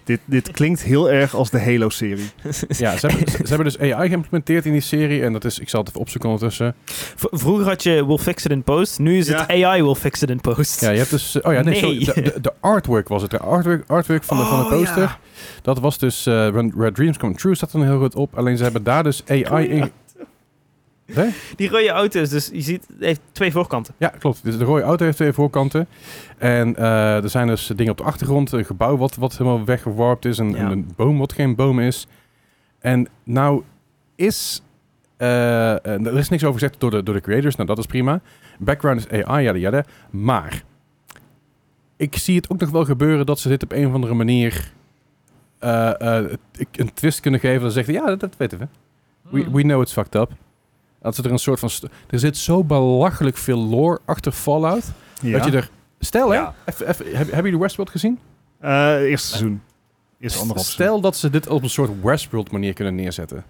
Speaker 3: Dit, dit klinkt heel erg als de Halo-serie.
Speaker 1: Ja, ze hebben, ze hebben dus AI geïmplementeerd in die serie. En dat is, ik zal het even opzoeken ondertussen.
Speaker 2: v- vroeger had je Will Fix It in Post, nu is het AI Will Fix It in Post.
Speaker 1: Ja, je hebt dus. Oh ja, nee,
Speaker 2: Nee.
Speaker 1: sorry, De, de, de artwork was het. De artwork, artwork van, de, van de
Speaker 2: Oh,
Speaker 1: poster.
Speaker 2: ja.
Speaker 1: Dat was dus. eh, When Red Dreams Come True staat er heel goed op. Alleen ze hebben daar dus AI in. Hè?
Speaker 2: Die rode auto is dus, je ziet, heeft twee voorkanten.
Speaker 1: Ja, klopt. Dus de rode auto heeft twee voorkanten. En eh, er zijn dus dingen op de achtergrond. Een gebouw wat, wat helemaal weggeworpt is. En,
Speaker 2: Ja.
Speaker 1: en een boom wat geen boom is. En nou is... eh, eh, er is niks over gezegd door de, door de creators. Nou, dat is prima. Background is AI, yada yada. Maar ik zie het ook nog wel gebeuren dat ze dit op een of andere manier eh, eh, een twist kunnen geven. Dat ze zeggen, ja, dat, dat weten we. We, we know it's fucked up. Dat ze er een soort van... st- Er zit zo belachelijk veel lore achter Fallout.
Speaker 3: Ja.
Speaker 1: Dat je er... Stel,
Speaker 4: Ja.
Speaker 1: hè? Even, even, heb, hebben jullie Westworld gezien?
Speaker 3: Eh, eerste seizoen. Eerste anderhalf seizoen.
Speaker 1: Stel dat ze dit op een soort Westworld manier kunnen neerzetten.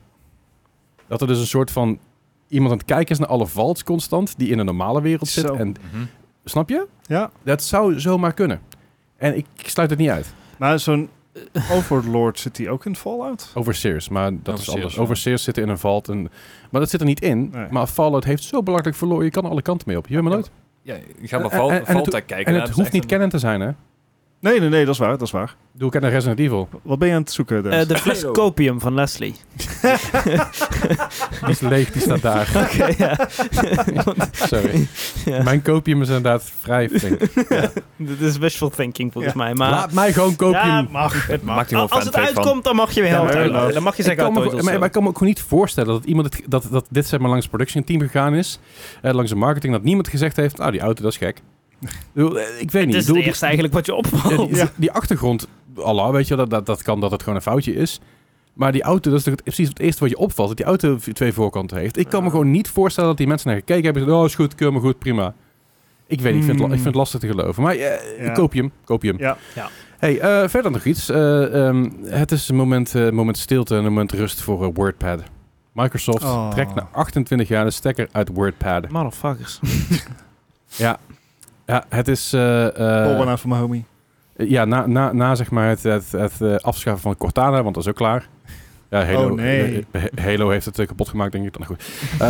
Speaker 1: Dat er dus een soort van... Iemand aan het kijken is naar alle vaults constant... die in een normale wereld zit.
Speaker 3: Zo.
Speaker 1: En,
Speaker 4: Mhm.
Speaker 1: snap je?
Speaker 3: Ja,
Speaker 1: Dat zou zomaar kunnen. En ik, ik sluit het niet uit.
Speaker 3: maar zo'n Overlord zit die ook in Fallout?
Speaker 1: Overseers, maar dat is
Speaker 4: Overseers,
Speaker 1: anders.
Speaker 4: ja.
Speaker 1: Overseers zitten in een vault. En, maar dat zit er niet in.
Speaker 3: Nee.
Speaker 1: Maar Fallout heeft zo belachelijk verloren. Je kan alle kanten mee op. Je weet maar
Speaker 4: Ja,
Speaker 1: nooit.
Speaker 4: Ja, je gaat
Speaker 1: En- en- en
Speaker 4: maar
Speaker 1: het-
Speaker 4: Fallout
Speaker 1: en
Speaker 4: kijken. daar
Speaker 1: het
Speaker 4: hebben ze
Speaker 1: hoeft
Speaker 4: echt
Speaker 1: niet
Speaker 4: een-
Speaker 1: kennen te zijn, hè?
Speaker 3: Nee, nee, nee, dat is waar, dat is waar.
Speaker 1: Doe ik aan naar Resident Evil.
Speaker 3: Wat ben je aan het zoeken,
Speaker 2: Eh,
Speaker 3: Dennis?
Speaker 2: de fles
Speaker 4: Halo.
Speaker 2: copium van Leslie.
Speaker 1: Die is leeg, die staat daar.
Speaker 2: Oké, ja.
Speaker 1: Sorry.
Speaker 2: Ja.
Speaker 1: Mijn kopium is inderdaad vrij flink.
Speaker 2: Dit is wishful thinking volgens mij. Maar
Speaker 1: Laat mij gewoon kopium.
Speaker 2: Ja,
Speaker 3: mag.
Speaker 2: het mag.
Speaker 4: maakt hij wel
Speaker 2: Als het
Speaker 4: fanfare van.
Speaker 2: uitkomt, dan mag je weer
Speaker 3: Ja,
Speaker 2: helpen.
Speaker 3: maar-
Speaker 2: dan mag je
Speaker 1: ik
Speaker 2: zeggen
Speaker 1: kan me,
Speaker 2: altijd
Speaker 1: gewoon- maar, maar ik kan me ook gewoon niet voorstellen dat iemand het, dat, dat dit zeg maar langs het production team gegaan is, eh, langs de marketing, dat niemand gezegd heeft, nou "Ah, die auto dat is gek. Ik bedoel, eh, Ik weet
Speaker 2: Het
Speaker 1: niet.
Speaker 2: is
Speaker 1: Ik bedoel,
Speaker 2: het
Speaker 1: die-
Speaker 2: eerste eigenlijk wat je
Speaker 1: Ja,
Speaker 2: opvalt.
Speaker 1: die, die achtergrond, Allah, weet je, dat, dat, dat kan dat het gewoon een foutje is. Maar die auto, dat is toch het- precies het eerste wat je opvalt. Dat die auto v- twee voorkanten heeft. Ik kan me
Speaker 2: Ja.
Speaker 1: gewoon niet voorstellen dat die mensen naar gekeken hebben. en zeiden, Oh, is goed, keur me goed, prima. Ik weet niet, ik vind, het, la- ik
Speaker 3: Hmm.
Speaker 1: vind het lastig te geloven. Maar eh,
Speaker 3: Ja.
Speaker 1: koop je hem, koop je hem.
Speaker 3: Ja.
Speaker 2: Ja.
Speaker 1: Hey, eh, verder nog iets. Eh, ehm, het is een moment, eh, moment stilte en een moment rust voor eh, WordPad. Microsoft
Speaker 3: Oh.
Speaker 1: trekt na 28 jaar de stekker uit WordPad.
Speaker 2: Motherfuckers.
Speaker 1: Ja, het is... eh, eh,
Speaker 3: Bob aan nou van mijn homie.
Speaker 1: Ja, na, na, na zeg maar het, het, het eh, afschaffen van Cortana, want dat is ook klaar. Ja, Halo,
Speaker 3: Oh, nee.
Speaker 1: eh, eh, Halo heeft het eh, kapot gemaakt, denk ik. Dan goed. Eh,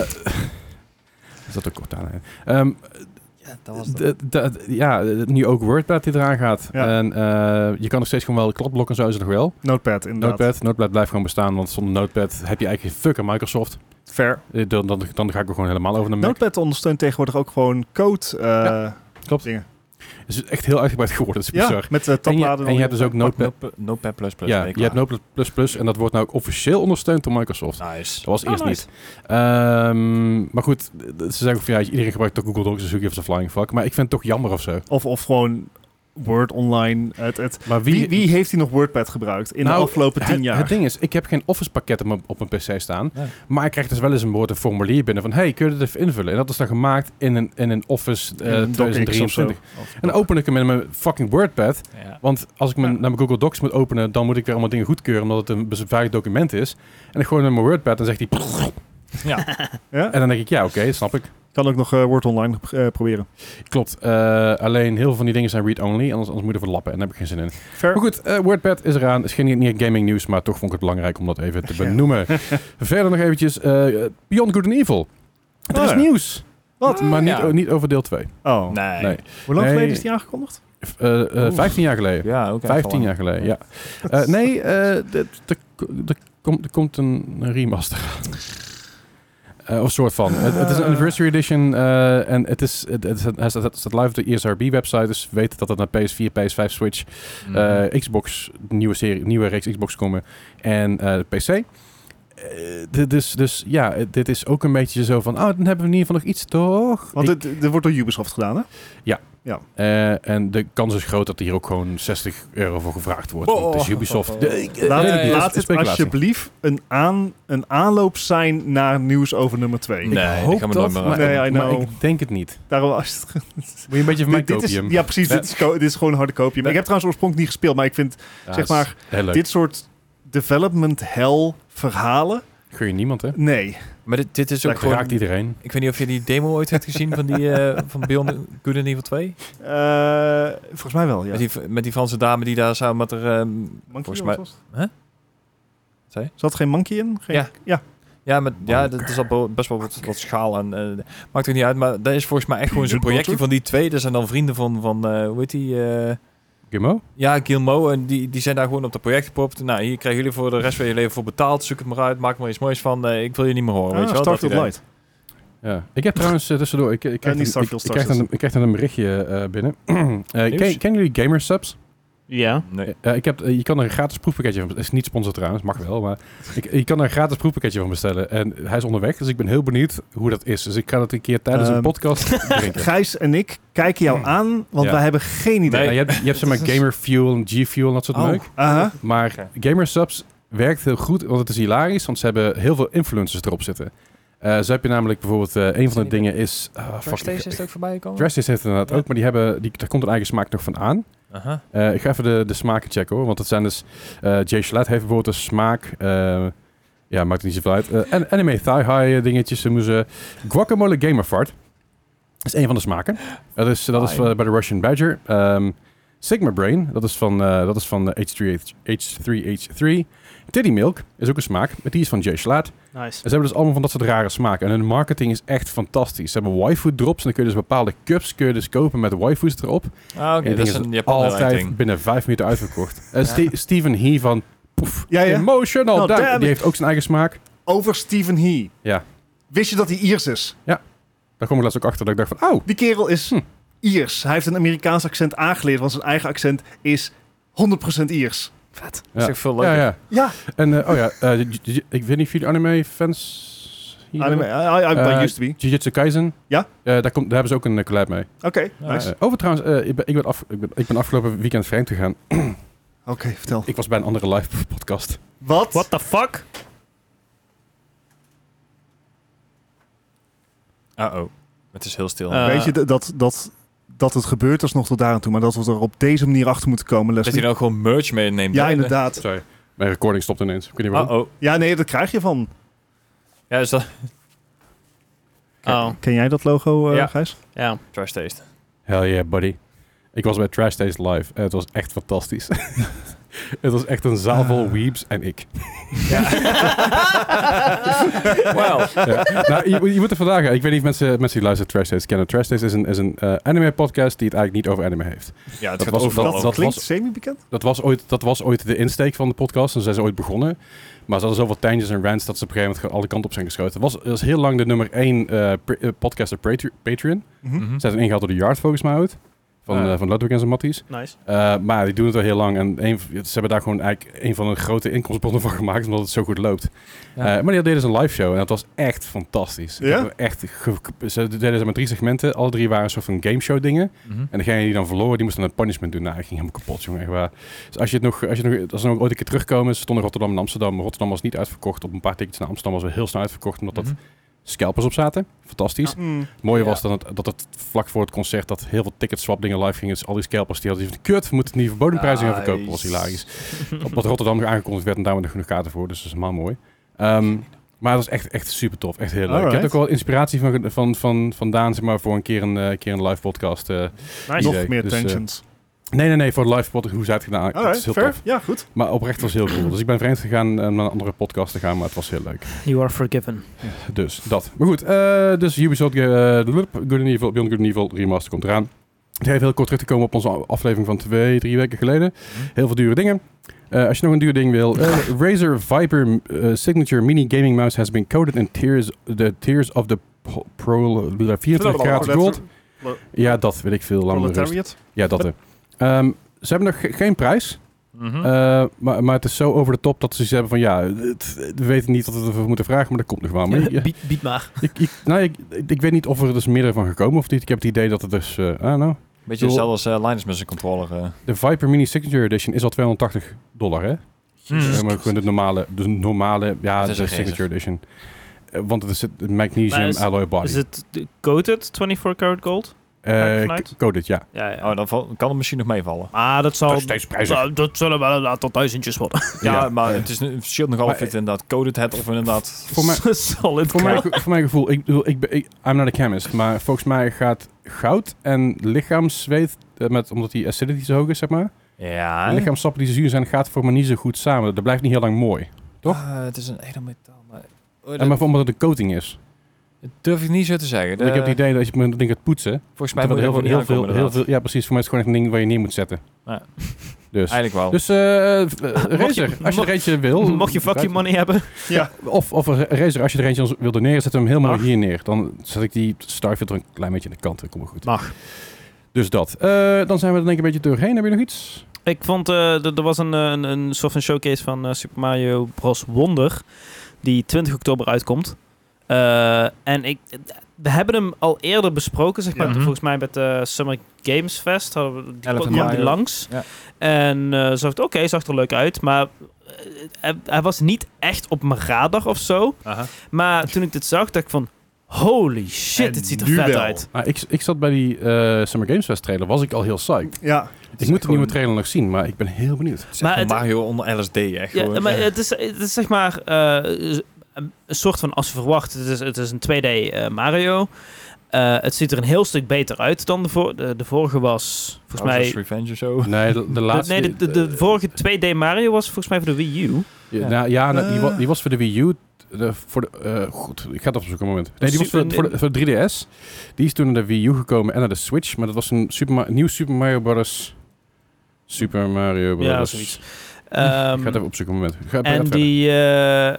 Speaker 1: is dat ook Cortana? Ehm,
Speaker 4: Ja, dat was het.
Speaker 1: d- d- ja, eh, nu ook WordPad die eraan gaat.
Speaker 3: Ja.
Speaker 1: En eh, je kan nog steeds gewoon wel kladblokken en zo is het nog wel.
Speaker 3: Notepad, inderdaad.
Speaker 1: Notepad, Notepad blijft gewoon bestaan, want zonder Notepad heb je eigenlijk geen fuck aan Microsoft.
Speaker 3: Fair.
Speaker 1: Eh, Dan, dan, dan ga ik er gewoon helemaal over naar Mac.
Speaker 3: Notepad ondersteunt tegenwoordig ook gewoon code. eh,
Speaker 1: klopt.
Speaker 3: Dingen.
Speaker 1: Het is echt heel uitgebreid geworden, het is
Speaker 3: Ja,
Speaker 1: bizar.
Speaker 3: met de
Speaker 1: En je,
Speaker 3: tabbladen.
Speaker 1: en je hebt dus ook Notepad.
Speaker 4: Notepad, Notepad++. Plus plus
Speaker 1: Ja,
Speaker 4: ben
Speaker 1: je hebt
Speaker 4: klaar.
Speaker 1: Notepad++ plus plus en dat wordt nou ook officieel ondersteund door Microsoft.
Speaker 3: Nou,
Speaker 4: Nice.
Speaker 1: Dat was eerst
Speaker 2: Oh,
Speaker 1: niet.
Speaker 2: nice.
Speaker 1: Ehm, maar goed, d- d- ze zeggen ook van ja, iedereen gebruikt toch Google Docs, dus who gives a flying fuck. Maar ik vind het toch jammer of zo.
Speaker 3: Of, of gewoon Word online. Het, het,
Speaker 1: Maar
Speaker 3: wie, wie heeft die nog WordPad gebruikt in
Speaker 1: Nou,
Speaker 3: de afgelopen tien
Speaker 1: het,
Speaker 3: jaar?
Speaker 1: Het ding is, ik heb geen Office pakket op mijn, op mijn PC staan.
Speaker 4: Nee.
Speaker 1: Maar ik krijg dus wel eens een woord een formulier binnen van hey, kun je dit even invullen? En dat is dan gemaakt in een, in een Office eh,
Speaker 3: In een DocX of zo.
Speaker 1: 2023. En dan open ik hem in mijn fucking WordPad.
Speaker 4: Ja.
Speaker 1: Want als ik mijn,
Speaker 3: Ja.
Speaker 1: naar mijn Google Docs moet openen, dan moet ik weer allemaal dingen goedkeuren, omdat het een beveiligd document is. En ik gooi hem in mijn WordPad en zegt hij...
Speaker 4: Ja.
Speaker 3: Ja?
Speaker 1: En dan denk ik, ja, oké, dat snap ik.
Speaker 3: Kan ook nog eh, Word online eh, proberen.
Speaker 1: Klopt. eh, alleen heel veel van die dingen zijn read-only. Anders, anders moet je ervan lappen. En daar heb ik geen zin in.
Speaker 3: Fair.
Speaker 1: Maar goed, eh, WordPad is eraan. Is geen niet gaming nieuws, maar toch vond ik het belangrijk om dat even te benoemen. Verder nog eventjes. eh, Beyond Good and Evil. Het
Speaker 3: Oh,
Speaker 1: is
Speaker 3: ja.
Speaker 1: nieuws.
Speaker 3: Wat?
Speaker 1: Maar niet,
Speaker 4: ja.
Speaker 1: o- niet over deel 2.
Speaker 3: Oh.
Speaker 4: Nee.
Speaker 1: Nee.
Speaker 3: Hoe lang
Speaker 1: Nee.
Speaker 3: geleden is die aangekondigd?
Speaker 1: Eh, eh,
Speaker 4: Oef.
Speaker 1: 15 jaar geleden.
Speaker 4: Ja, oké.
Speaker 1: 15 jaar geleden, ja. Eh, nee, eh, dit- er er komt- er komt een remaster aan. Eh, of soort van. Het het is een anniversary edition eh, en het is het- het- het staat- het staat live op de ESRB-website, dus weet dat het naar PS4, PS5, Switch,
Speaker 4: Mhm.
Speaker 1: eh, Xbox, nieuwe, serie, nieuwe reeks Xbox komen en eh, PC. Eh, dit dus, dus ja, eh, dit is ook een beetje zo van, oh, dan hebben we in ieder geval nog iets, toch?
Speaker 3: Want
Speaker 1: Ik-
Speaker 3: dit, dit wordt door Ubisoft gedaan, hè?
Speaker 1: eh, en de kans is groot dat hier ook gewoon 60 euro voor gevraagd wordt. want het is
Speaker 4: Oh.
Speaker 1: Ubisoft. De- ik- eh,
Speaker 3: Laat,
Speaker 1: weet ik
Speaker 4: ja,
Speaker 1: niet. Het
Speaker 4: ja.
Speaker 3: laat
Speaker 1: is
Speaker 3: het
Speaker 1: speculatie.
Speaker 3: alsjeblieft een, aan, een aanloop zijn naar nieuws over nummer 2.
Speaker 4: Nee,
Speaker 1: ik
Speaker 4: die
Speaker 1: hoop
Speaker 4: gaan we
Speaker 1: dat,
Speaker 4: nooit meer
Speaker 1: maar,
Speaker 3: maken. Nee, I
Speaker 1: maar
Speaker 3: know.
Speaker 1: ik denk het niet.
Speaker 3: Daarom als het,
Speaker 1: Moet je een beetje van mij
Speaker 3: dit, dit
Speaker 1: kopium.
Speaker 3: is, ja, precies. Dit, is, ko- dit is gewoon een harde kopium.
Speaker 1: Ja.
Speaker 3: Ik heb trouwens oorspronkelijk niet gespeeld, maar ik vind
Speaker 1: Ja,
Speaker 3: zeg
Speaker 1: dat is
Speaker 3: maar,
Speaker 1: Heel leuk.
Speaker 3: dit soort development hell verhalen.
Speaker 1: Gun je niemand, hè?
Speaker 3: Nee.
Speaker 4: Maar dit, dit is ook
Speaker 1: Dat
Speaker 3: Lekker
Speaker 4: gewoon...
Speaker 1: raakt iedereen.
Speaker 4: Ik weet niet of je die demo ooit hebt gezien van, die, eh van Beyond Good and Evil 2.
Speaker 3: Eh, volgens mij wel, ja.
Speaker 4: Met, die, met die Franse dame die daar samen met haar... ehm,
Speaker 3: Monkey
Speaker 4: volgens mij-
Speaker 3: was het?
Speaker 4: Hè? Zei?
Speaker 3: Zat geen monkey in? Geen-
Speaker 4: Ja.
Speaker 3: ja.
Speaker 4: ja, met, ja,
Speaker 3: Oh,
Speaker 4: dat is al bo- best wel wat, wat schaal. En, eh, maakt ook niet uit, maar dat is volgens mij echt gewoon zo'n
Speaker 3: Peanut butter?
Speaker 4: projectje van die twee. Dat zijn dan vrienden van, van eh, hoe heet die... eh,
Speaker 1: Gimmo?
Speaker 4: ja, Gilmo. En die, die zijn daar gewoon op dat project gepropt. Nou, hier krijgen jullie voor de rest van je leven voor betaald. Zoek het maar uit, maak er maar iets moois van. Eh, ik wil je niet meer horen,
Speaker 3: Ah,
Speaker 4: weet je wel. dat
Speaker 3: Starfield
Speaker 4: idee.
Speaker 3: Light.
Speaker 1: Ja. Ik heb trouwens eh, tussendoor... Ik, ik, krijg
Speaker 3: niet
Speaker 1: een, ik,
Speaker 3: Starfield,
Speaker 1: ik krijg
Speaker 3: Starfield.
Speaker 1: een, ik krijg dan een berichtje eh, binnen. Eh, ken,
Speaker 4: Nieuws?
Speaker 1: kennen jullie gamer subs?
Speaker 2: Ja.
Speaker 4: Nee.
Speaker 1: Eh, ik heb, eh, je kan er een gratis proefpakketje van bestellen. is niet sponsor trouwens, mag wel. Maar ik, je kan er een gratis proefpakketje van bestellen. En hij is onderweg, dus ik ben heel benieuwd hoe dat is. Dus ik ga dat een keer tijdens een
Speaker 3: Ehm,
Speaker 1: podcast drinken.
Speaker 3: Gijs en ik kijken
Speaker 4: Hmm.
Speaker 3: jou aan, want
Speaker 1: Ja.
Speaker 3: wij hebben geen idee.
Speaker 1: Nou, je hebt, je hebt zeg maar gamer fuel en G fuel en dat soort
Speaker 4: Oh.
Speaker 1: meuk.
Speaker 3: Aha.
Speaker 1: Maar
Speaker 4: Oké.
Speaker 1: Gamer Subs werkt heel goed, want het is hilarisch, want ze hebben heel veel influencers erop zitten. Eh zo heb je namelijk bijvoorbeeld, eh, een van de dingen is... ah, fuck,
Speaker 4: Trash Days is
Speaker 1: ik-
Speaker 4: het ook voorbij gekomen?
Speaker 1: Trash Days heeft het inderdaad
Speaker 4: Ja.
Speaker 1: ook, maar die hebben, die, daar komt een eigen smaak nog van aan.
Speaker 4: Aha. Ah,
Speaker 1: Eh, ik ga even de, de smaken checken hoor, want dat zijn dus... eh Jay Shalat heeft bijvoorbeeld een smaak... eh, ja, maakt niet zoveel uit. Eh, en anime thigh high eh, dingetjes. Ze moesten guacamole gamerfart. Dat is een van de smaken. Dat is, dat is eh, bij de Russian Badger. Ehm, Sigma Brain, dat is van, eh, dat is van eh, H3H, H3H3. Teddy Milk is ook een smaak, maar die is van Jay Schlaat. En
Speaker 2: Nice.
Speaker 1: ze hebben dus allemaal van dat soort rare smaken. En hun marketing is echt fantastisch. Ze hebben waifu drops en dan kun je dus bepaalde cups kun je dus kopen met waifus erop.
Speaker 4: Ah, oké.
Speaker 1: Ik
Speaker 4: dat
Speaker 1: denk
Speaker 4: is
Speaker 1: dat
Speaker 4: een Japaner
Speaker 1: Altijd
Speaker 4: ding.
Speaker 1: binnen vijf minuten uitverkocht. Eh, Ste- Steven He van poef,
Speaker 3: Ja, ja.
Speaker 1: Emotional.
Speaker 3: Oh,
Speaker 1: Damn.
Speaker 3: damn it.
Speaker 1: die heeft ook zijn eigen smaak.
Speaker 3: Over Stephen He.
Speaker 1: Ja.
Speaker 3: Wist je dat hij Iers is?
Speaker 1: Daar kwam ik laatst ook achter dat ik dacht van, oh,
Speaker 3: Die kerel is
Speaker 1: Hm.
Speaker 3: Iers. Hij heeft een Amerikaans accent aangeleerd, want zijn eigen accent is 100% Iers.
Speaker 4: Dat is
Speaker 1: Ja.
Speaker 4: echt veel
Speaker 1: ja,
Speaker 4: leuker.
Speaker 1: ja.
Speaker 3: Ja,
Speaker 1: En eh, oh ja, eh, j- j- ik weet niet of jullie anime fans Hier
Speaker 3: Anime,
Speaker 1: hebben
Speaker 3: I, I, I
Speaker 1: Eh,
Speaker 3: used to be.
Speaker 1: we. Jujutsu Kaisen.
Speaker 3: Ja?
Speaker 1: Eh, daar, komt, daar hebben ze ook een eh, collab mee.
Speaker 3: Oké, nice.
Speaker 1: Eh, over trouwens, eh, ik, ben, ik, ben af, ik, ben, ik ben afgelopen weekend vreemd gegaan.
Speaker 3: Oké,
Speaker 4: eh,
Speaker 3: vertel.
Speaker 1: Ik was bij een andere live podcast.
Speaker 3: Wat?
Speaker 2: What the fuck?
Speaker 4: Uh-oh. Het is heel stil.
Speaker 2: Eh,
Speaker 3: Weet je, d- dat, dat, dat het gebeurt is nog tot daar aan toe, maar dat we er op deze manier achter moeten komen,
Speaker 4: dat hij
Speaker 3: Leslie.
Speaker 4: dan ook gewoon merch meeneemt.
Speaker 3: Ja, inderdaad.
Speaker 1: Sorry, mijn recording stopt ineens. Ik weet niet waarom.
Speaker 4: Uh-oh.
Speaker 3: Ja, nee, dat krijg je van.
Speaker 4: Ja, dus dat...
Speaker 2: Oh,
Speaker 3: Ken jij dat logo, eh,
Speaker 4: Ja.
Speaker 3: Gijs?
Speaker 2: ja.
Speaker 4: Trash taste.
Speaker 1: Hell yeah, buddy. Ik was bij Trash Days Live en het was echt fantastisch. het was echt een zaal vol
Speaker 3: Ah.
Speaker 1: weebs en ik.
Speaker 4: Wauw.
Speaker 1: Ja. nou, je, je moet er vandaag... Ik weet niet of mensen, mensen die luisteren Trash Days kennen. Trash Days is een, is een eh, anime-podcast die het eigenlijk niet over anime heeft.
Speaker 4: Ja, het
Speaker 1: Dat
Speaker 4: gaat
Speaker 1: was-
Speaker 4: overal
Speaker 1: dat-
Speaker 4: over.
Speaker 3: Dat klinkt
Speaker 1: was-
Speaker 3: semi-bekend.
Speaker 1: Dat was, ooit, dat was ooit de insteek van de podcast. En zijn ze ooit begonnen. Maar ze hadden zoveel tangents en rants dat ze op een gegeven moment alle kanten op zijn geschoten. Het was, het was heel lang de nummer één eh, pre- eh, podcast op Patre- Patreon.
Speaker 3: Mhm.
Speaker 1: Ze zijn ingehaald door de Yard, volgens mij ooit. Van,
Speaker 4: Ah.
Speaker 1: eh, van Ludwig en zijn matties.
Speaker 2: Nice.
Speaker 1: Eh, maar die doen het al heel lang. En een, ze hebben daar gewoon eigenlijk een van de grote inkomstenbronnen van gemaakt. Omdat het zo goed loopt.
Speaker 4: Ja.
Speaker 1: Eh, maar die deden ze een live show. En dat was echt fantastisch. Ik
Speaker 3: Ja?
Speaker 1: heb er Echt ge- ge- ze deden ze met drie segmenten. Alle drie waren een soort van game show dingen.
Speaker 4: Mhm.
Speaker 1: En degene die dan verloren, die moest dan een punishment doen. Nou, ik ging helemaal kapot, jongen. Echt waar. Dus als je het nog, als je het nog, als ze nog ooit een keer terugkomen, ze stonden Rotterdam en Amsterdam. Rotterdam was niet uitverkocht. Op een paar tickets naar Amsterdam was wel heel snel uitverkocht, omdat
Speaker 4: Mhm.
Speaker 1: dat scalpers op zaten. Fantastisch.
Speaker 3: Mm.
Speaker 1: Het mooie
Speaker 4: Ja.
Speaker 1: was dan het, dat het vlak voor het concert dat heel veel ticketswap dingen live gingen. Dus al die scalpers die hadden zoiets van, kut, we moeten het niet voor bodemprijzen gaan verkopen. Dat was
Speaker 4: Nice.
Speaker 1: hilarisch. Op Rotterdam aangekondigd werd en daar waren er genoeg kaarten voor. Dus dat is helemaal mooi. Ehm, maar het was echt, echt super tof. Echt heel leuk. Ik heb
Speaker 3: Alright.
Speaker 1: er ook wel inspiratie van, ge- van, van, van Daan, zeg maar, voor een keer een, eh, keer een live podcast. eh,
Speaker 2: Nice.
Speaker 1: Nog idee.
Speaker 3: Nog
Speaker 1: meer
Speaker 3: meer
Speaker 1: Dus, eh,
Speaker 3: tensions.
Speaker 1: Nee, nee, nee, voor de live podcast, hoe ze het gedaan.
Speaker 3: All
Speaker 1: dat is heel
Speaker 3: fair.
Speaker 1: tof.
Speaker 3: Ja, goed.
Speaker 1: Maar oprecht was het heel cool. Dus ik ben vreemd gegaan om naar een andere podcast te gaan, maar het was heel leuk.
Speaker 2: You are forgiven.
Speaker 1: Dus dat. Maar goed, eh, dus Ubisoft eh, Loop, Good and Evil, Beyond Good and Evil remaster komt eraan. Ik ga Even heel kort terug te komen op onze aflevering van twee, drie weken geleden. Heel veel dure dingen. Eh, als je nog een duur ding wil. eh, Razer Viper eh, Signature Mini Gaming Mouse has been coated in tears, the tears of the pro, pro 24 graden gold. Ja, dat weet ik veel. Laat me met rust.
Speaker 3: Proletariat.
Speaker 1: Ja, dat. eh. Ehm, ze hebben nog ge- geen prijs.
Speaker 4: Mhm.
Speaker 1: Eh, maar, maar het is zo over de top dat ze iets hebben van ja, het- we weten niet wat we ervoor moeten vragen, maar dat komt nog wel. Maar ik,
Speaker 2: Bied, bied maar.
Speaker 1: ik, ik- nou, ik, ik weet niet of er dus meer van gekomen of niet. Ik heb het idee dat het dus, eh I don't know.
Speaker 4: Beetje
Speaker 1: Doel-
Speaker 4: hetzelfde als eh, Linus met zijn controller. eh.
Speaker 1: De Viper Mini Signature Edition is al 280 dollar, hè?
Speaker 2: Hmm.
Speaker 1: Eh, maar gewoon de normale, de normale, ja,
Speaker 4: Het
Speaker 1: de
Speaker 4: is een
Speaker 1: Signature
Speaker 4: gezer.
Speaker 1: Edition. Eh, want het is het
Speaker 2: Maar
Speaker 1: magnesium
Speaker 2: is-
Speaker 1: alloy body.
Speaker 2: Is het eh, coated 24 karat gold?
Speaker 1: Eh,
Speaker 2: vanuit?
Speaker 1: k- coded, ja.
Speaker 2: Ja, ja.
Speaker 4: Oh, dan val- kan het misschien nog meevallen.
Speaker 2: Maar Ah, dat
Speaker 1: Dat
Speaker 2: zal...
Speaker 1: is steeds prijzig.
Speaker 2: Dat, dat zullen wel een aantal duizendjes worden.
Speaker 4: Ja,
Speaker 1: Ja.
Speaker 4: maar het is nu- het verschilt nogal
Speaker 1: Maar,
Speaker 4: of je het inderdaad coded hebt of inderdaad...
Speaker 1: Voor mij,
Speaker 2: Solid
Speaker 1: voor, mijn,
Speaker 2: gold.
Speaker 1: ge- voor mijn gevoel, ik bedoel, ik ben, ik, I'm not a chemist, maar volgens mij gaat goud en lichaamszweet, eh, met, omdat die acidity zo hoog is, zeg maar,
Speaker 4: Ja.
Speaker 1: De lichaamssappen die zuur zijn, gaat voor me niet zo goed samen. Dat blijft niet heel lang mooi. toch?
Speaker 4: Ah, het is een edelmetaal, maar... Oh,
Speaker 1: En maar voor omdat het een coating is.
Speaker 4: dat durf ik niet zo te zeggen.
Speaker 1: Want ik heb
Speaker 4: De-
Speaker 2: Eh,
Speaker 1: het idee dat als je met dat ding gaat poetsen,
Speaker 4: Volgens mij
Speaker 1: dan
Speaker 4: moet
Speaker 1: wordt
Speaker 4: je
Speaker 1: heel veel, heel,
Speaker 4: er
Speaker 1: veel,
Speaker 4: gewoon niet
Speaker 1: heel
Speaker 4: aankomen,
Speaker 1: veel, ja precies, voor mij is het gewoon echt een ding waar je neer moet zetten.
Speaker 4: Ja.
Speaker 1: Dus,
Speaker 4: inderdaad. Eigenlijk wel.
Speaker 1: dus eh, eh,
Speaker 2: Mocht je-
Speaker 1: Razer, als je er
Speaker 2: mocht-
Speaker 1: eentje wil...
Speaker 2: Mocht je fucking money hebben.
Speaker 1: Of, of een Razer, als je er eentje wilde neer, zet hem helemaal
Speaker 2: Mag.
Speaker 1: hier neer. Dan zet ik die Starfield er een klein beetje aan de kant. Dat komt wel goed.
Speaker 2: Mag.
Speaker 1: Dus dat. Eh, dan zijn we er denk ik een beetje doorheen. Heb je nog iets?
Speaker 2: Ik vond, eh, d- er was een, eh, een, een soort van showcase van eh, Super Mario Bros. Wonder, die 20 oktober uitkomt. Eh, en ik, we hebben hem al eerder besproken, zeg maar,
Speaker 4: Ja.
Speaker 2: volgens mij met de Summer Games Fest, hadden we die
Speaker 4: 11
Speaker 2: kwam die
Speaker 4: maart.
Speaker 2: langs.
Speaker 4: Ja.
Speaker 2: En eh zag het, oké, zag er leuk uit, maar eh, hij, hij was niet echt op mijn radar of zo.
Speaker 4: Aha.
Speaker 2: Maar toen ik dit zag, dacht ik van, holy shit,
Speaker 4: En
Speaker 2: dit ziet er
Speaker 4: nu
Speaker 2: vet
Speaker 4: wel.
Speaker 2: uit.
Speaker 1: Ah, ik, ik zat bij die eh, Summer Games Fest trailer, was ik al heel psyched.
Speaker 3: Ja.
Speaker 1: Ik moet de nieuwe trailer nog zien, maar ik ben heel benieuwd.
Speaker 4: Het is
Speaker 2: Maar
Speaker 4: echt
Speaker 2: het-
Speaker 4: gewoon Mario onder LSD, echt.
Speaker 2: Ja,
Speaker 4: gewoon.
Speaker 2: maar het is, het is zeg maar eh, een een soort van als je verwacht. Het is, het is een 2D eh, Mario. Eh, het ziet er een heel stuk beter uit dan de, vor- de, de vorige was.
Speaker 1: Oh,
Speaker 2: Volgens
Speaker 4: Bowser's
Speaker 2: mij.
Speaker 4: Revenge of zo.
Speaker 1: Nee, de, de laatste. eh,
Speaker 2: nee, de, de, de vorige 2D Mario was volgens mij voor de Wii U.
Speaker 1: Ja, nou, ja nou, die,
Speaker 3: Eh.
Speaker 1: wa- die was voor de Wii U. De, voor de, eh, goed, ik ga het opzoeken een moment. Nee, die was voor de, voor, de, voor de 3DS. Die is toen naar de Wii U gekomen en naar de Switch. Maar dat was een super, Ma- nieuw Super Mario Bros. Super Mario Bros.
Speaker 2: Ja, zoiets.
Speaker 1: ik
Speaker 2: Ehm,
Speaker 1: ga het even opzoeken een moment. Ga, ga
Speaker 2: en
Speaker 1: verder.
Speaker 2: die. eh,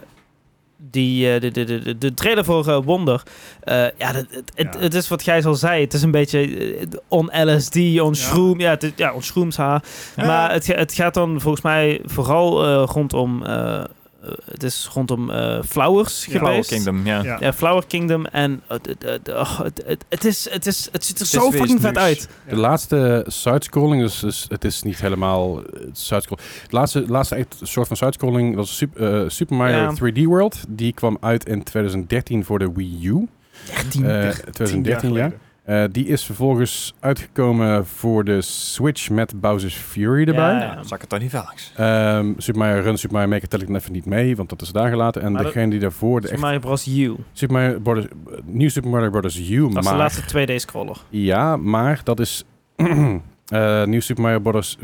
Speaker 2: die, eh, de, de, de, de- de trailer voor eh, Wonder. eh, ja, dat- het, het,
Speaker 4: Ja.
Speaker 2: het is wat Gijs al zei. Het is een beetje eh, on LSD, on Shroom. Ja, het, is- ja on Shrooms, ha. Maar het, ga- het gaat dan volgens mij vooral eh, rondom eh, eh, het is rondom eh, Flowers
Speaker 3: Ja.
Speaker 4: Flower
Speaker 2: geweest.
Speaker 4: Oh, Kingdom, ja.
Speaker 3: Ja.
Speaker 2: Ja, Flower Kingdom. En het- het- het- oh, het- het- het is- het is- het ziet er
Speaker 4: is
Speaker 2: zo
Speaker 4: weer
Speaker 2: fucking
Speaker 4: iets
Speaker 2: vet
Speaker 4: nieuws.
Speaker 2: uit.
Speaker 1: De laatste sidescrolling, dus, dus het is niet helemaal eh, sidescrolling. Het laatste, laatste echt soort van sidescrolling was Sup- eh, Super Mario
Speaker 2: Ja.
Speaker 1: 3D World. Die kwam uit in 2013 voor de Wii U. Eh, 2013, ja. Eh, die is vervolgens uitgekomen voor de Switch met Bowser's Fury erbij.
Speaker 2: Ja.
Speaker 4: Dan Nou, zak het toch niet wel langs.
Speaker 1: Ehm, Super Mario Run, Super Mario Maker tel ik dan even niet mee, want dat is daar gelaten. En
Speaker 2: Maar dat-
Speaker 1: degene die daarvoor de
Speaker 2: Super
Speaker 1: echt
Speaker 2: Mario Bros. U.
Speaker 1: Super Mario Brothers, eh, New Super Mario Bros. U,
Speaker 2: Dat is de
Speaker 1: maar
Speaker 2: laatste 2D-scroller.
Speaker 1: ja, maar dat is eh New Super Mario Bros.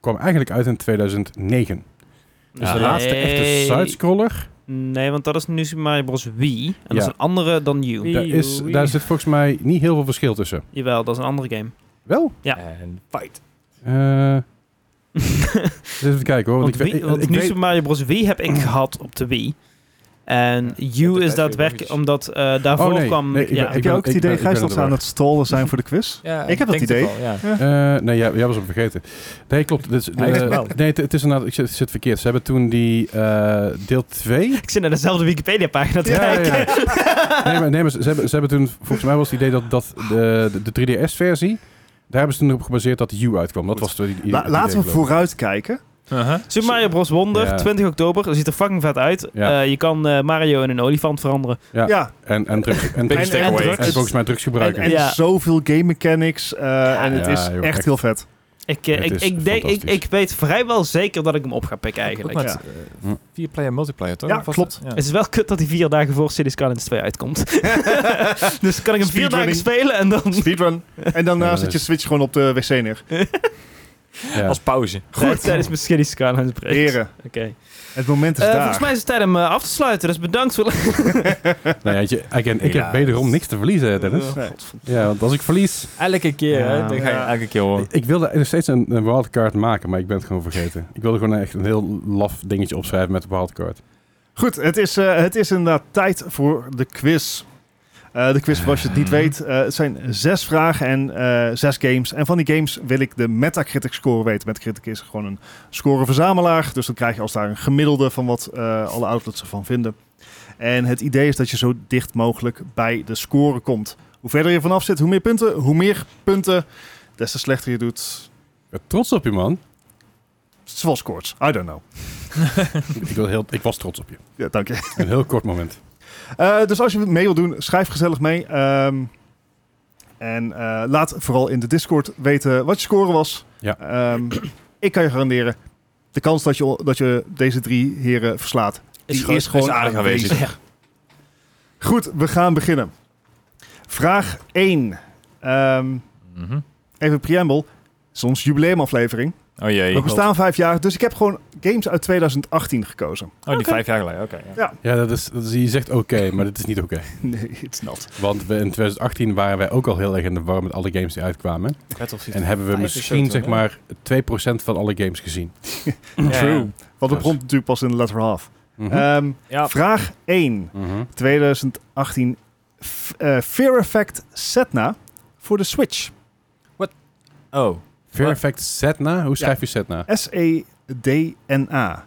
Speaker 1: kwam eigenlijk uit in 2009. Dus
Speaker 2: Ah.
Speaker 1: de
Speaker 4: Ja.
Speaker 1: laatste echte sidescroller.
Speaker 2: Nee, want dat is nu Super Mario Bros. Wii. En dat
Speaker 1: Ja.
Speaker 2: is een andere dan U.
Speaker 1: Daar, is, daar zit volgens mij niet heel veel verschil tussen.
Speaker 2: Jawel, dat is een andere
Speaker 1: Oh,
Speaker 2: game.
Speaker 1: Wel?
Speaker 2: Ja.
Speaker 4: En fight.
Speaker 1: Eh eens even kijken hoor.
Speaker 2: Want,
Speaker 1: Want, ik,
Speaker 2: Wii-
Speaker 1: weet-
Speaker 2: want
Speaker 1: ik
Speaker 2: nu
Speaker 1: weet-
Speaker 2: Super Mario Bros. Wii heb ik gehad op de Wii. En U
Speaker 4: dat is
Speaker 2: is
Speaker 4: logisch.
Speaker 2: daadwerkelijk, omdat eh, daarvoor
Speaker 1: Oh, nee,
Speaker 2: kwam...
Speaker 1: nee, ik
Speaker 2: ja,
Speaker 1: ben-
Speaker 3: Heb je ook het
Speaker 1: ik
Speaker 3: idee,
Speaker 1: ben- ik
Speaker 3: Gijs,
Speaker 1: ben
Speaker 3: dat ze aan
Speaker 1: erdoor.
Speaker 3: het stallen zijn voor de quiz?
Speaker 4: Ja,
Speaker 3: Ik heb dat
Speaker 4: denk
Speaker 3: idee.
Speaker 4: wel, ja.
Speaker 1: Eh, nee, jij, jij was op vergeten. Nee, klopt. Dit is-
Speaker 4: Hij is
Speaker 1: eh,
Speaker 4: wel.
Speaker 1: nee, het, het is inderdaad, ik zit, zit verkeerd. Ze hebben toen die eh, deel 2.
Speaker 2: ik zit naar dezelfde Wikipedia-pagina te
Speaker 1: Ja, ja,
Speaker 2: kijken.
Speaker 1: Nee, maar, nee, maar ze, ze hebben, ze hebben toen, volgens mij was het idee dat, dat de, de, 3DS-versie, daar hebben ze toen op gebaseerd dat U uitkwam. Dat
Speaker 4: Goed.
Speaker 1: was toen die- die-
Speaker 3: La-
Speaker 1: het
Speaker 3: laten we
Speaker 1: idee, geloof ik.
Speaker 3: vooruitkijken.
Speaker 4: Uh-huh.
Speaker 2: Super Mario Bros. Wonder,
Speaker 1: Ja.
Speaker 2: 20 oktober. Dat ziet er fucking vet uit.
Speaker 1: Ja.
Speaker 2: Eh, je kan eh, Mario in een olifant veranderen.
Speaker 1: Ja.
Speaker 3: Ja,
Speaker 1: En, en, drugs, en,
Speaker 4: Big
Speaker 1: en,
Speaker 4: step
Speaker 1: en-
Speaker 4: away.
Speaker 1: en volgens mij drugs
Speaker 3: en,
Speaker 1: gebruiken.
Speaker 3: en
Speaker 2: Ja.
Speaker 3: zoveel game mechanics. eh, en het
Speaker 1: Ja,
Speaker 3: is
Speaker 1: joh,
Speaker 3: echt
Speaker 1: echt.
Speaker 3: heel vet.
Speaker 2: Ik, eh,
Speaker 1: Het
Speaker 2: ik,
Speaker 1: is
Speaker 2: ik, denk, ik,
Speaker 1: fantastisch.
Speaker 2: ik weet vrijwel zeker dat ik hem op ga pikken eigenlijk.
Speaker 4: Ook
Speaker 3: Ja.
Speaker 4: met eh, vier-player multiplayer, toch?
Speaker 3: Ja,
Speaker 4: Of was
Speaker 3: klopt.
Speaker 4: dat- Ja.
Speaker 2: Het is wel kut dat hij vier dagen voor Cities Skylines 2 uitkomt. dus kan ik hem vier dagen
Speaker 3: Speedrunning.
Speaker 2: spelen en dan...
Speaker 3: Speedrun. En daarna
Speaker 1: Ja,
Speaker 3: zet je
Speaker 1: dus-
Speaker 3: Switch gewoon op de wc neer.
Speaker 1: Ja.
Speaker 4: Als pauze.
Speaker 2: Goed. Tijdens mijn Cities Skylines break.
Speaker 3: Heren,
Speaker 2: Oké.
Speaker 3: het moment is
Speaker 2: Eh,
Speaker 3: daar.
Speaker 2: volgens mij is het tijd om eh, af te sluiten, dus bedankt voor...
Speaker 1: Nou ja, weet je, again, ik
Speaker 4: Ja.
Speaker 1: heb wederom niks te verliezen, Dennis.
Speaker 3: Nee.
Speaker 1: Ja, want als ik verlies...
Speaker 4: Elke keer, hè.
Speaker 2: Ja.
Speaker 4: Dan ga je
Speaker 3: Ja.
Speaker 4: elke keer horen.
Speaker 1: Ik wilde nog steeds een, een wildcard maken, maar ik ben het gewoon vergeten. Ik wilde gewoon echt een heel laf dingetje opschrijven met de wildcard.
Speaker 3: Goed, het is, eh, het is inderdaad tijd voor de quiz. Eh, de quiz, voor als je het niet weet, eh, het zijn zes vragen en eh, zes games. En van die games wil ik de Metacritic score weten. Metacritic is gewoon een scoreverzamelaar. Dus dan krijg je als daar een gemiddelde van wat eh, alle outlets ervan vinden. En het idee is dat je zo dicht mogelijk bij de score komt. Hoe verder je vanaf zit, hoe meer punten, hoe meer punten, des te slechter je doet.
Speaker 1: Ik ben trots op je, man.
Speaker 3: Zoals scores, I don't know.
Speaker 1: ik, wil heel, ik was trots op je.
Speaker 3: Ja, dank je.
Speaker 1: Een heel kort moment.
Speaker 3: Eh, dus als je mee wilt doen, schrijf gezellig mee. Ehm, en eh, laat vooral in de Discord weten wat je score was.
Speaker 1: Ja.
Speaker 3: Ehm, ik kan je garanderen, de kans dat je, dat je deze drie heren verslaat, die
Speaker 4: groot. Is aardig aanwezig.
Speaker 3: Goed, we gaan beginnen. Vraag 1. Ehm,
Speaker 4: Mhm.
Speaker 3: even preamble. Soms jubileumaflevering.
Speaker 4: Oh jee.
Speaker 3: We bestaan vijf jaar, dus ik heb gewoon games uit 2018 gekozen.
Speaker 4: Oh, die vijf jaar geleden. Oké. ja.
Speaker 1: Ja, dat is, dat is, je zegt oké, maar dit is niet oké.
Speaker 3: Nee, it's not.
Speaker 1: Want we, in 2018 waren wij ook al heel erg in de war met alle games die uitkwamen.
Speaker 4: Battlefield
Speaker 1: En hebben we
Speaker 4: vijf is zo
Speaker 1: misschien
Speaker 4: toen,
Speaker 1: zeg
Speaker 4: hè?
Speaker 1: maar 2% van alle games gezien.
Speaker 4: Ja.
Speaker 3: True. Want we
Speaker 1: Dus.
Speaker 3: begonnen natuurlijk pas in de latter half.
Speaker 1: Mhm.
Speaker 3: Ehm,
Speaker 4: Ja.
Speaker 3: Vraag 1.
Speaker 1: Mhm.
Speaker 3: 2018 F- eh, Fear Effect Setna voor de Switch.
Speaker 4: Oh.
Speaker 1: Fair
Speaker 4: Wat?
Speaker 1: Effect Setna? Hoe schrijf je Setna?
Speaker 3: E S-E-D-N-A.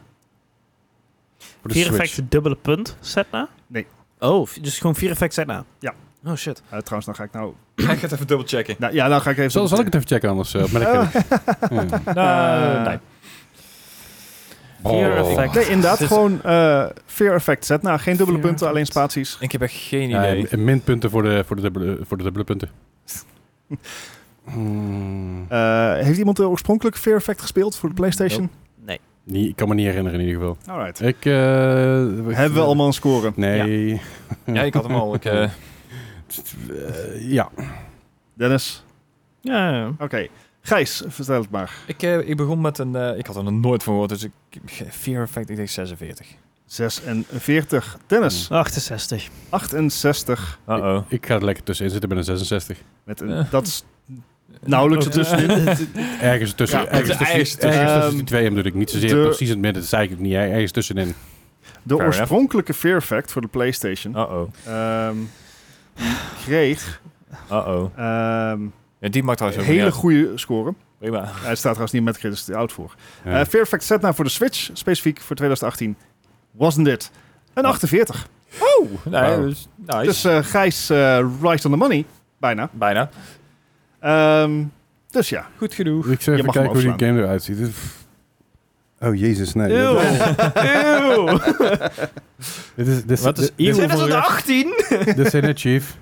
Speaker 1: Voor de
Speaker 2: Vier
Speaker 1: Switch.
Speaker 2: effecten dubbele punt, Setna?
Speaker 3: Nee.
Speaker 2: Oh, v- dus gewoon vier effecten Setna?
Speaker 3: Ja.
Speaker 2: Oh shit.
Speaker 3: Eh, trouwens, dan ga ik nou...
Speaker 4: Ik ga het even dubbelchecken.
Speaker 3: nou ja, nou ga ik even...
Speaker 1: Zal, zal ik het even checken anders? eh, maar dat kan ik. Ja.
Speaker 4: Nou, nee.
Speaker 2: Fear
Speaker 1: Oh.
Speaker 2: Effect.
Speaker 3: Nee, inderdaad,
Speaker 4: Dit-
Speaker 3: gewoon eh, Fear Effect Setna. Geen dubbele
Speaker 2: Fear
Speaker 3: punten,
Speaker 2: Effect.
Speaker 3: alleen spaties.
Speaker 4: Ik heb echt geen
Speaker 1: Ja,
Speaker 4: idee.
Speaker 1: Eh, en minpunten voor de, voor de, dubbele, voor de dubbele punten. Hmm.
Speaker 3: Eh, heeft iemand er oorspronkelijk Fear Effect gespeeld voor de PlayStation?
Speaker 2: Nee.
Speaker 1: Nee, ik kan me niet herinneren in ieder geval.
Speaker 3: Alright.
Speaker 1: Ik, eh,
Speaker 3: Hebben we allemaal een score?
Speaker 1: Nee.
Speaker 4: Ja, ik had hem al. Ik, eh,
Speaker 1: Eh, ja.
Speaker 3: Dennis?
Speaker 2: Ja, ja.
Speaker 3: Oké. Gijs, vertel het maar.
Speaker 4: ik, eh, ik begon met een... eh, ik had er nog nooit van gehoord, dus ik... Fear Effect, ik denk 46.
Speaker 3: 46. Dennis?
Speaker 2: 68.
Speaker 3: 68.
Speaker 4: Uh-oh.
Speaker 1: Ik ga er lekker tussenin zitten met een 66.
Speaker 3: Met
Speaker 4: Eh.
Speaker 3: een, dat is nauwelijks ertussen.
Speaker 1: Ergens tussen. ergens
Speaker 3: Ja,
Speaker 4: het is
Speaker 1: tussen,
Speaker 4: ergens
Speaker 1: ergens
Speaker 4: tussen.
Speaker 1: tussen
Speaker 3: Ehm,
Speaker 1: die twee bedoel ik. Niet zozeer
Speaker 3: de-
Speaker 1: precies in het midden. Dat zei ik ook niet. hè. Ergens tussenin.
Speaker 3: De
Speaker 4: Fair enough.
Speaker 3: oorspronkelijke Fear Effect voor de PlayStation
Speaker 4: Uh-oh.
Speaker 3: ehm, kreeg
Speaker 4: Uh-oh.
Speaker 3: ehm,
Speaker 4: Ja, die maakt
Speaker 3: een
Speaker 4: trouwens ook
Speaker 3: hele
Speaker 4: niet uit.
Speaker 3: goede score.
Speaker 4: Prima.
Speaker 3: dus Hij staat trouwens niet met credits te oud nou voor.
Speaker 1: Ja.
Speaker 3: Eh, Fear Effect Setna voor de Switch, specifiek voor 2018. wasn't it. Een 48.
Speaker 4: Oh, nee,
Speaker 1: Wow.
Speaker 4: dus, nice.
Speaker 3: Dus eh, Gijs eh right on the money, bijna.
Speaker 4: Bijna.
Speaker 3: Ehm, dus ja.
Speaker 4: Goed genoeg.
Speaker 1: Ik zeg
Speaker 3: Je
Speaker 1: even
Speaker 3: mag hem
Speaker 1: kijken hoe die
Speaker 3: overslaan.
Speaker 1: game eruit ziet. Dit is- Oh jezus, nee.
Speaker 2: Eeuw.
Speaker 1: Dit is-
Speaker 2: Eeuw.
Speaker 1: Dit is, dit is,
Speaker 4: Wat is
Speaker 1: dit, dit,
Speaker 4: eeuw?
Speaker 2: 2018?
Speaker 1: dit is in Chief.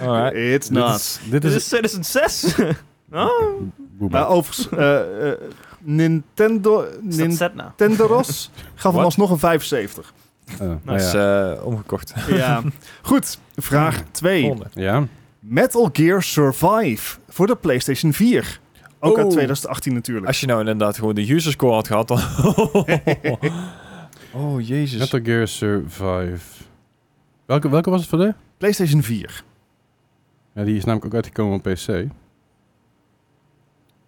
Speaker 4: Alright.
Speaker 3: It's
Speaker 1: Dit
Speaker 3: not.
Speaker 1: is, dit
Speaker 2: Dit
Speaker 1: is,
Speaker 2: is 2006. Dus Oh,
Speaker 1: Boeba.
Speaker 3: Maar overigens, eh, eh, Nintendo,
Speaker 2: is dat
Speaker 3: Nin-
Speaker 2: set nou?
Speaker 3: Tenderos gaf hem
Speaker 4: Wat?
Speaker 3: alsnog een 75.
Speaker 1: Eh, nou
Speaker 4: Dat is
Speaker 1: ja.
Speaker 4: eh, omgekocht.
Speaker 3: Ja. Goed, vraag
Speaker 2: Oh.
Speaker 3: 2.
Speaker 4: Volgende.
Speaker 1: ja.
Speaker 3: Metal Gear Survive voor de PlayStation 4. Ook uit
Speaker 4: Oh.
Speaker 3: 2018 natuurlijk.
Speaker 4: Als je nou inderdaad gewoon de user score had gehad, dan... oh, jezus.
Speaker 1: Metal Gear Survive. Welke, welke was het voor de?
Speaker 3: PlayStation 4.
Speaker 1: Ja, die is namelijk ook uitgekomen op PC.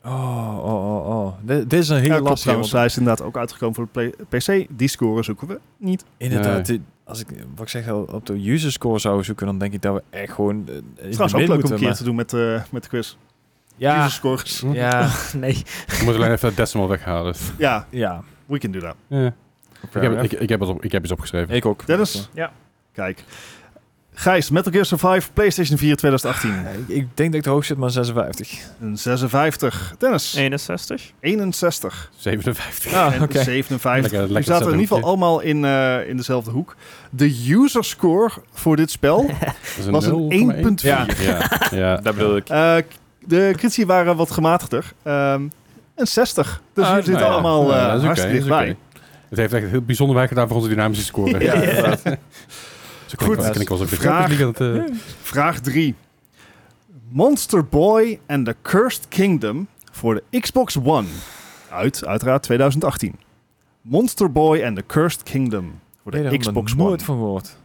Speaker 4: Oh, oh, oh, oh. Dit, dit is een hele
Speaker 3: Ja, klopt
Speaker 4: lastige.
Speaker 3: trouwens.
Speaker 4: want
Speaker 3: Hij is inderdaad ook uitgekomen voor de play- PC. Die score zoeken we niet.
Speaker 4: Inderdaad, dit- als ik, wat ik zeg, op de user score zou zoeken, dan denk ik dat we echt gewoon... eh, in de
Speaker 3: Trouwens
Speaker 4: min
Speaker 3: ook leuk om
Speaker 4: moeten,
Speaker 3: een keer
Speaker 4: maar-
Speaker 3: te doen met, eh, met de quiz.
Speaker 4: Ja,
Speaker 3: User scores.
Speaker 4: ja,
Speaker 2: Nee.
Speaker 1: Ik moet alleen even dat decimal weghalen.
Speaker 3: Ja,
Speaker 4: ja.
Speaker 3: we can do that.
Speaker 1: Ja. Ik,
Speaker 4: Fair
Speaker 1: heb,
Speaker 4: enough.
Speaker 1: ik, ik, heb het op, ik heb iets opgeschreven.
Speaker 4: Ik ook.
Speaker 3: Dennis?
Speaker 2: Ja.
Speaker 3: Kijk. Gijs, Metal Gear Survive, PlayStation 4 2018.
Speaker 4: Ja, ik, ik denk dat ik de hoogste zit, maar 56.
Speaker 3: Een 56. Dennis,
Speaker 2: 61.
Speaker 3: 61.
Speaker 1: 57.
Speaker 4: Ah,
Speaker 3: en
Speaker 4: oké.
Speaker 3: 57.
Speaker 1: Lekker- lekker
Speaker 3: Die zaten in ieder geval
Speaker 1: zethoekje.
Speaker 3: allemaal in, eh, in dezelfde hoek. De user score voor dit spel
Speaker 1: Dat is een
Speaker 3: was een
Speaker 1: 0,1.
Speaker 3: 1.4.
Speaker 4: Ja.
Speaker 1: Ja, ja.
Speaker 4: Dat bedoel ik.
Speaker 3: Eh, de critici waren wat gematigder. Ehm een 60. Dus jullie
Speaker 4: Ah, nou
Speaker 3: zitten
Speaker 4: ja.
Speaker 3: allemaal
Speaker 1: Ja,
Speaker 3: eh,
Speaker 1: dat is oké,
Speaker 3: hartstikke
Speaker 1: dat is
Speaker 3: dichtbij.
Speaker 1: oké. Het heeft echt heel bijzonder werk gedaan voor onze dynamische score.
Speaker 3: Ja,
Speaker 1: dat
Speaker 3: inderdaad. Goed.
Speaker 1: Goed. ik was ook weer
Speaker 3: Vraag.
Speaker 1: Champions League aan het, eh,
Speaker 3: Vraag 3. Monster Boy and the Cursed Kingdom voor de Xbox One. Uit, uiteraard 2018. Monster Boy and the Cursed Kingdom voor
Speaker 4: Ik heb
Speaker 3: de
Speaker 4: er
Speaker 3: Xbox
Speaker 4: nog
Speaker 3: One.
Speaker 4: nooit van gehoord.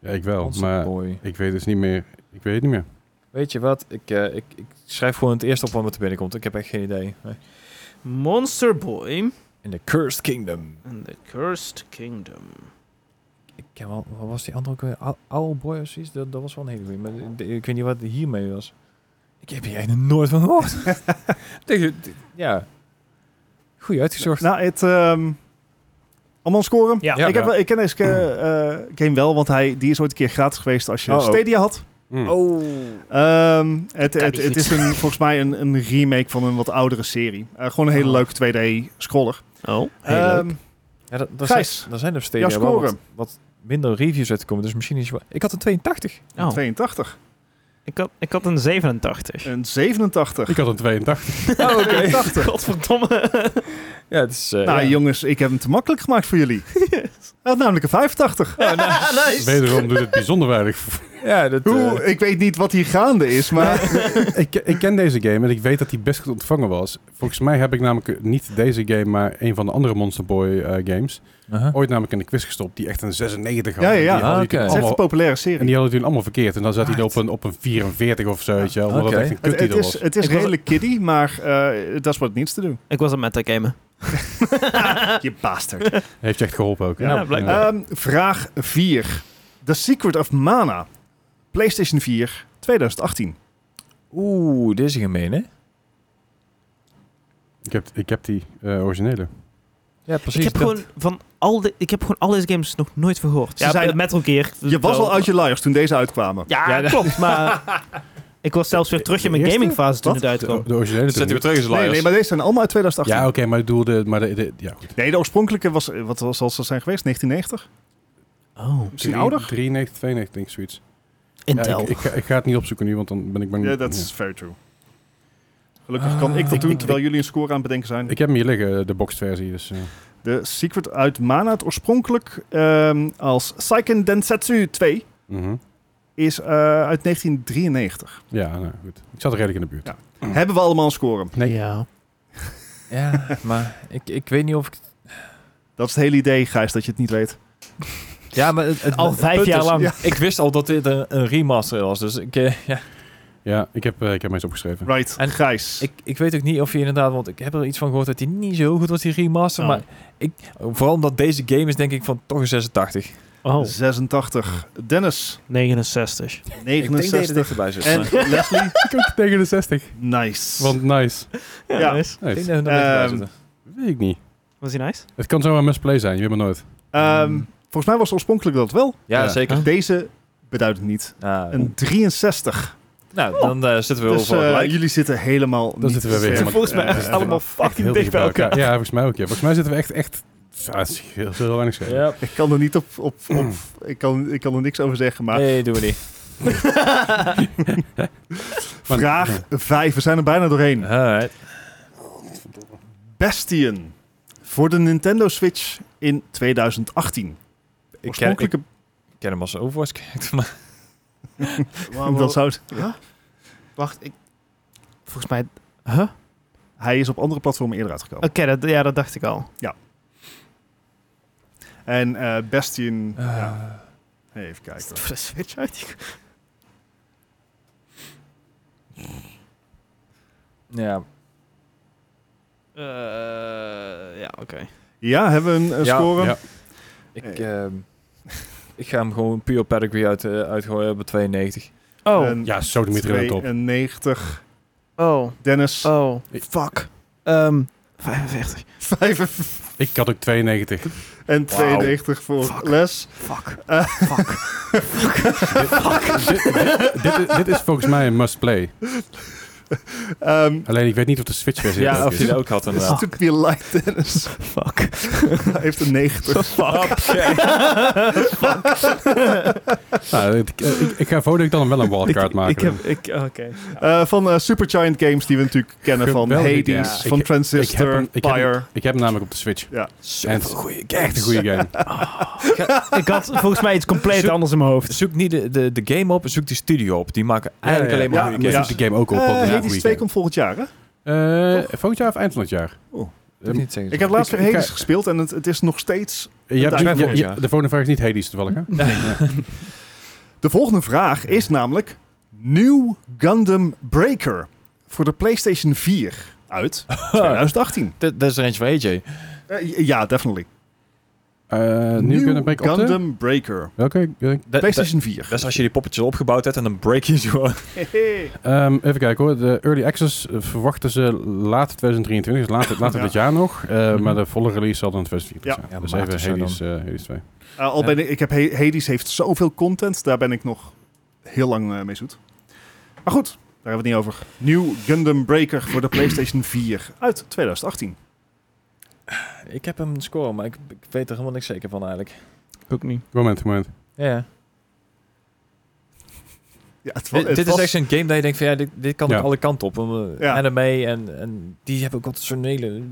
Speaker 1: Ja, ik wel.
Speaker 4: Onze
Speaker 1: Maar
Speaker 4: boy.
Speaker 1: ik weet dus niet meer. Ik weet het niet meer.
Speaker 4: Weet je wat? Ik, eh, ik, ik schrijf gewoon het eerste op wat er binnenkomt. Ik heb echt geen idee. Nee.
Speaker 2: Monster Boy
Speaker 4: In the Cursed Kingdom.
Speaker 2: and the Cursed Kingdom.
Speaker 4: Ik ken wel, wat was die andere ook weer? Ow- Owlboy of zoiets? Dat, dat was wel een hele goeie. Maar de- de- ik weet niet wat hiermee was. Ik heb hier echt nog nooit van gehoord. Tegen- de- ja. Goed uitgezocht.
Speaker 3: Nou, het... ehm, allemaal scoren?
Speaker 2: Ja.
Speaker 4: Ja.
Speaker 3: ik, heb wel, ik ken deze eh, eh, game wel, want hij, die is ooit een keer gratis geweest als je
Speaker 4: Oh, oh.
Speaker 3: Stadia had.
Speaker 1: Hm.
Speaker 2: Oh.
Speaker 3: Ehm, het
Speaker 2: Kan
Speaker 3: het,
Speaker 2: niet
Speaker 3: het
Speaker 2: goed.
Speaker 3: is een, volgens mij een, een remake van een wat oudere serie. Eh, gewoon een hele
Speaker 4: Oh.
Speaker 3: leuke 2D-scroller.
Speaker 2: Oh.
Speaker 4: Heel leuk.
Speaker 3: Ehm,
Speaker 4: Ja, dat, dat
Speaker 3: Gijs,
Speaker 4: zijn, daar zijn er
Speaker 3: jouw
Speaker 4: steeds wel wat,
Speaker 3: score.
Speaker 4: wat minder reviews uitgekomen. Dus misschien is... wel- Ik had een 82.
Speaker 2: oh.
Speaker 3: 82.
Speaker 2: Ik, had, ik had een 87.
Speaker 3: Een 87.
Speaker 1: Ik had een 82.
Speaker 4: Oh, oké.
Speaker 3: 82.
Speaker 2: Godverdomme.
Speaker 4: ja, het is... eh,
Speaker 3: Nou
Speaker 4: ja.
Speaker 3: jongens, ik heb hem te makkelijk gemaakt voor jullie. Hij had namelijk een 85.
Speaker 2: Oh, nou.
Speaker 1: Wederom doet het bijzonder weinig.
Speaker 4: Ja, dat...
Speaker 3: Hoe,
Speaker 4: eh,
Speaker 3: ik weet niet wat hier gaande is, maar...
Speaker 1: ik, ik ken deze game en ik weet dat die best goed ontvangen was. Volgens mij heb ik namelijk niet deze game, maar een van de andere Monster Boy eh, games.
Speaker 4: aha.
Speaker 1: Ooit namelijk in de quiz gestopt die echt een 96 had.
Speaker 3: Ja, ja, ja.
Speaker 1: En die hadden
Speaker 4: Ah, oké.
Speaker 1: toen
Speaker 3: Het is echt een
Speaker 1: allemaal-
Speaker 3: populaire
Speaker 1: En
Speaker 3: serie.
Speaker 1: die hadden toen allemaal verkeerd. En dan zat hij er op
Speaker 4: Right.
Speaker 1: een, op een 44 of zo, weet je wel.
Speaker 4: Ja,
Speaker 1: Omdat
Speaker 4: oké.
Speaker 1: het echt een
Speaker 3: Het, het
Speaker 1: kuttitel
Speaker 3: is,
Speaker 1: was.
Speaker 3: het is
Speaker 2: Ik was-
Speaker 3: redelijk kiddie, maar eh, dat is wat het niets te doen.
Speaker 2: Ik was aan metagamen.
Speaker 3: Je bastard.
Speaker 1: Heeft je echt geholpen ook. hè?
Speaker 2: Ja, blijkbaar.
Speaker 3: Ehm, vraag 4. The Secret of Mana. PlayStation 4, 2018.
Speaker 4: Oeh, dit is een gemeen, hè?
Speaker 1: Ik, heb, ik heb die eh, originele.
Speaker 4: Ja,
Speaker 2: Ik
Speaker 4: precies.
Speaker 2: heb
Speaker 4: dat-
Speaker 2: gewoon van al de, ik heb gewoon al deze games nog nooit van gehoord.
Speaker 3: Ze
Speaker 2: Ja,
Speaker 3: zijn-
Speaker 2: eh, Metal Gear.
Speaker 3: Je was al uit je luiers toen deze uitkwamen.
Speaker 2: Ja,
Speaker 4: Ja, dat-
Speaker 2: klopt, maar ik was zelfs weer terug in mijn
Speaker 1: De eerste?
Speaker 2: gamingfase toen
Speaker 3: Wat?
Speaker 2: het
Speaker 1: De,
Speaker 2: uitkwam.
Speaker 1: de originele.
Speaker 4: Zet hij weer
Speaker 1: toen
Speaker 4: terug in zijn
Speaker 3: Nee,
Speaker 4: liars.
Speaker 3: nee, maar deze zijn allemaal uit 2018.
Speaker 1: Ja, oké, maar ik bedoel de... Maar de, de- ja, goed.
Speaker 3: Nee, de oorspronkelijke was, eh, wat was, zal ze zijn geweest? 1990?
Speaker 2: Oh,
Speaker 3: Misschien
Speaker 1: Drie-
Speaker 3: ouder?
Speaker 1: 93, 92, denk ik zoiets. Ja,
Speaker 2: Intel.
Speaker 1: ik, ik, ga- ik ga het niet opzoeken nu, want dan ben ik bang...
Speaker 3: Ja, dat is very true. Gelukkig kan
Speaker 4: Ah.
Speaker 3: ik dat doen,
Speaker 4: Ik-
Speaker 3: terwijl jullie een score aan het bedenken
Speaker 1: Ja.
Speaker 3: zijn.
Speaker 1: Ik heb hem hier liggen, de boxed versie. Dus, eh.
Speaker 3: De Secret uit Mana, het oorspronkelijk ehm, als Seiken Densetsu 2,
Speaker 1: mhm.
Speaker 3: is eh, uit 1993.
Speaker 1: Ja, nou goed. Ik zat er redelijk in de buurt.
Speaker 3: Ja. Hebben we allemaal een score?
Speaker 1: Nee.
Speaker 2: Ja.
Speaker 4: Ja, maar ik, ik weet niet of ik...
Speaker 3: Dat is het hele idee, Gijs, dat je het niet weet.
Speaker 4: Ja, maar het, het-
Speaker 2: Al
Speaker 4: het
Speaker 2: vijf
Speaker 4: punt
Speaker 2: jaar
Speaker 4: is,
Speaker 2: lang.
Speaker 4: ja, Ik wist al dat dit een, een remaster was, dus ik, eh, ja,
Speaker 1: Ja, ik heb, eh, ik heb hem eens opgeschreven.
Speaker 3: Right, en
Speaker 4: En
Speaker 3: Gijs.
Speaker 4: ik, ik weet ook niet of je inderdaad... Want ik heb er iets van gehoord dat hij niet zo goed was, die remaster.
Speaker 2: Oh.
Speaker 4: Maar ik, vooral omdat deze game is, denk ik, van toch een 86.
Speaker 2: Oh,
Speaker 3: 86. Dennis,
Speaker 2: 69.
Speaker 4: Ik denk dat je er
Speaker 3: 69.
Speaker 4: dichterbij zit.
Speaker 3: En
Speaker 4: maar-
Speaker 3: Leslie,
Speaker 1: Ik ook tegen de 60.
Speaker 3: nice.
Speaker 1: Want nice.
Speaker 3: Ja.
Speaker 2: nice.
Speaker 4: Ik
Speaker 1: nice.
Speaker 4: denk dat je er dichterbij
Speaker 3: Ehm,
Speaker 4: zit.
Speaker 1: Weet ik niet.
Speaker 2: Was die nice?
Speaker 1: Het kan zomaar een misplay zijn, je weet maar nooit.
Speaker 3: Ehm, Volgens mij was het oorspronkelijk dat wel.
Speaker 4: Ja,
Speaker 1: Ja.
Speaker 4: zeker.
Speaker 3: Deze beduidt het niet.
Speaker 4: Ah,
Speaker 3: Een 63.
Speaker 4: nou, dan eh, zitten we wel
Speaker 3: Dus
Speaker 4: voor
Speaker 3: eh,
Speaker 4: gelijk.
Speaker 3: jullie zitten helemaal
Speaker 1: Dan
Speaker 3: niet
Speaker 1: zitten we weer
Speaker 3: ver.
Speaker 1: helemaal-
Speaker 2: Volgens mij
Speaker 1: eh,
Speaker 2: echt
Speaker 1: eh,
Speaker 2: allemaal fucking dicht bij elkaar.
Speaker 1: Ja, volgens mij ook. Ja. Volgens mij zitten we echt, echt... Ah, het is heel, heel weinig schelen.
Speaker 4: Ja.
Speaker 3: Ik kan er niet op... op, op ik, kan, ik kan er niks over zeggen, maar...
Speaker 4: Nee, doen we niet.
Speaker 1: Maar-
Speaker 3: Vraag 5. We zijn er bijna doorheen.
Speaker 4: Alright.
Speaker 3: Bastion. Voor de Nintendo Switch in 2018.
Speaker 4: Ik ken, ik
Speaker 3: Oorspronkelijke...
Speaker 4: ken hem als Overwatch character, maar
Speaker 3: dat zou het-
Speaker 2: Wacht, ik... Volgens mij... Huh? Oké,
Speaker 3: Hij is op andere platformen eerder uitgekomen.
Speaker 2: dat, ja, dat dacht ik al.
Speaker 3: En eh Bastion...
Speaker 4: Eh,
Speaker 3: ja. Even kijken.
Speaker 2: Is het voor de Switch uit?
Speaker 4: ja.
Speaker 2: Eh, ja, oké.
Speaker 3: Ja, hebben we een eh,
Speaker 4: Ja,
Speaker 3: score?
Speaker 1: ja.
Speaker 4: Ik,
Speaker 3: Eh.
Speaker 4: ehm, ik ga hem gewoon puur pedigree uit, eh, uitgooien op 92.
Speaker 2: Oh,
Speaker 3: Een
Speaker 1: Ja, zo de meter top.
Speaker 3: 92.
Speaker 2: oh,
Speaker 3: Dennis,
Speaker 2: oh.
Speaker 1: Ik-
Speaker 2: Fuck. Ehm 45.
Speaker 3: 55
Speaker 1: Ik had ook 92.
Speaker 3: en
Speaker 4: Wauw.
Speaker 3: 92 voor
Speaker 2: Fuck.
Speaker 3: Les.
Speaker 2: Fuck.
Speaker 3: Eh.
Speaker 2: Fuck.
Speaker 1: dit, dit, dit is- dit is volgens mij een must-play.
Speaker 3: Ehm
Speaker 1: Alleen ik weet niet of de Switch-versie het
Speaker 4: Ja,
Speaker 1: ook
Speaker 4: of
Speaker 1: is.
Speaker 4: hij dat ook had inderdaad.
Speaker 3: Stoet me light, Dennis.
Speaker 2: Fuck.
Speaker 3: Hij heeft een 90.
Speaker 2: Fuck.
Speaker 1: Nou, ik, eh, ik, ik ga voordat ik dan wel een wildcard maken.
Speaker 2: Ik heb... Ik, oh, oké.
Speaker 3: Eh, van eh, Supergiant Games, die we natuurlijk kennen van Hades,
Speaker 1: Geweldig, ja.
Speaker 3: van
Speaker 1: Ik- ik heb
Speaker 3: Transistor,
Speaker 1: hem- ik heb hem-
Speaker 3: Pyre. Eh,
Speaker 1: Ik heb hem namelijk op de Switch. En het is
Speaker 4: goede
Speaker 1: echt een goede game.
Speaker 2: Ik had volgens mij iets compleet
Speaker 4: Zo-
Speaker 2: anders in mijn hoofd.
Speaker 4: Zoek niet de, de, de game op, zoek die studio op. Die maken eigenlijk alleen maar
Speaker 3: ja.
Speaker 4: goede
Speaker 1: maar
Speaker 4: games.
Speaker 1: zoek de game ook op.
Speaker 3: Eh,
Speaker 1: want het is een
Speaker 3: Hades
Speaker 1: goede
Speaker 3: 2
Speaker 1: game.
Speaker 3: komt volgend jaar, hè?
Speaker 1: Eh,
Speaker 3: Toch?
Speaker 1: volgend jaar of eind van het jaar?
Speaker 3: Oh,
Speaker 4: Dat is niet zeggen.
Speaker 3: Ik heb laatst
Speaker 1: Ik-
Speaker 3: weer Hades
Speaker 1: ik-
Speaker 3: gespeeld en het, het is nog steeds...
Speaker 1: Je hebt-
Speaker 3: Eind
Speaker 1: je-
Speaker 4: volgend
Speaker 1: je-
Speaker 4: jaar.
Speaker 1: de volgende vraag is niet Hades toevallig, hè?
Speaker 3: De volgende vraag is namelijk... New Gundam Breaker voor de PlayStation 4 uit 2018.
Speaker 4: Dat dat is er eentje voor AJ.
Speaker 3: Eh, ja, definitely.
Speaker 1: Eh, nu kunnen we Eh, op de...
Speaker 3: Gundam Breaker.
Speaker 1: Welke? Welke?
Speaker 4: Dat, dat,
Speaker 3: PlayStation 4.
Speaker 4: dat is als je die poppetjes opgebouwd hebt en dan break je ze gewoon.
Speaker 3: Eh,
Speaker 1: Ehm, even kijken hoor. De Early Access eh, verwachten ze laat 2023, dus later, later
Speaker 3: Ja.
Speaker 1: dit jaar nog. Eh,
Speaker 4: Mhm.
Speaker 1: Maar de volle release zal dan 2024
Speaker 3: Ja.
Speaker 1: zijn.
Speaker 4: Ja,
Speaker 1: dus
Speaker 4: maart of zo
Speaker 1: even Hades, eh, Hades 2.
Speaker 3: Eh, al
Speaker 4: Ja.
Speaker 3: ben ik, ik heb He- Hades heeft zoveel content, daar ben ik nog heel lang eh, mee zoet. Maar goed, daar hebben we het niet over. Nieuw Gundam Breaker voor de PlayStation 4 uit 2018.
Speaker 4: Ik heb hem score, maar ik, ik weet er helemaal niks zeker van eigenlijk.
Speaker 2: Ook niet.
Speaker 1: Moment, moment.
Speaker 4: Ja.
Speaker 3: Ja, het wa-
Speaker 1: Eh,
Speaker 3: het
Speaker 4: Dit, dit is
Speaker 3: was-
Speaker 4: echt een game dat je denkt van ja, dit, dit kan
Speaker 1: Ja.
Speaker 4: ook alle kanten op. En
Speaker 3: Ja.
Speaker 4: Anime en, en die hebben ook altijd zo'n hele...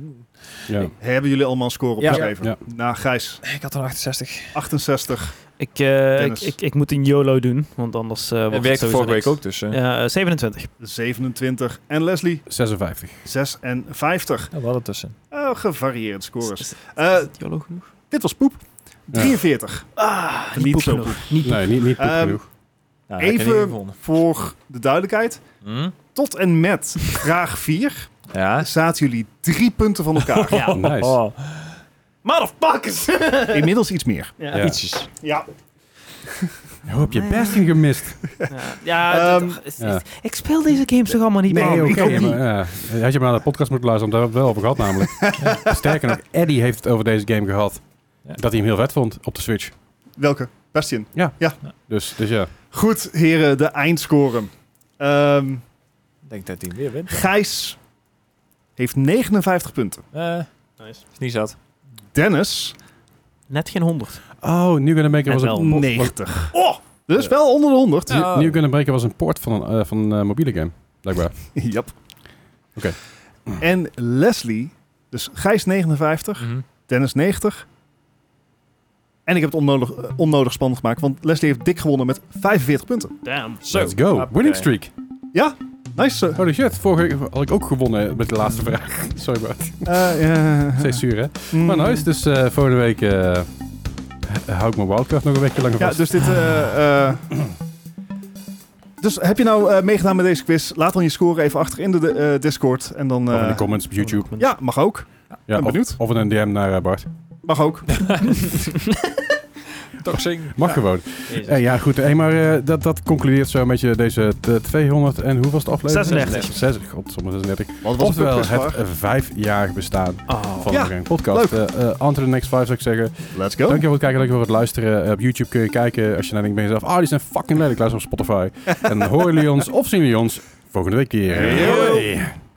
Speaker 1: Ja.
Speaker 3: Hebben jullie allemaal een score
Speaker 4: Ja.
Speaker 3: opgeschreven?
Speaker 1: Ja.
Speaker 3: Nou, Gijs,
Speaker 4: Ik had er 68.
Speaker 3: 68.
Speaker 2: Ik, eh, ik,
Speaker 3: Dennis.
Speaker 2: ik, ik moet een YOLO doen, want anders eh wordt
Speaker 4: Dat
Speaker 2: het
Speaker 4: werkte
Speaker 2: sowieso
Speaker 4: vorige week
Speaker 2: niks.
Speaker 4: ook dus. hè.
Speaker 2: Ja, eh, 27.
Speaker 3: 27. En Leslie,
Speaker 1: 56.
Speaker 3: 56.
Speaker 4: Ja, we hadden tussen.
Speaker 3: Eh, gevarieerd
Speaker 2: Is, is-
Speaker 3: scores.
Speaker 2: is
Speaker 3: Eh,
Speaker 2: het YOLO genoeg?
Speaker 3: dit was poep. 43.
Speaker 2: Ah,
Speaker 3: niet
Speaker 2: poep
Speaker 3: zo
Speaker 2: genoeg. Niet poep.
Speaker 1: Nee, niet, niet goed
Speaker 3: Ehm,
Speaker 1: genoeg.
Speaker 4: Nou, heb ik er niet
Speaker 3: Even
Speaker 4: gevonden.
Speaker 3: voor de duidelijkheid.
Speaker 4: Hm?
Speaker 3: Tot en met vraag 4
Speaker 4: Ja.
Speaker 3: zaten jullie drie punten van elkaar.
Speaker 2: Ja.
Speaker 1: Nice.
Speaker 4: Oh,
Speaker 2: Motherfuckers!
Speaker 3: Inmiddels iets meer.
Speaker 2: ja.
Speaker 1: Ja.
Speaker 2: Ja.
Speaker 4: ietsjes.
Speaker 3: Ja.
Speaker 1: Hoe heb je Bastion gemist?
Speaker 2: Ja,
Speaker 3: Ehm,
Speaker 2: dit- is- is-
Speaker 1: ja.
Speaker 2: Ik speel deze games toch allemaal niet, man.
Speaker 3: Nee,
Speaker 2: Ik
Speaker 3: ook
Speaker 2: ook
Speaker 3: niet.
Speaker 2: niet.
Speaker 1: Maar, ja, had je maar naar de podcast moeten luisteren, want daar hebben we het wel over gehad namelijk. Sterker nog, Eddie heeft het over deze game gehad.
Speaker 4: Ja.
Speaker 1: Dat hij hem heel vet vond op de Switch.
Speaker 3: Welke? Bastion.
Speaker 1: Dus, dus ja.
Speaker 3: Goed, heren, de eindscore. Ehm,
Speaker 4: Ik denk dat hij weer wint.
Speaker 3: Gijs heeft 59 punten.
Speaker 4: Eh,
Speaker 2: Nice.
Speaker 4: is niet zat.
Speaker 3: Dennis
Speaker 2: Net geen 100.
Speaker 1: Oh, New Gonna Breaker
Speaker 2: Net
Speaker 1: was
Speaker 2: wel.
Speaker 1: een... po-
Speaker 3: 90. Oh, dus wel onder de 100.
Speaker 1: was- New- New Gonna Breaker was een port van een eh, van een eh, mobiele game. Blijkbaar.
Speaker 3: Jap.
Speaker 1: Oké.
Speaker 3: En Leslie, dus Gijs 59,
Speaker 4: Mhm.
Speaker 3: Dennis 90. En ik heb het onnodig, eh, onnodig spannend gemaakt, want Leslie heeft dik gewonnen met 45 punten.
Speaker 2: Damn.
Speaker 4: Zo.
Speaker 1: Let's go.
Speaker 4: Hoppakee.
Speaker 1: Winning streak.
Speaker 3: Nice. eh.
Speaker 1: Holy shit, vorige keer had ik ook gewonnen met de laatste vraag. Sorry Bart,
Speaker 3: Eh, eh,
Speaker 1: steeds zuur hè.
Speaker 3: mm.
Speaker 1: Maar nice, dus eh volgende week eh, h- hou ik mijn wildcard nog een weekje langer
Speaker 3: Ja,
Speaker 1: vast.
Speaker 3: dus dit. eh, eh, dus heb je nou eh, meegedaan met deze quiz? Laat dan je score even achter in de eh, Discord. En dan.
Speaker 1: Of in
Speaker 3: eh,
Speaker 1: de comments op YouTube.
Speaker 3: ja, mag ook.
Speaker 1: Ja,
Speaker 3: ben
Speaker 1: of,
Speaker 3: benieuwd.
Speaker 1: Of in een DM naar eh, Bart.
Speaker 3: Mag ook.
Speaker 4: Toch zing.
Speaker 1: Mag gewoon. Eh, ja, goed. Hey, maar eh, dat, dat concludeert zo met je deze t- 200 en hoeveel was de aflevering?
Speaker 2: 36.
Speaker 1: 36. God, sommige 36.
Speaker 3: Wat
Speaker 1: Oftewel, het eh, vijfjarig bestaan
Speaker 2: Oh.
Speaker 1: van
Speaker 3: Ja,
Speaker 1: de Gang Podcast. Eh eh, on to the next five zou ik zeggen.
Speaker 3: Let's go.
Speaker 1: Dankjewel voor het kijken, dankjewel voor het luisteren. Eh, op YouTube kun je kijken als je dan denkt bij jezelf, ah, die zijn fucking lelijk. Luister op Spotify. en horen jullie ons of zien jullie ons volgende week weer.
Speaker 3: Yo.
Speaker 1: Hoi.